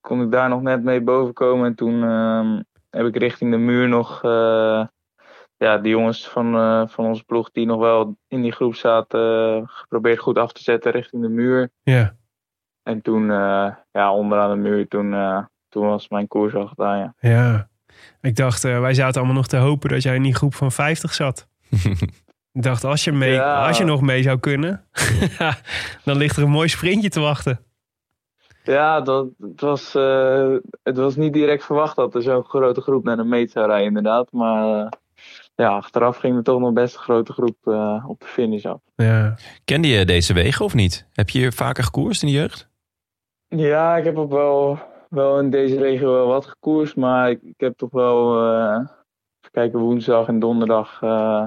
[SPEAKER 6] kon ik daar nog net mee bovenkomen. En toen ehm, heb ik richting de muur nog eh, ja, de jongens van, eh, van onze ploeg die nog wel in die groep zaten, eh, geprobeerd goed af te zetten richting de muur.
[SPEAKER 2] Ja.
[SPEAKER 6] En toen, eh, ja, onderaan de muur, toen, eh, toen was mijn koers al gedaan, ja.
[SPEAKER 2] Ja. Ik dacht, eh, wij zaten allemaal nog te hopen dat jij in die groep van 50 zat. Ik dacht, als je, mee,
[SPEAKER 6] Ja.
[SPEAKER 2] als je nog mee zou kunnen, dan ligt er een mooi sprintje te wachten.
[SPEAKER 6] Ja, dat, het, was, eh, het was niet direct verwacht dat er zo'n grote groep naar de meet zou rijden, inderdaad. Maar eh, ja, achteraf ging er toch nog best een grote groep eh, op de finish af.
[SPEAKER 2] Ja.
[SPEAKER 1] Kende je deze wegen of niet? Heb je hier vaker gekoerst in de jeugd?
[SPEAKER 6] Ja, ik heb ook wel, wel in deze regio wel wat gekoerst. Maar ik, ik heb toch wel, eh, even kijken, woensdag en donderdag eh,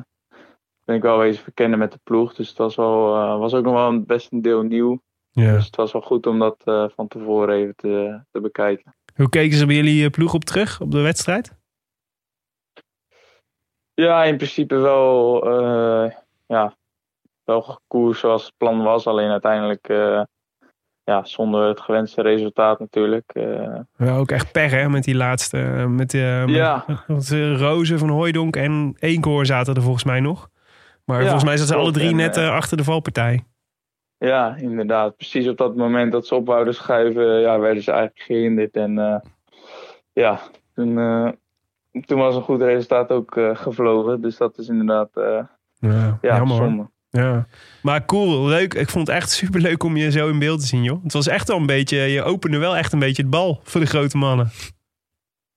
[SPEAKER 6] ben ik wel wezen verkennen met de ploeg. Dus het was, wel, eh, was ook nog wel een- best een deel nieuw.
[SPEAKER 2] ja.
[SPEAKER 6] Dus het was wel goed om dat eh, van tevoren even te, te bekijken.
[SPEAKER 2] Hoe keken ze bij jullie eh, ploeg op terug, op de wedstrijd?
[SPEAKER 6] Ja, in principe wel, eh, ja, wel gekoers zoals het plan was. Alleen uiteindelijk eh, ja, zonder het gewenste resultaat natuurlijk. eh.
[SPEAKER 2] Ja, ook echt per, hè, met die laatste. eh, Met, eh, met-
[SPEAKER 6] ja,
[SPEAKER 2] want, eh, Rozen van Hooidonk en Eenkoor zaten er volgens mij nog. Maar
[SPEAKER 6] Ja,
[SPEAKER 2] volgens mij zaten ze alle
[SPEAKER 6] klopt.
[SPEAKER 2] drie
[SPEAKER 6] En,
[SPEAKER 2] net
[SPEAKER 6] eh,
[SPEAKER 2] eh, achter de valpartij.
[SPEAKER 6] ja, inderdaad. Precies op dat moment dat ze op wouden schuiven, ja, werden ze eigenlijk gehinderd. En eh, ja, toen, eh, toen was een goed resultaat ook eh, gevlogen. Dus dat is inderdaad eh,
[SPEAKER 2] Ja,
[SPEAKER 6] ja,
[SPEAKER 2] jammer. hoor.
[SPEAKER 6] zonde.
[SPEAKER 2] Ja. Maar cool, leuk. Ik vond het echt super leuk om je zo in beeld te zien, joh. Het was echt wel een beetje, je opende wel echt een beetje het bal voor de grote mannen.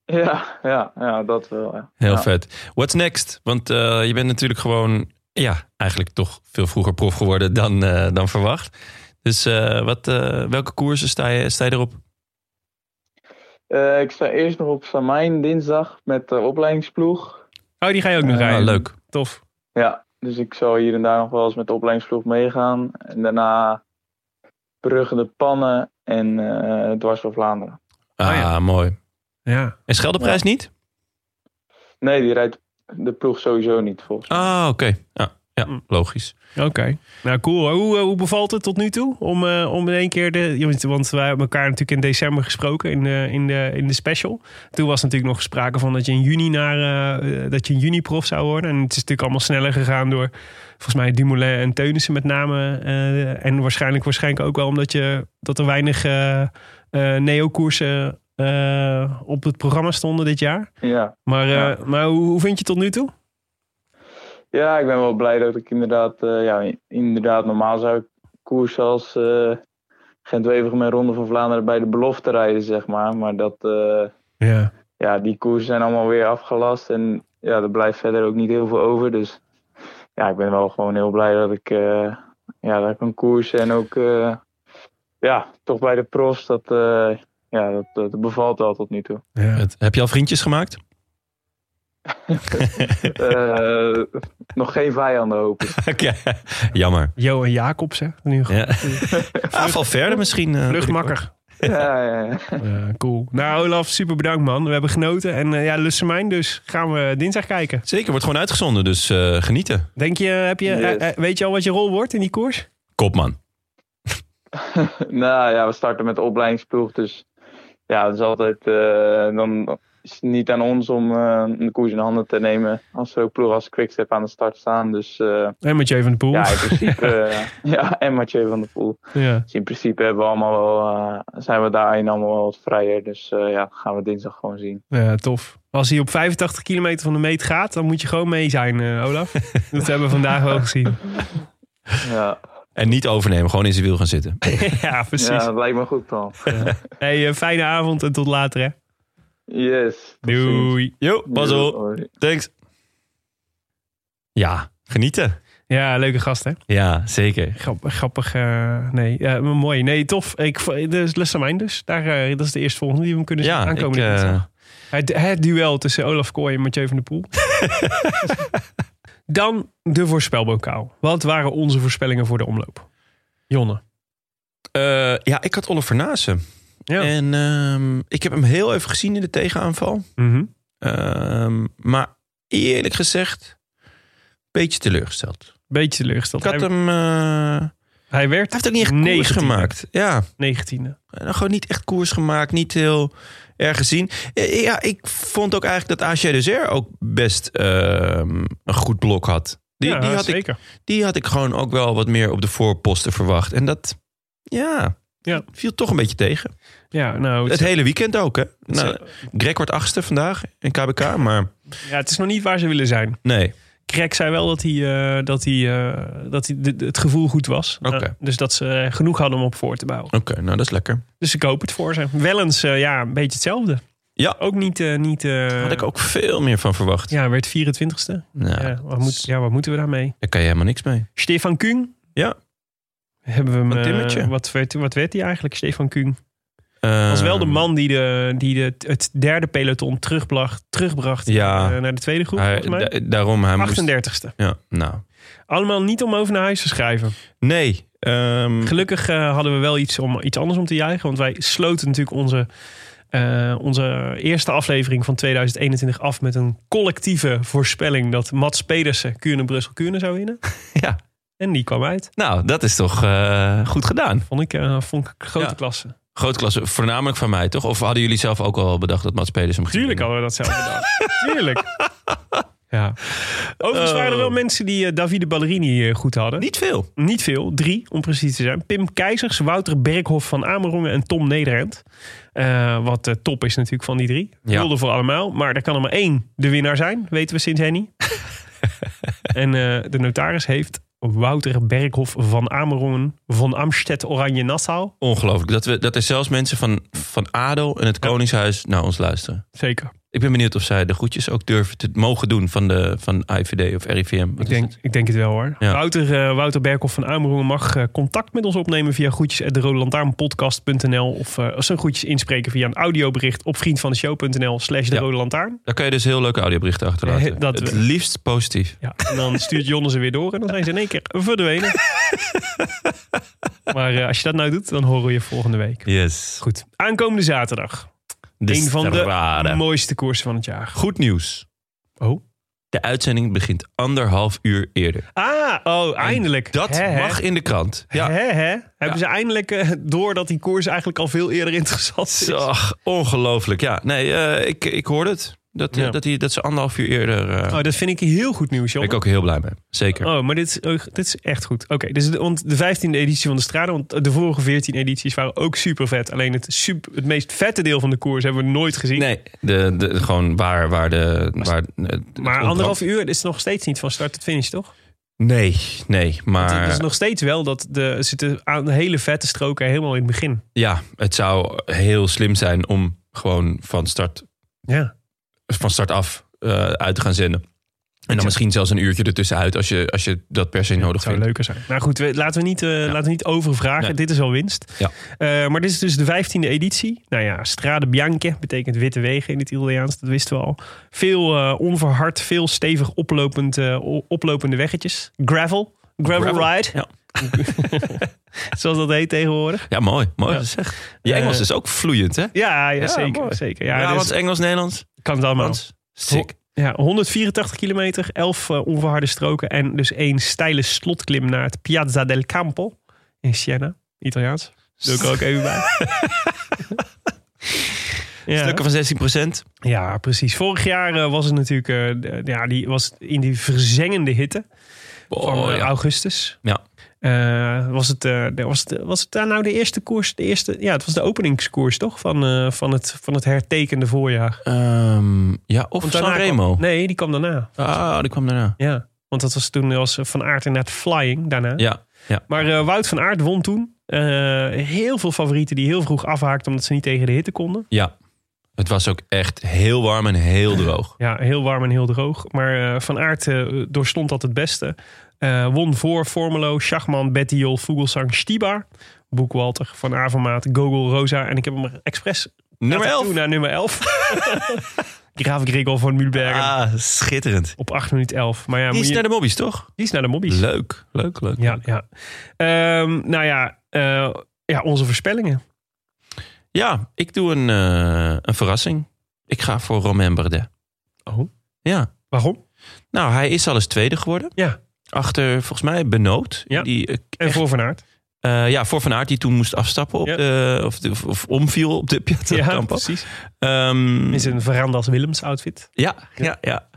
[SPEAKER 6] Ja, ja, ja, dat wel. Ja.
[SPEAKER 1] Heel
[SPEAKER 6] Ja.
[SPEAKER 1] vet. What's next? Want eh, je bent natuurlijk gewoon, ja, eigenlijk toch veel vroeger prof geworden dan, eh, dan verwacht. Dus eh, wat, eh, welke koersen sta je, sta je erop?
[SPEAKER 6] Eh, ik sta eerst nog op Samijn dinsdag met de opleidingsploeg.
[SPEAKER 2] Oh, die ga je ook nog
[SPEAKER 6] Ja,
[SPEAKER 1] Ah,
[SPEAKER 2] rijden.
[SPEAKER 1] leuk.
[SPEAKER 2] Tof.
[SPEAKER 6] Ja, dus ik zal hier en daar nog wel eens met de opleidingsploeg meegaan. En daarna Brugge de Pannen en eh Dwars door Vlaanderen.
[SPEAKER 1] Ah,
[SPEAKER 2] Ah, ja.
[SPEAKER 1] mooi.
[SPEAKER 2] Ja.
[SPEAKER 1] En Scheldeprijs niet?
[SPEAKER 6] Nee, die rijdt de ploeg sowieso niet volgens mij.
[SPEAKER 1] Ah, oké. Ja. Ja, logisch.
[SPEAKER 2] Oké. Nou, cool. Hoe, eh, hoe bevalt het tot nu toe? Om, eh, om in één keer de. ja, want- Want wij hebben elkaar natuurlijk in december gesproken in de, in de, in de special. Toen was natuurlijk nog sprake van dat je in juni naar eh, eh, dat je een juni prof zou worden. En het is natuurlijk allemaal sneller gegaan door volgens mij Dumoulin en Teunissen met name. eh, en waarschijnlijk waarschijnlijk ook wel omdat je dat er weinig eh eh, neokoersen eh, op het programma stonden dit jaar.
[SPEAKER 6] Ja.
[SPEAKER 2] Maar, eh,
[SPEAKER 6] Ja.
[SPEAKER 2] maar hoe, hoe vind je het tot nu toe?
[SPEAKER 6] ja, ik ben wel blij dat ik inderdaad, eh, ja, inderdaad normaal zou ik koersen als eh gent wevergem Ronde van Vlaanderen bij de belofte rijden, zeg maar. Maar dat, eh,
[SPEAKER 2] Ja.
[SPEAKER 6] ja, die koersen zijn allemaal weer afgelast. En ja, er blijft verder ook niet heel veel over. Dus ja, ik ben wel gewoon heel blij dat ik, eh, ja, dat ik kan koersen. En ook eh, ja, toch bij de profs, dat, eh, ja, dat, dat bevalt wel tot nu toe.
[SPEAKER 1] Het, heb je al vriendjes gemaakt?
[SPEAKER 6] Eh, nog geen vijanden hoop ik.
[SPEAKER 1] Oké. Jammer.
[SPEAKER 2] Jo en Jacobsen. Nu
[SPEAKER 1] Ja. Ah, van verder misschien. eh,
[SPEAKER 2] Vluchtmakker.
[SPEAKER 6] Ja, ja, ja.
[SPEAKER 2] Eh, cool. Nou, Olaf, super bedankt, man. We hebben genoten. En eh ja, Lussemijn, dus gaan we dinsdag kijken.
[SPEAKER 1] Zeker, wordt gewoon uitgezonden, dus eh, genieten.
[SPEAKER 2] Denk je, heb je, eh,
[SPEAKER 6] Yes.
[SPEAKER 2] eh, weet je al wat je rol wordt in die koers?
[SPEAKER 1] Kopman.
[SPEAKER 6] Nou ja, we starten met de opleidingsploeg. Dus ja, het is altijd. eh, dan is het niet aan ons om eh, de koers in handen te nemen. Als zo'n ploeg als Quickstep aan de start staan. Dus eh,
[SPEAKER 2] En Mathieu van de Poel.
[SPEAKER 6] ja, in principe. eh, ja, en Mathieu van der Poel.
[SPEAKER 2] Ja.
[SPEAKER 6] Dus in principe hebben we allemaal wel, eh, zijn we daarin allemaal wel wat vrijer. Dus eh, ja, gaan we dinsdag gewoon zien.
[SPEAKER 2] Ja, tof. Als hij op 85 kilometer van de meet gaat, dan moet je gewoon mee zijn, eh, Olaf. Dat hebben we vandaag wel gezien.
[SPEAKER 6] Ja,
[SPEAKER 1] En niet overnemen, gewoon in zijn wiel gaan zitten.
[SPEAKER 2] ja, precies.
[SPEAKER 6] ja dat lijkt me goed dan.
[SPEAKER 2] Hey, eh, fijne avond en tot later, hè.
[SPEAKER 6] Yes. tot ziens.
[SPEAKER 2] Doei.
[SPEAKER 1] Jo, pas op.
[SPEAKER 6] Doei.
[SPEAKER 1] Thanks. Ja, genieten.
[SPEAKER 2] Ja, leuke gast, hè.
[SPEAKER 1] Ja, zeker.
[SPEAKER 2] Grap- grappig. eh, nee, eh, maar mooi. Nee, tof. Ik, v- dus Lussemijn dus. Daar, eh, dat is de eerste volgende die we hem kunnen zien
[SPEAKER 1] Ja, ik,
[SPEAKER 2] aankomen.
[SPEAKER 1] eh,
[SPEAKER 2] Het, het duel tussen Olaf Kooi en Mathieu van der Poel. Dan de voorspelbokaal. Wat waren onze voorspellingen voor de omloop? Jonne.
[SPEAKER 1] eh, ja, ik had Oliver Naassen.
[SPEAKER 2] Ja.
[SPEAKER 1] En ehm, ik heb hem heel even gezien in de tegenaanval. Ehm, maar eerlijk gezegd, een beetje teleurgesteld.
[SPEAKER 2] Beetje teleurgesteld.
[SPEAKER 1] Ik had
[SPEAKER 2] Hij,
[SPEAKER 1] hem... eh,
[SPEAKER 2] hij werd
[SPEAKER 1] hij heeft ook niet echt koers
[SPEAKER 2] 19e.
[SPEAKER 1] gemaakt. Ja,
[SPEAKER 2] 19e.
[SPEAKER 1] Nou, gewoon niet echt koers gemaakt, niet heel erg gezien. Eh, Ja, ik vond ook eigenlijk dat AG Deser ook best ehm, een goed blok had. Die,
[SPEAKER 2] ja,
[SPEAKER 1] die, had ik,
[SPEAKER 2] zeker.
[SPEAKER 1] die had ik gewoon ook wel wat meer op de voorposten verwacht. En dat, ja,
[SPEAKER 2] Ja.
[SPEAKER 1] viel toch een beetje tegen.
[SPEAKER 2] Ja, nou,
[SPEAKER 1] Het
[SPEAKER 2] het,
[SPEAKER 1] hele weekend ook, hè? Nou, Greg wordt achtste vandaag in KBK, maar
[SPEAKER 2] ja, het is nog niet waar ze willen zijn.
[SPEAKER 1] nee.
[SPEAKER 2] Krek zei wel dat, hij, eh, dat, hij, eh, dat hij de- de- het gevoel goed was.
[SPEAKER 1] Oké.
[SPEAKER 2] Eh, dus dat ze eh, genoeg hadden om op voor te bouwen.
[SPEAKER 1] Oké, nou dat is lekker.
[SPEAKER 2] Dus ik hoop het voor ze. Wel eens eh, ja, een beetje hetzelfde.
[SPEAKER 1] Ja.
[SPEAKER 2] Ook niet... eh, niet eh,
[SPEAKER 1] Had ik ook veel meer van verwacht.
[SPEAKER 2] Ja, werd 24ste.
[SPEAKER 1] Nou,
[SPEAKER 2] Ja, wat, moet, ja, wat moeten we daarmee?
[SPEAKER 1] daar kan je helemaal niks mee.
[SPEAKER 2] Stefan Kuhn?
[SPEAKER 1] Ja.
[SPEAKER 2] Hebben we hem,
[SPEAKER 1] Wat
[SPEAKER 2] eh,
[SPEAKER 1] timmertje.
[SPEAKER 2] wat, werd, wat werd hij eigenlijk, Stefan Kuhn?
[SPEAKER 1] Dat
[SPEAKER 2] was wel de man die, de, die de, het derde peloton terugbracht, terugbracht
[SPEAKER 1] Ja.
[SPEAKER 2] eh, naar de tweede groep, volgens mij.
[SPEAKER 1] daarom, hij moest...
[SPEAKER 2] 38ste.
[SPEAKER 1] Ja, nou,
[SPEAKER 2] Allemaal niet om over naar huis te schrijven.
[SPEAKER 1] nee. ehm,
[SPEAKER 2] Gelukkig eh, hadden we wel iets, om, iets anders om te juichen. Want wij sloten natuurlijk onze, eh, onze eerste aflevering van 2021 af... met een collectieve voorspelling dat Mats Pedersen Kuurne-Brussel-Kuurne zou winnen.
[SPEAKER 1] Ja.
[SPEAKER 2] En die kwam uit.
[SPEAKER 1] Nou, dat is toch eh, goed gedaan.
[SPEAKER 2] Vond ik, eh, vond ik grote
[SPEAKER 1] Ja.
[SPEAKER 2] klasse.
[SPEAKER 1] Grote klasse, voornamelijk van mij, toch? Of hadden jullie zelf ook al bedacht dat Mats Peders hem ging
[SPEAKER 2] Tuurlijk
[SPEAKER 1] winnen?
[SPEAKER 2] hadden we dat zelf gedaan. Tuurlijk. Ja. Overigens waren er wel mensen die eh, Davide Ballerini eh, goed hadden.
[SPEAKER 1] Ehm. Niet veel.
[SPEAKER 2] Niet veel, drie om precies te zijn. Pim Keizers, Wouter Berghoff van Amerongen en Tom Nederend. Eh, wat eh, top is natuurlijk van die drie.
[SPEAKER 1] Ja.
[SPEAKER 2] Wilde voor allemaal, maar er kan er maar één de winnaar zijn, weten we sinds Henny. en eh, de notaris heeft Wouter Berghoff van Amerongen van Amstedt Oranje Nassau.
[SPEAKER 1] Ongelooflijk. Dat, we, dat er zelfs mensen van, van ADO en het Koningshuis naar ons luisteren.
[SPEAKER 2] Zeker.
[SPEAKER 1] Ik ben benieuwd of zij de groetjes ook durven te mogen doen van, de, van IVD of RIVM. Wat
[SPEAKER 2] Ik
[SPEAKER 1] is
[SPEAKER 2] denk,
[SPEAKER 1] het?
[SPEAKER 2] ik denk het wel hoor.
[SPEAKER 1] Ja.
[SPEAKER 2] Wouter, eh, Wouter Berkhoff van Amerongen mag eh, contact met ons opnemen via groetjes.derodelantaarnpodcast.nl of eh, zijn groetjes inspreken via een audiobericht op vriendvandeshow.nl slash de
[SPEAKER 1] Ja.
[SPEAKER 2] rode lantaarn.
[SPEAKER 1] Daar kan je dus heel leuke audioberichten achterlaten.
[SPEAKER 2] Eh, dat
[SPEAKER 1] het
[SPEAKER 2] we-
[SPEAKER 1] liefst positief.
[SPEAKER 2] Ja, en dan stuurt Jonne ze weer door en dan zijn ze in één keer verdwenen. maar eh, als je dat nou doet, dan horen we je volgende week.
[SPEAKER 1] Yes.
[SPEAKER 2] Goed, aankomende zaterdag.
[SPEAKER 1] De
[SPEAKER 2] een van de
[SPEAKER 1] strade.
[SPEAKER 2] mooiste koersen van het jaar.
[SPEAKER 1] Goed nieuws.
[SPEAKER 2] Oh.
[SPEAKER 1] De uitzending begint anderhalf uur eerder.
[SPEAKER 2] Ah, oh, eindelijk.
[SPEAKER 1] Dat
[SPEAKER 2] Hè, hè?
[SPEAKER 1] mag in de krant.
[SPEAKER 2] Ja.
[SPEAKER 1] Ja.
[SPEAKER 2] Hè, hè? Hebben ze eindelijk eh, door dat die koers eigenlijk al veel eerder interessant is?
[SPEAKER 1] Ach, ongelooflijk. Ja, nee, eh, ik, ik hoorde het. Dat, eh,
[SPEAKER 2] Ja.
[SPEAKER 1] dat, die, dat ze anderhalf uur eerder... eh
[SPEAKER 2] Oh, dat vind ik heel goed
[SPEAKER 1] ben
[SPEAKER 2] nieuws, John.
[SPEAKER 1] ik ook heel blij mee. Zeker.
[SPEAKER 2] Oh, maar dit, is ook- dit is echt goed. Oké, dus de, want de 15e editie van de Strade, want de vorige 14 edities waren ook super vet. Alleen het, sup- het meest vette deel van de koers hebben we nooit gezien.
[SPEAKER 1] Nee, de, de, gewoon waar, waar de... Waar,
[SPEAKER 2] maar anderhalf uur is nog steeds niet van start tot finish, toch?
[SPEAKER 1] Nee, nee,
[SPEAKER 2] Want het
[SPEAKER 1] maar... eh,
[SPEAKER 2] is nog steeds wel dat de, er zitten aan hele vette stroken helemaal in het begin.
[SPEAKER 1] Ja, het zou heel slim zijn om gewoon van start,
[SPEAKER 2] Ja.
[SPEAKER 1] van start af eh, uit te gaan zenden. En dan misschien zelfs een uurtje ertussenuit als je, als je dat per se nodig
[SPEAKER 2] Het zou
[SPEAKER 1] vindt.
[SPEAKER 2] leuker zijn. Nou goed, we, laten, we niet, eh, laten we niet overvragen.
[SPEAKER 1] Nee.
[SPEAKER 2] Dit is al winst.
[SPEAKER 1] Ja.
[SPEAKER 2] Eh, maar dit is dus de 15e editie. Nou ja, Strade Bianche betekent witte wegen in het Italiaans. Dat wisten we al. Veel eh, onverhard, veel stevig oplopend, eh, o- oplopende weggetjes. Gravel. Gravel,
[SPEAKER 1] Gravel,
[SPEAKER 2] ride.
[SPEAKER 1] ja.
[SPEAKER 2] Zoals dat heet tegenwoordig.
[SPEAKER 1] Oh, Ja, mooi. Mooi
[SPEAKER 2] Ja.
[SPEAKER 1] gezegd. Je Engels
[SPEAKER 2] Eh,
[SPEAKER 1] is ook vloeiend, hè?
[SPEAKER 2] Ja, ja,
[SPEAKER 1] Ja,
[SPEAKER 2] zeker.
[SPEAKER 1] mooi.
[SPEAKER 2] zeker. Ja,
[SPEAKER 1] Ja,
[SPEAKER 2] dus
[SPEAKER 1] want Engels, Nederlands,
[SPEAKER 2] kan het allemaal.
[SPEAKER 1] Frans. Sick.
[SPEAKER 2] Ja, 184 kilometer, 11 eh, onverharde stroken en dus één steile slotklim naar het Piazza del Campo in Siena, Italiaans. Doe ik er ook even bij. ja.
[SPEAKER 1] Stukken van 16 procent.
[SPEAKER 2] ja, precies. Vorig jaar eh, was het natuurlijk eh, d- ja, die was in die verzengende hitte
[SPEAKER 1] Oh,
[SPEAKER 2] van eh, augustus.
[SPEAKER 1] Ja.
[SPEAKER 2] Eh, was, het, eh, de- was, het, was het daar nou de eerste koers? De eerste, ja, het was de openingskoers toch van, eh, van, het, van het hertekende voorjaar.
[SPEAKER 1] Ehm, ja, of
[SPEAKER 2] Want
[SPEAKER 1] San
[SPEAKER 2] daarna kwam-
[SPEAKER 1] Remo.
[SPEAKER 2] nee, die kwam daarna.
[SPEAKER 1] Ah, die kwam daarna.
[SPEAKER 2] Ja, want dat was toen was Van Aert inderdaad flying daarna.
[SPEAKER 1] Ja,
[SPEAKER 2] Maar eh, Wout van Aert won toen. Eh, heel veel favorieten die heel vroeg afhaakten omdat ze niet tegen de hitte konden.
[SPEAKER 1] ja. Het was ook echt heel warm en heel droog.
[SPEAKER 2] Ja, heel warm en heel droog. Maar eh, Van Aert eh, doorstond dat het beste. Eh, won voor Formelo, Schachman, Bettiol, Vogelsang, Stibar, Boekwalter, Van Avermaat, Gogol, Rosa. En ik heb hem expres
[SPEAKER 1] Nummer
[SPEAKER 2] laten toe
[SPEAKER 1] 11.
[SPEAKER 2] nou, naar nummer 11. Graaf Gregor van Mühlbergen
[SPEAKER 1] Ah, schitterend.
[SPEAKER 2] op 8 minuut 11. Maar ja,
[SPEAKER 1] Die
[SPEAKER 2] moet
[SPEAKER 1] is
[SPEAKER 2] je-
[SPEAKER 1] naar de mobbies, toch?
[SPEAKER 2] die is naar de mobbies.
[SPEAKER 1] Leuk, leuk, leuk.
[SPEAKER 2] Ja, ja. Ehm, nou ja, eh, ja, onze voorspellingen.
[SPEAKER 1] Ja, ik doe een, eh, een verrassing. Ik ga voor Romain Bardet.
[SPEAKER 2] Oh.
[SPEAKER 1] Ja.
[SPEAKER 2] Waarom?
[SPEAKER 1] Nou, hij is al eens tweede geworden.
[SPEAKER 2] Ja.
[SPEAKER 1] Achter, volgens mij, Benoot.
[SPEAKER 2] Ja.
[SPEAKER 1] Die, eh,
[SPEAKER 2] En voor Van Aert.
[SPEAKER 1] eh, ja, voor Van Aert, die toen moest afstappen. Op
[SPEAKER 2] Ja.
[SPEAKER 1] de, of, de- of- of omviel op de Piazza
[SPEAKER 2] Ja,
[SPEAKER 1] Campo.
[SPEAKER 2] precies.
[SPEAKER 1] Ehm,
[SPEAKER 2] In zijn Verandas Willems outfit.
[SPEAKER 1] ja, ja, ja.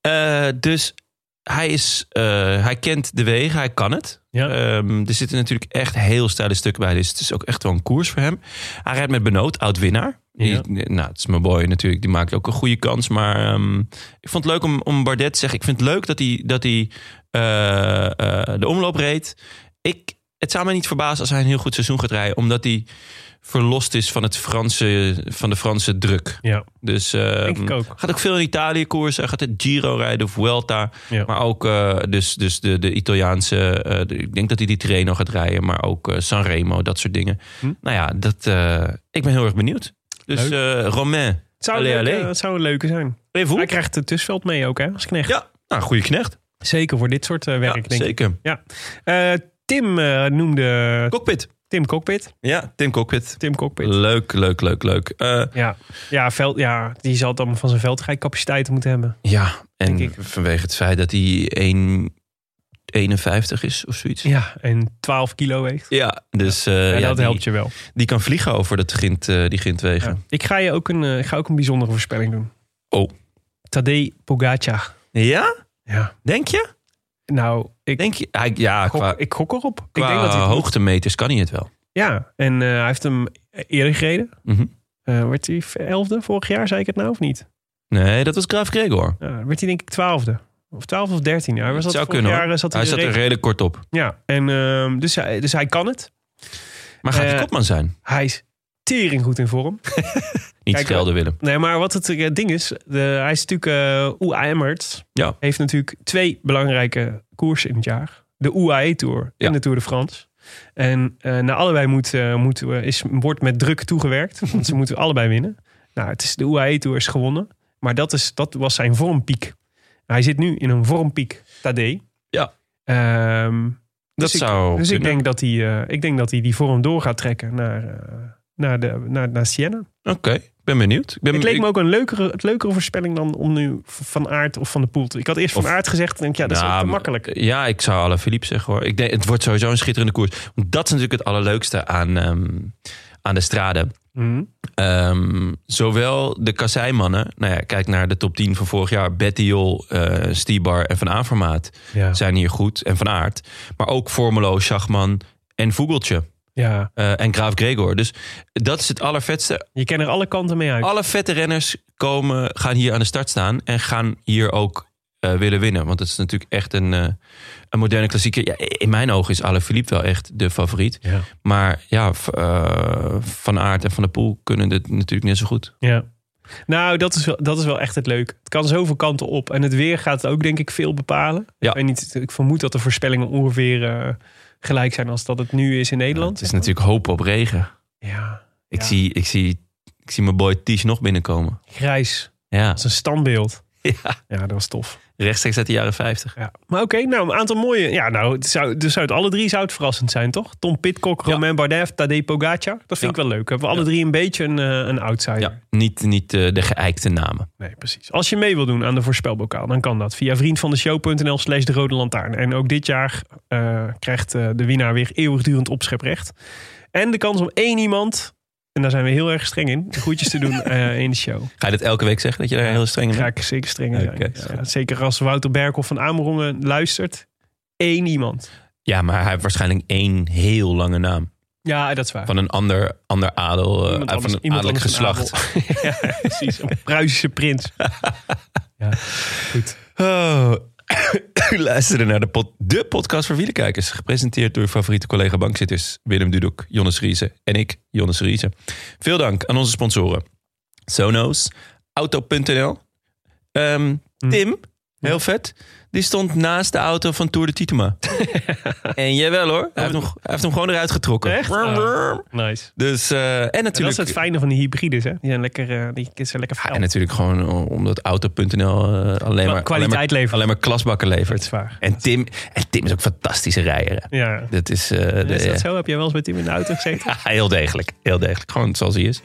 [SPEAKER 1] Eh, dus hij, is, eh, hij kent de wegen, hij kan het.
[SPEAKER 2] Ja.
[SPEAKER 1] Ehm, er zitten natuurlijk echt heel steile stukken bij. Dus het is ook echt wel een koers voor hem. Hij rijdt met Benoot, oud-winnaar.
[SPEAKER 2] Ja.
[SPEAKER 1] Die- Nou, het is mijn boy natuurlijk. Die maakt ook een goede kans. Maar ehm, ik vond het leuk om, om Bardet te zeggen. Ik vind het leuk dat hij, dat hij eh, eh, de omloop reed. Ik, het zou mij niet verbazen als hij een heel goed seizoen gaat rijden. Omdat hij verlost is van, het Franse, van de Franse druk.
[SPEAKER 2] Ja.
[SPEAKER 1] Dus ehm,
[SPEAKER 2] Denk ik ook.
[SPEAKER 1] gaat ook veel in Italië koersen. Hij gaat de Giro rijden, Vuelta.
[SPEAKER 2] Ja.
[SPEAKER 1] Maar ook eh, dus, dus de, de Italiaanse... eh, de- ik denk dat hij die Tirreno gaat rijden. Maar ook eh, Sanremo, dat soort dingen.
[SPEAKER 2] Hm.
[SPEAKER 1] Nou ja, dat, eh, ik ben heel erg benieuwd. Dus eh Romain,
[SPEAKER 2] Het zou,
[SPEAKER 1] Allee,
[SPEAKER 2] een leuke-
[SPEAKER 1] allee.
[SPEAKER 2] het zou een leuke zijn.
[SPEAKER 1] even
[SPEAKER 2] Hij krijgt het tussenveld mee ook, hè, als knecht.
[SPEAKER 1] Ja, nou, goede knecht.
[SPEAKER 2] Zeker voor dit soort eh, werk,
[SPEAKER 1] ja,
[SPEAKER 2] denk ik.
[SPEAKER 1] zeker.
[SPEAKER 2] Eh, Tim eh, noemde
[SPEAKER 1] Cockpit.
[SPEAKER 2] Tim Cockpit.
[SPEAKER 1] Ja, Tim Cockpit.
[SPEAKER 2] Tim Cockpit.
[SPEAKER 1] Leuk, leuk, leuk, leuk. Eh,
[SPEAKER 2] Ja. Ja, veld, ja, die zal dan van zijn veldrijcapaciteit moeten hebben.
[SPEAKER 1] ja, en
[SPEAKER 2] Denk
[SPEAKER 1] vanwege het feit dat hij 1,51 is of zoiets.
[SPEAKER 2] Ja, en 12 kilo weegt.
[SPEAKER 1] Ja, dus eh,
[SPEAKER 2] Ja,
[SPEAKER 1] ja,
[SPEAKER 2] dat
[SPEAKER 1] die,
[SPEAKER 2] helpt je wel.
[SPEAKER 1] die kan vliegen over dat grind, eh, die grindwegen.
[SPEAKER 2] Ja. Ik ga je ook een, eh, ik ga ook een bijzondere voorspelling doen.
[SPEAKER 1] Oh.
[SPEAKER 2] Tadej Pogacar.
[SPEAKER 1] Ja?
[SPEAKER 2] Ja.
[SPEAKER 1] Denk je?
[SPEAKER 2] Nou, ik,
[SPEAKER 1] Denk je? Hij- ja,
[SPEAKER 2] gok,
[SPEAKER 1] qua,
[SPEAKER 2] ik gok erop.
[SPEAKER 1] qua
[SPEAKER 2] ik denk dat hij het moet.
[SPEAKER 1] hoogtemeters kan hij het wel.
[SPEAKER 2] Ja, en eh, hij heeft hem eerder gereden.
[SPEAKER 1] Mhm.
[SPEAKER 2] Eh, werd hij elfde vorig jaar, zei ik het nou of niet?
[SPEAKER 1] Nee, dat was Graaf Gregor.
[SPEAKER 2] Ja, werd hij denk ik twaalfde. Of twaalf of dertien. Ja, hij was
[SPEAKER 1] Het
[SPEAKER 2] dat
[SPEAKER 1] zou
[SPEAKER 2] vorig
[SPEAKER 1] kunnen,
[SPEAKER 2] jaar
[SPEAKER 1] hoor.
[SPEAKER 2] eh, zat hij,
[SPEAKER 1] Hij
[SPEAKER 2] de
[SPEAKER 1] zat er
[SPEAKER 2] regio-
[SPEAKER 1] redelijk kort op.
[SPEAKER 2] Ja, en, ehm, dus, hij, dus hij kan het.
[SPEAKER 1] Maar gaat hij
[SPEAKER 2] Eh,
[SPEAKER 1] kopman zijn?
[SPEAKER 2] Hij is tering goed in vorm.
[SPEAKER 1] Niet
[SPEAKER 2] kijk, eh,
[SPEAKER 1] schelden, Willem.
[SPEAKER 2] Nee, maar wat het eh, ding is, de, hij is natuurlijk eh UAE Emirates.
[SPEAKER 1] Ja.
[SPEAKER 2] Heeft natuurlijk twee belangrijke koersen in het jaar. De UAE Tour
[SPEAKER 1] Ja.
[SPEAKER 2] en de Tour de France. En eh naar allebei moet, eh, moet, eh, is, wordt met druk toegewerkt. Want ze moeten allebei winnen. Nou, het is, de UAE Tour is gewonnen. Maar dat, is, dat was zijn vormpiek. Hij zit nu in een vormpiek, Tadej.
[SPEAKER 1] Ja.
[SPEAKER 2] Ehm,
[SPEAKER 1] Dat
[SPEAKER 2] dus ik-
[SPEAKER 1] zou
[SPEAKER 2] dus ik
[SPEAKER 1] kunnen.
[SPEAKER 2] denk, dat hij, eh, ik denk dat hij die vorm door gaat trekken naar, eh, naar, de, naar, naar Siena.
[SPEAKER 1] Oké, ben benieuwd. Ik ben,
[SPEAKER 2] Het leek
[SPEAKER 1] Ehm, ik-
[SPEAKER 2] me ook een leukere, het leukere voorspelling dan om nu v- van aard of van de poelt. Ik had eerst van
[SPEAKER 1] Of-
[SPEAKER 2] aard gezegd. Denk, ik, ja, dat is
[SPEAKER 1] Nou,
[SPEAKER 2] ook te
[SPEAKER 1] maar-
[SPEAKER 2] makkelijk.
[SPEAKER 1] Ja, ik zou alle Philippe zeggen hoor. Ik denk, het wordt sowieso een schitterende koers. Want dat is natuurlijk het allerleukste aan, ehm, aan de straden.
[SPEAKER 2] Mhm.
[SPEAKER 1] Ehm, zowel de kasseimannen, nou ja, kijk naar de top 10 van vorig jaar. Bettiol, eh Stibar en Van Avermaat
[SPEAKER 2] Ja.
[SPEAKER 1] zijn hier goed en Van Aert. Maar ook Formelo, Schachman en Vogeltje
[SPEAKER 2] ja,
[SPEAKER 1] eh, en Graaf Gregor. Dus dat is het allervetste.
[SPEAKER 2] je kent er alle kanten mee uit.
[SPEAKER 1] Alle vette renners komen, gaan hier aan de start staan en gaan hier ook eh, willen winnen. Want het is natuurlijk echt een, eh, een moderne klassieker. Ja, in mijn ogen is Alaphilippe wel echt de favoriet.
[SPEAKER 2] Ja.
[SPEAKER 1] Maar ja, v- eh, Van Aert en Van der Poel kunnen dit natuurlijk net zo goed.
[SPEAKER 2] Ja. Nou, dat is, wel, dat is wel echt het leuk. Het kan zoveel kanten op. En het weer gaat ook, denk ik, veel bepalen.
[SPEAKER 1] Ja.
[SPEAKER 2] Ik, weet niet, ik vermoed dat de voorspellingen ongeveer eh, gelijk zijn als dat het nu is in
[SPEAKER 1] Ja,
[SPEAKER 2] Nederland.
[SPEAKER 1] het is natuurlijk hoop op regen.
[SPEAKER 2] ja,
[SPEAKER 1] Ik,
[SPEAKER 2] Ja.
[SPEAKER 1] zie, ik, zie, ik zie mijn boy Ties nog binnenkomen.
[SPEAKER 2] grijs.
[SPEAKER 1] Ja,
[SPEAKER 2] Dat is een standbeeld.
[SPEAKER 1] ja.
[SPEAKER 2] Ja, dat was tof.
[SPEAKER 1] rechtstreeks uit de jaren 50.
[SPEAKER 2] Ja. Maar oké, nou, een aantal mooie. Ja, nou, het zou, dus zou het alle drie zou het verrassend zijn, toch? Tom Pitcock, Romain Bardet, Tadej Pogacar. Dat vind
[SPEAKER 1] Ja.
[SPEAKER 2] ik wel leuk. Hebben we alle drie een beetje een, eh, een outsider.
[SPEAKER 1] Ja, niet, niet eh, de geëikte namen.
[SPEAKER 2] Nee, precies. Als je mee wil doen aan de voorspelbokaal, dan kan dat via vriendvandeshow.nl slash de rode lantaarn. En ook dit jaar eh, krijgt eh, de winnaar weer eeuwigdurend opscheprecht. En de kans om één iemand, en daar zijn we heel erg streng in, de groetjes te doen eh, in de show.
[SPEAKER 1] Ga je dat elke week zeggen, dat je daar heel streng in
[SPEAKER 2] Ga
[SPEAKER 1] bent?
[SPEAKER 2] ik zeker streng in zijn.
[SPEAKER 1] Oké,
[SPEAKER 2] Ja,
[SPEAKER 1] scherp.
[SPEAKER 2] zeker als Wouter Berkhoff van Amerongen luistert. Eén iemand.
[SPEAKER 1] Ja, maar hij heeft waarschijnlijk één heel lange naam.
[SPEAKER 2] Ja, dat is waar.
[SPEAKER 1] Van een ander, ander adel, eh,
[SPEAKER 2] Iemand
[SPEAKER 1] van
[SPEAKER 2] anders-
[SPEAKER 1] een
[SPEAKER 2] iemand
[SPEAKER 1] adellijk
[SPEAKER 2] anders een
[SPEAKER 1] geslacht.
[SPEAKER 2] adel. ja, precies. Een Pruisische prins. ja, goed.
[SPEAKER 1] Oh. U luisterde naar de, pod- de podcast voor wielenkijkers. Gepresenteerd door uw favoriete collega bankzitters Willem Dudok, Jonnes Riese en ik, Jonnes Riese. Veel dank aan onze sponsoren. Sonos, Auto.nl. Ehm,
[SPEAKER 2] Hm.
[SPEAKER 1] Tim, heel vet. Die stond naast de auto van Tour de Titema. en jawel hoor, hij heeft, nog, hij heeft hem gewoon eruit getrokken.
[SPEAKER 2] Oh. Echt? Ah, nice.
[SPEAKER 1] Dus, eh, en natuurlijk...
[SPEAKER 2] Dat is het fijne van die hybrides, hè? Die zijn lekker, eh, die zijn lekker fel.
[SPEAKER 1] En natuurlijk gewoon eh, omdat auto.nl eh, alleen, maar, alleen, maar,
[SPEAKER 2] kwaliteit leveren.
[SPEAKER 1] alleen maar klasbakken
[SPEAKER 2] dat
[SPEAKER 1] levert.
[SPEAKER 2] is waar.
[SPEAKER 1] En Tim, en Tim is ook een fantastische rijder. hè.
[SPEAKER 2] Ja.
[SPEAKER 1] Dat is, eh, de-
[SPEAKER 2] is dat zo? Heb jij wel eens met Tim in de auto gezeten?
[SPEAKER 1] Ja, heel degelijk. Heel degelijk. Gewoon zoals hij is.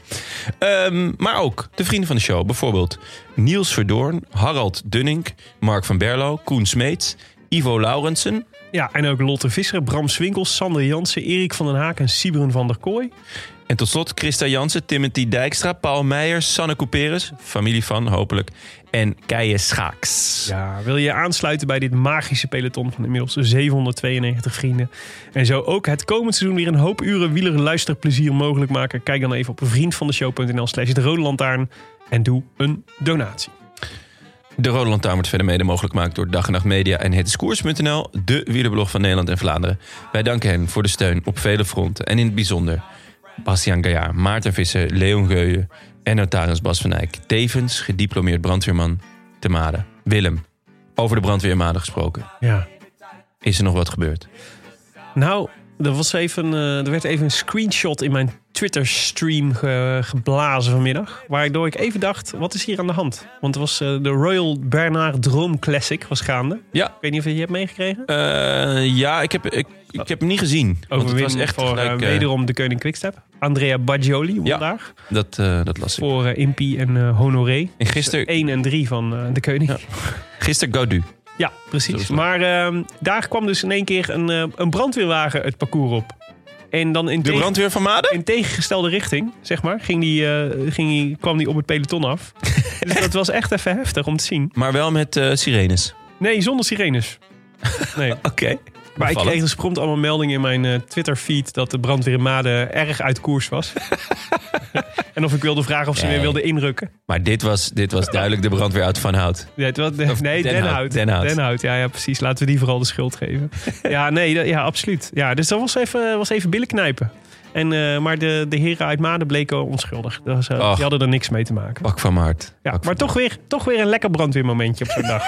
[SPEAKER 1] Ehm, maar ook de vrienden van de show. Bijvoorbeeld Niels Verdoorn, Harald Dunning, Mark van Berlo, Koen Smeets, Ivo Laurensen.
[SPEAKER 2] ja, en ook Lotte Visser, Bram Swinkels, Sander Jansen, Erik van den Haak en Siebren van der Kooi.
[SPEAKER 1] En tot slot Christa Jansen, Timothy Dijkstra, Paul Meijers, Sanne Couperus, familie van hopelijk, en Keijer Schaaks.
[SPEAKER 2] Ja, wil je aansluiten bij dit magische peloton van inmiddels 792 vrienden? En zo ook het komend seizoen weer een hoop uren wieler luisterplezier mogelijk maken? Kijk dan even op vriendvandeshow.nl slash de rode lantaarn en doe een donatie.
[SPEAKER 1] De Rode Lantaarn wordt verder mede mogelijk gemaakt door Dag en Nacht Media en Het is Koers.nl, de wielerblog van Nederland en Vlaanderen. Wij danken hen voor de steun op vele fronten en in het bijzonder Bastiaan Gaillard, Maarten Visser, Leon Geuyen en notaris Bas van Eyck. Tevens gediplomeerd brandweerman te Maden. Willem, over de brandweer in Maden gesproken.
[SPEAKER 2] Ja.
[SPEAKER 1] Is er nog wat gebeurd?
[SPEAKER 2] Nou, er, was even, eh, er werd even een screenshot in mijn Twitter-stream ge- geblazen vanmiddag. Waardoor ik even dacht, wat is hier aan de hand? Want er was eh, de Royal Bernard Droom Classic was gaande.
[SPEAKER 1] Ja,
[SPEAKER 2] Ik weet niet of je die hebt meegekregen.
[SPEAKER 1] eh, ja ik, heb, ik, ik heb hem niet gezien. Want het was
[SPEAKER 2] Overwinning
[SPEAKER 1] echt
[SPEAKER 2] voor eh,
[SPEAKER 1] gelijk, eh,
[SPEAKER 2] wederom de Koning Quickstep. Andrea Baggioli won
[SPEAKER 1] Ja.
[SPEAKER 2] daar.
[SPEAKER 1] dat, eh, dat las ik.
[SPEAKER 2] Voor eh, Impy en eh, Honoré.
[SPEAKER 1] En gisteren
[SPEAKER 2] 1 en 3 van eh, de Koning.
[SPEAKER 1] Ja. gister Gaudu.
[SPEAKER 2] Ja,
[SPEAKER 1] Zo is
[SPEAKER 2] precies.
[SPEAKER 1] dat.
[SPEAKER 2] Maar ehm, daar kwam dus in één keer een, eh, een brandweerwagen het parcours op. En dan in
[SPEAKER 1] De
[SPEAKER 2] tegen-
[SPEAKER 1] brandweer van Maden?
[SPEAKER 2] in tegengestelde richting, zeg maar, ging die, eh, ging die, kwam die op het peloton af. dus dat was echt even heftig om te zien.
[SPEAKER 1] Maar wel met eh, sirenes.
[SPEAKER 2] Nee, zonder sirenes. Nee.
[SPEAKER 1] Oké.
[SPEAKER 2] Maar ik
[SPEAKER 1] Opvallend.
[SPEAKER 2] kreeg dus prompt allemaal meldingen in mijn eh, Twitter-feed... dat de brandweer in Maden erg uit koers was. en of ik wilde vragen of ze
[SPEAKER 1] Nee.
[SPEAKER 2] weer wilden inrukken.
[SPEAKER 1] Maar dit was, dit was duidelijk de brandweer uit Van Hout.
[SPEAKER 2] Nee, wat,
[SPEAKER 1] Of
[SPEAKER 2] nee
[SPEAKER 1] Den Hout,
[SPEAKER 2] Denhout.
[SPEAKER 1] Den Hout.
[SPEAKER 2] Denhout, ja, ja, precies. Laten we die vooral de schuld geven. ja, nee, dat- ja, absoluut. Ja, dus dat was even, was even billen knijpen. En, eh, maar de, de heren uit Maden bleken onschuldig. Dat was, eh,
[SPEAKER 1] Ach.
[SPEAKER 2] die hadden er niks mee te maken.
[SPEAKER 1] Pak van mijn hart.
[SPEAKER 2] Ja, maar toch weer, toch weer een lekker brandweermomentje op zo'n dag.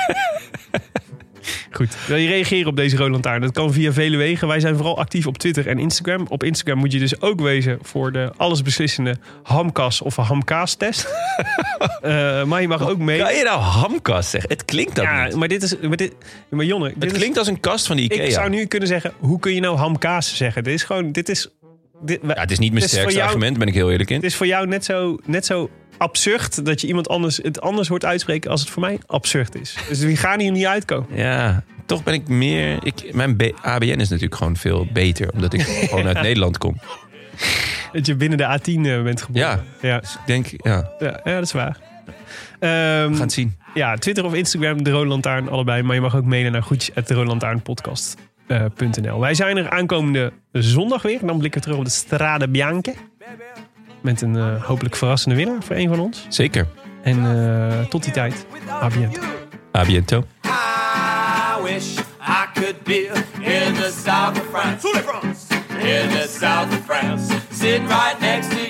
[SPEAKER 2] Goed, wil je reageren op deze Roland Taarn? Dat kan via vele wegen. Wij zijn vooral actief op Twitter en Instagram. Op Instagram moet je dus ook wezen voor de allesbeslissende hamkas of hamkaas-test. Eh, maar je mag ook mee.
[SPEAKER 1] Kan je nou hamkast zeggen? Het klinkt dat
[SPEAKER 2] Ja,
[SPEAKER 1] niet.
[SPEAKER 2] maar dit is... Maar, dit, maar Jonne, dit
[SPEAKER 1] Het
[SPEAKER 2] is-
[SPEAKER 1] klinkt als een kast van de Ikea.
[SPEAKER 2] ik zou nu kunnen zeggen, hoe kun je nou hamkaas zeggen? Dit is gewoon... Dit is, dit,
[SPEAKER 1] ja, het is niet mijn
[SPEAKER 2] Het is
[SPEAKER 1] sterkste
[SPEAKER 2] voor jou-
[SPEAKER 1] argument, ben ik heel eerlijk in.
[SPEAKER 2] het is voor jou net zo, net zo absurd dat je iemand anders het anders hoort uitspreken als het voor mij absurd is. Dus we gaan hier niet uitkomen.
[SPEAKER 1] Ja, toch ben ik meer... Ik, mijn B- ABN is natuurlijk gewoon veel beter, omdat ik gewoon uit Nederland kom.
[SPEAKER 2] Dat je binnen de A10 eh, bent geboren.
[SPEAKER 1] Ja.
[SPEAKER 2] Ja,
[SPEAKER 1] Dus ik denk, ja,
[SPEAKER 2] ja, ja, dat is waar.
[SPEAKER 1] we
[SPEAKER 2] Ehm,
[SPEAKER 1] gaan het zien.
[SPEAKER 2] Ja, Twitter of Instagram, de Rode Lantaarn, allebei. Maar je mag ook mailen naar eh, groetjes.deroodlantaarnpodcast.nl. Wij zijn er aankomende zondag weer. En dan blikken we terug op de Strade Bianche. Met een eh, hopelijk verrassende winnaar voor een van ons.
[SPEAKER 1] Zeker.
[SPEAKER 2] En eh, tot die tijd, ABN.
[SPEAKER 1] A biento.
[SPEAKER 6] I wish I could be in the south of France. In the south of France. Sitting right next to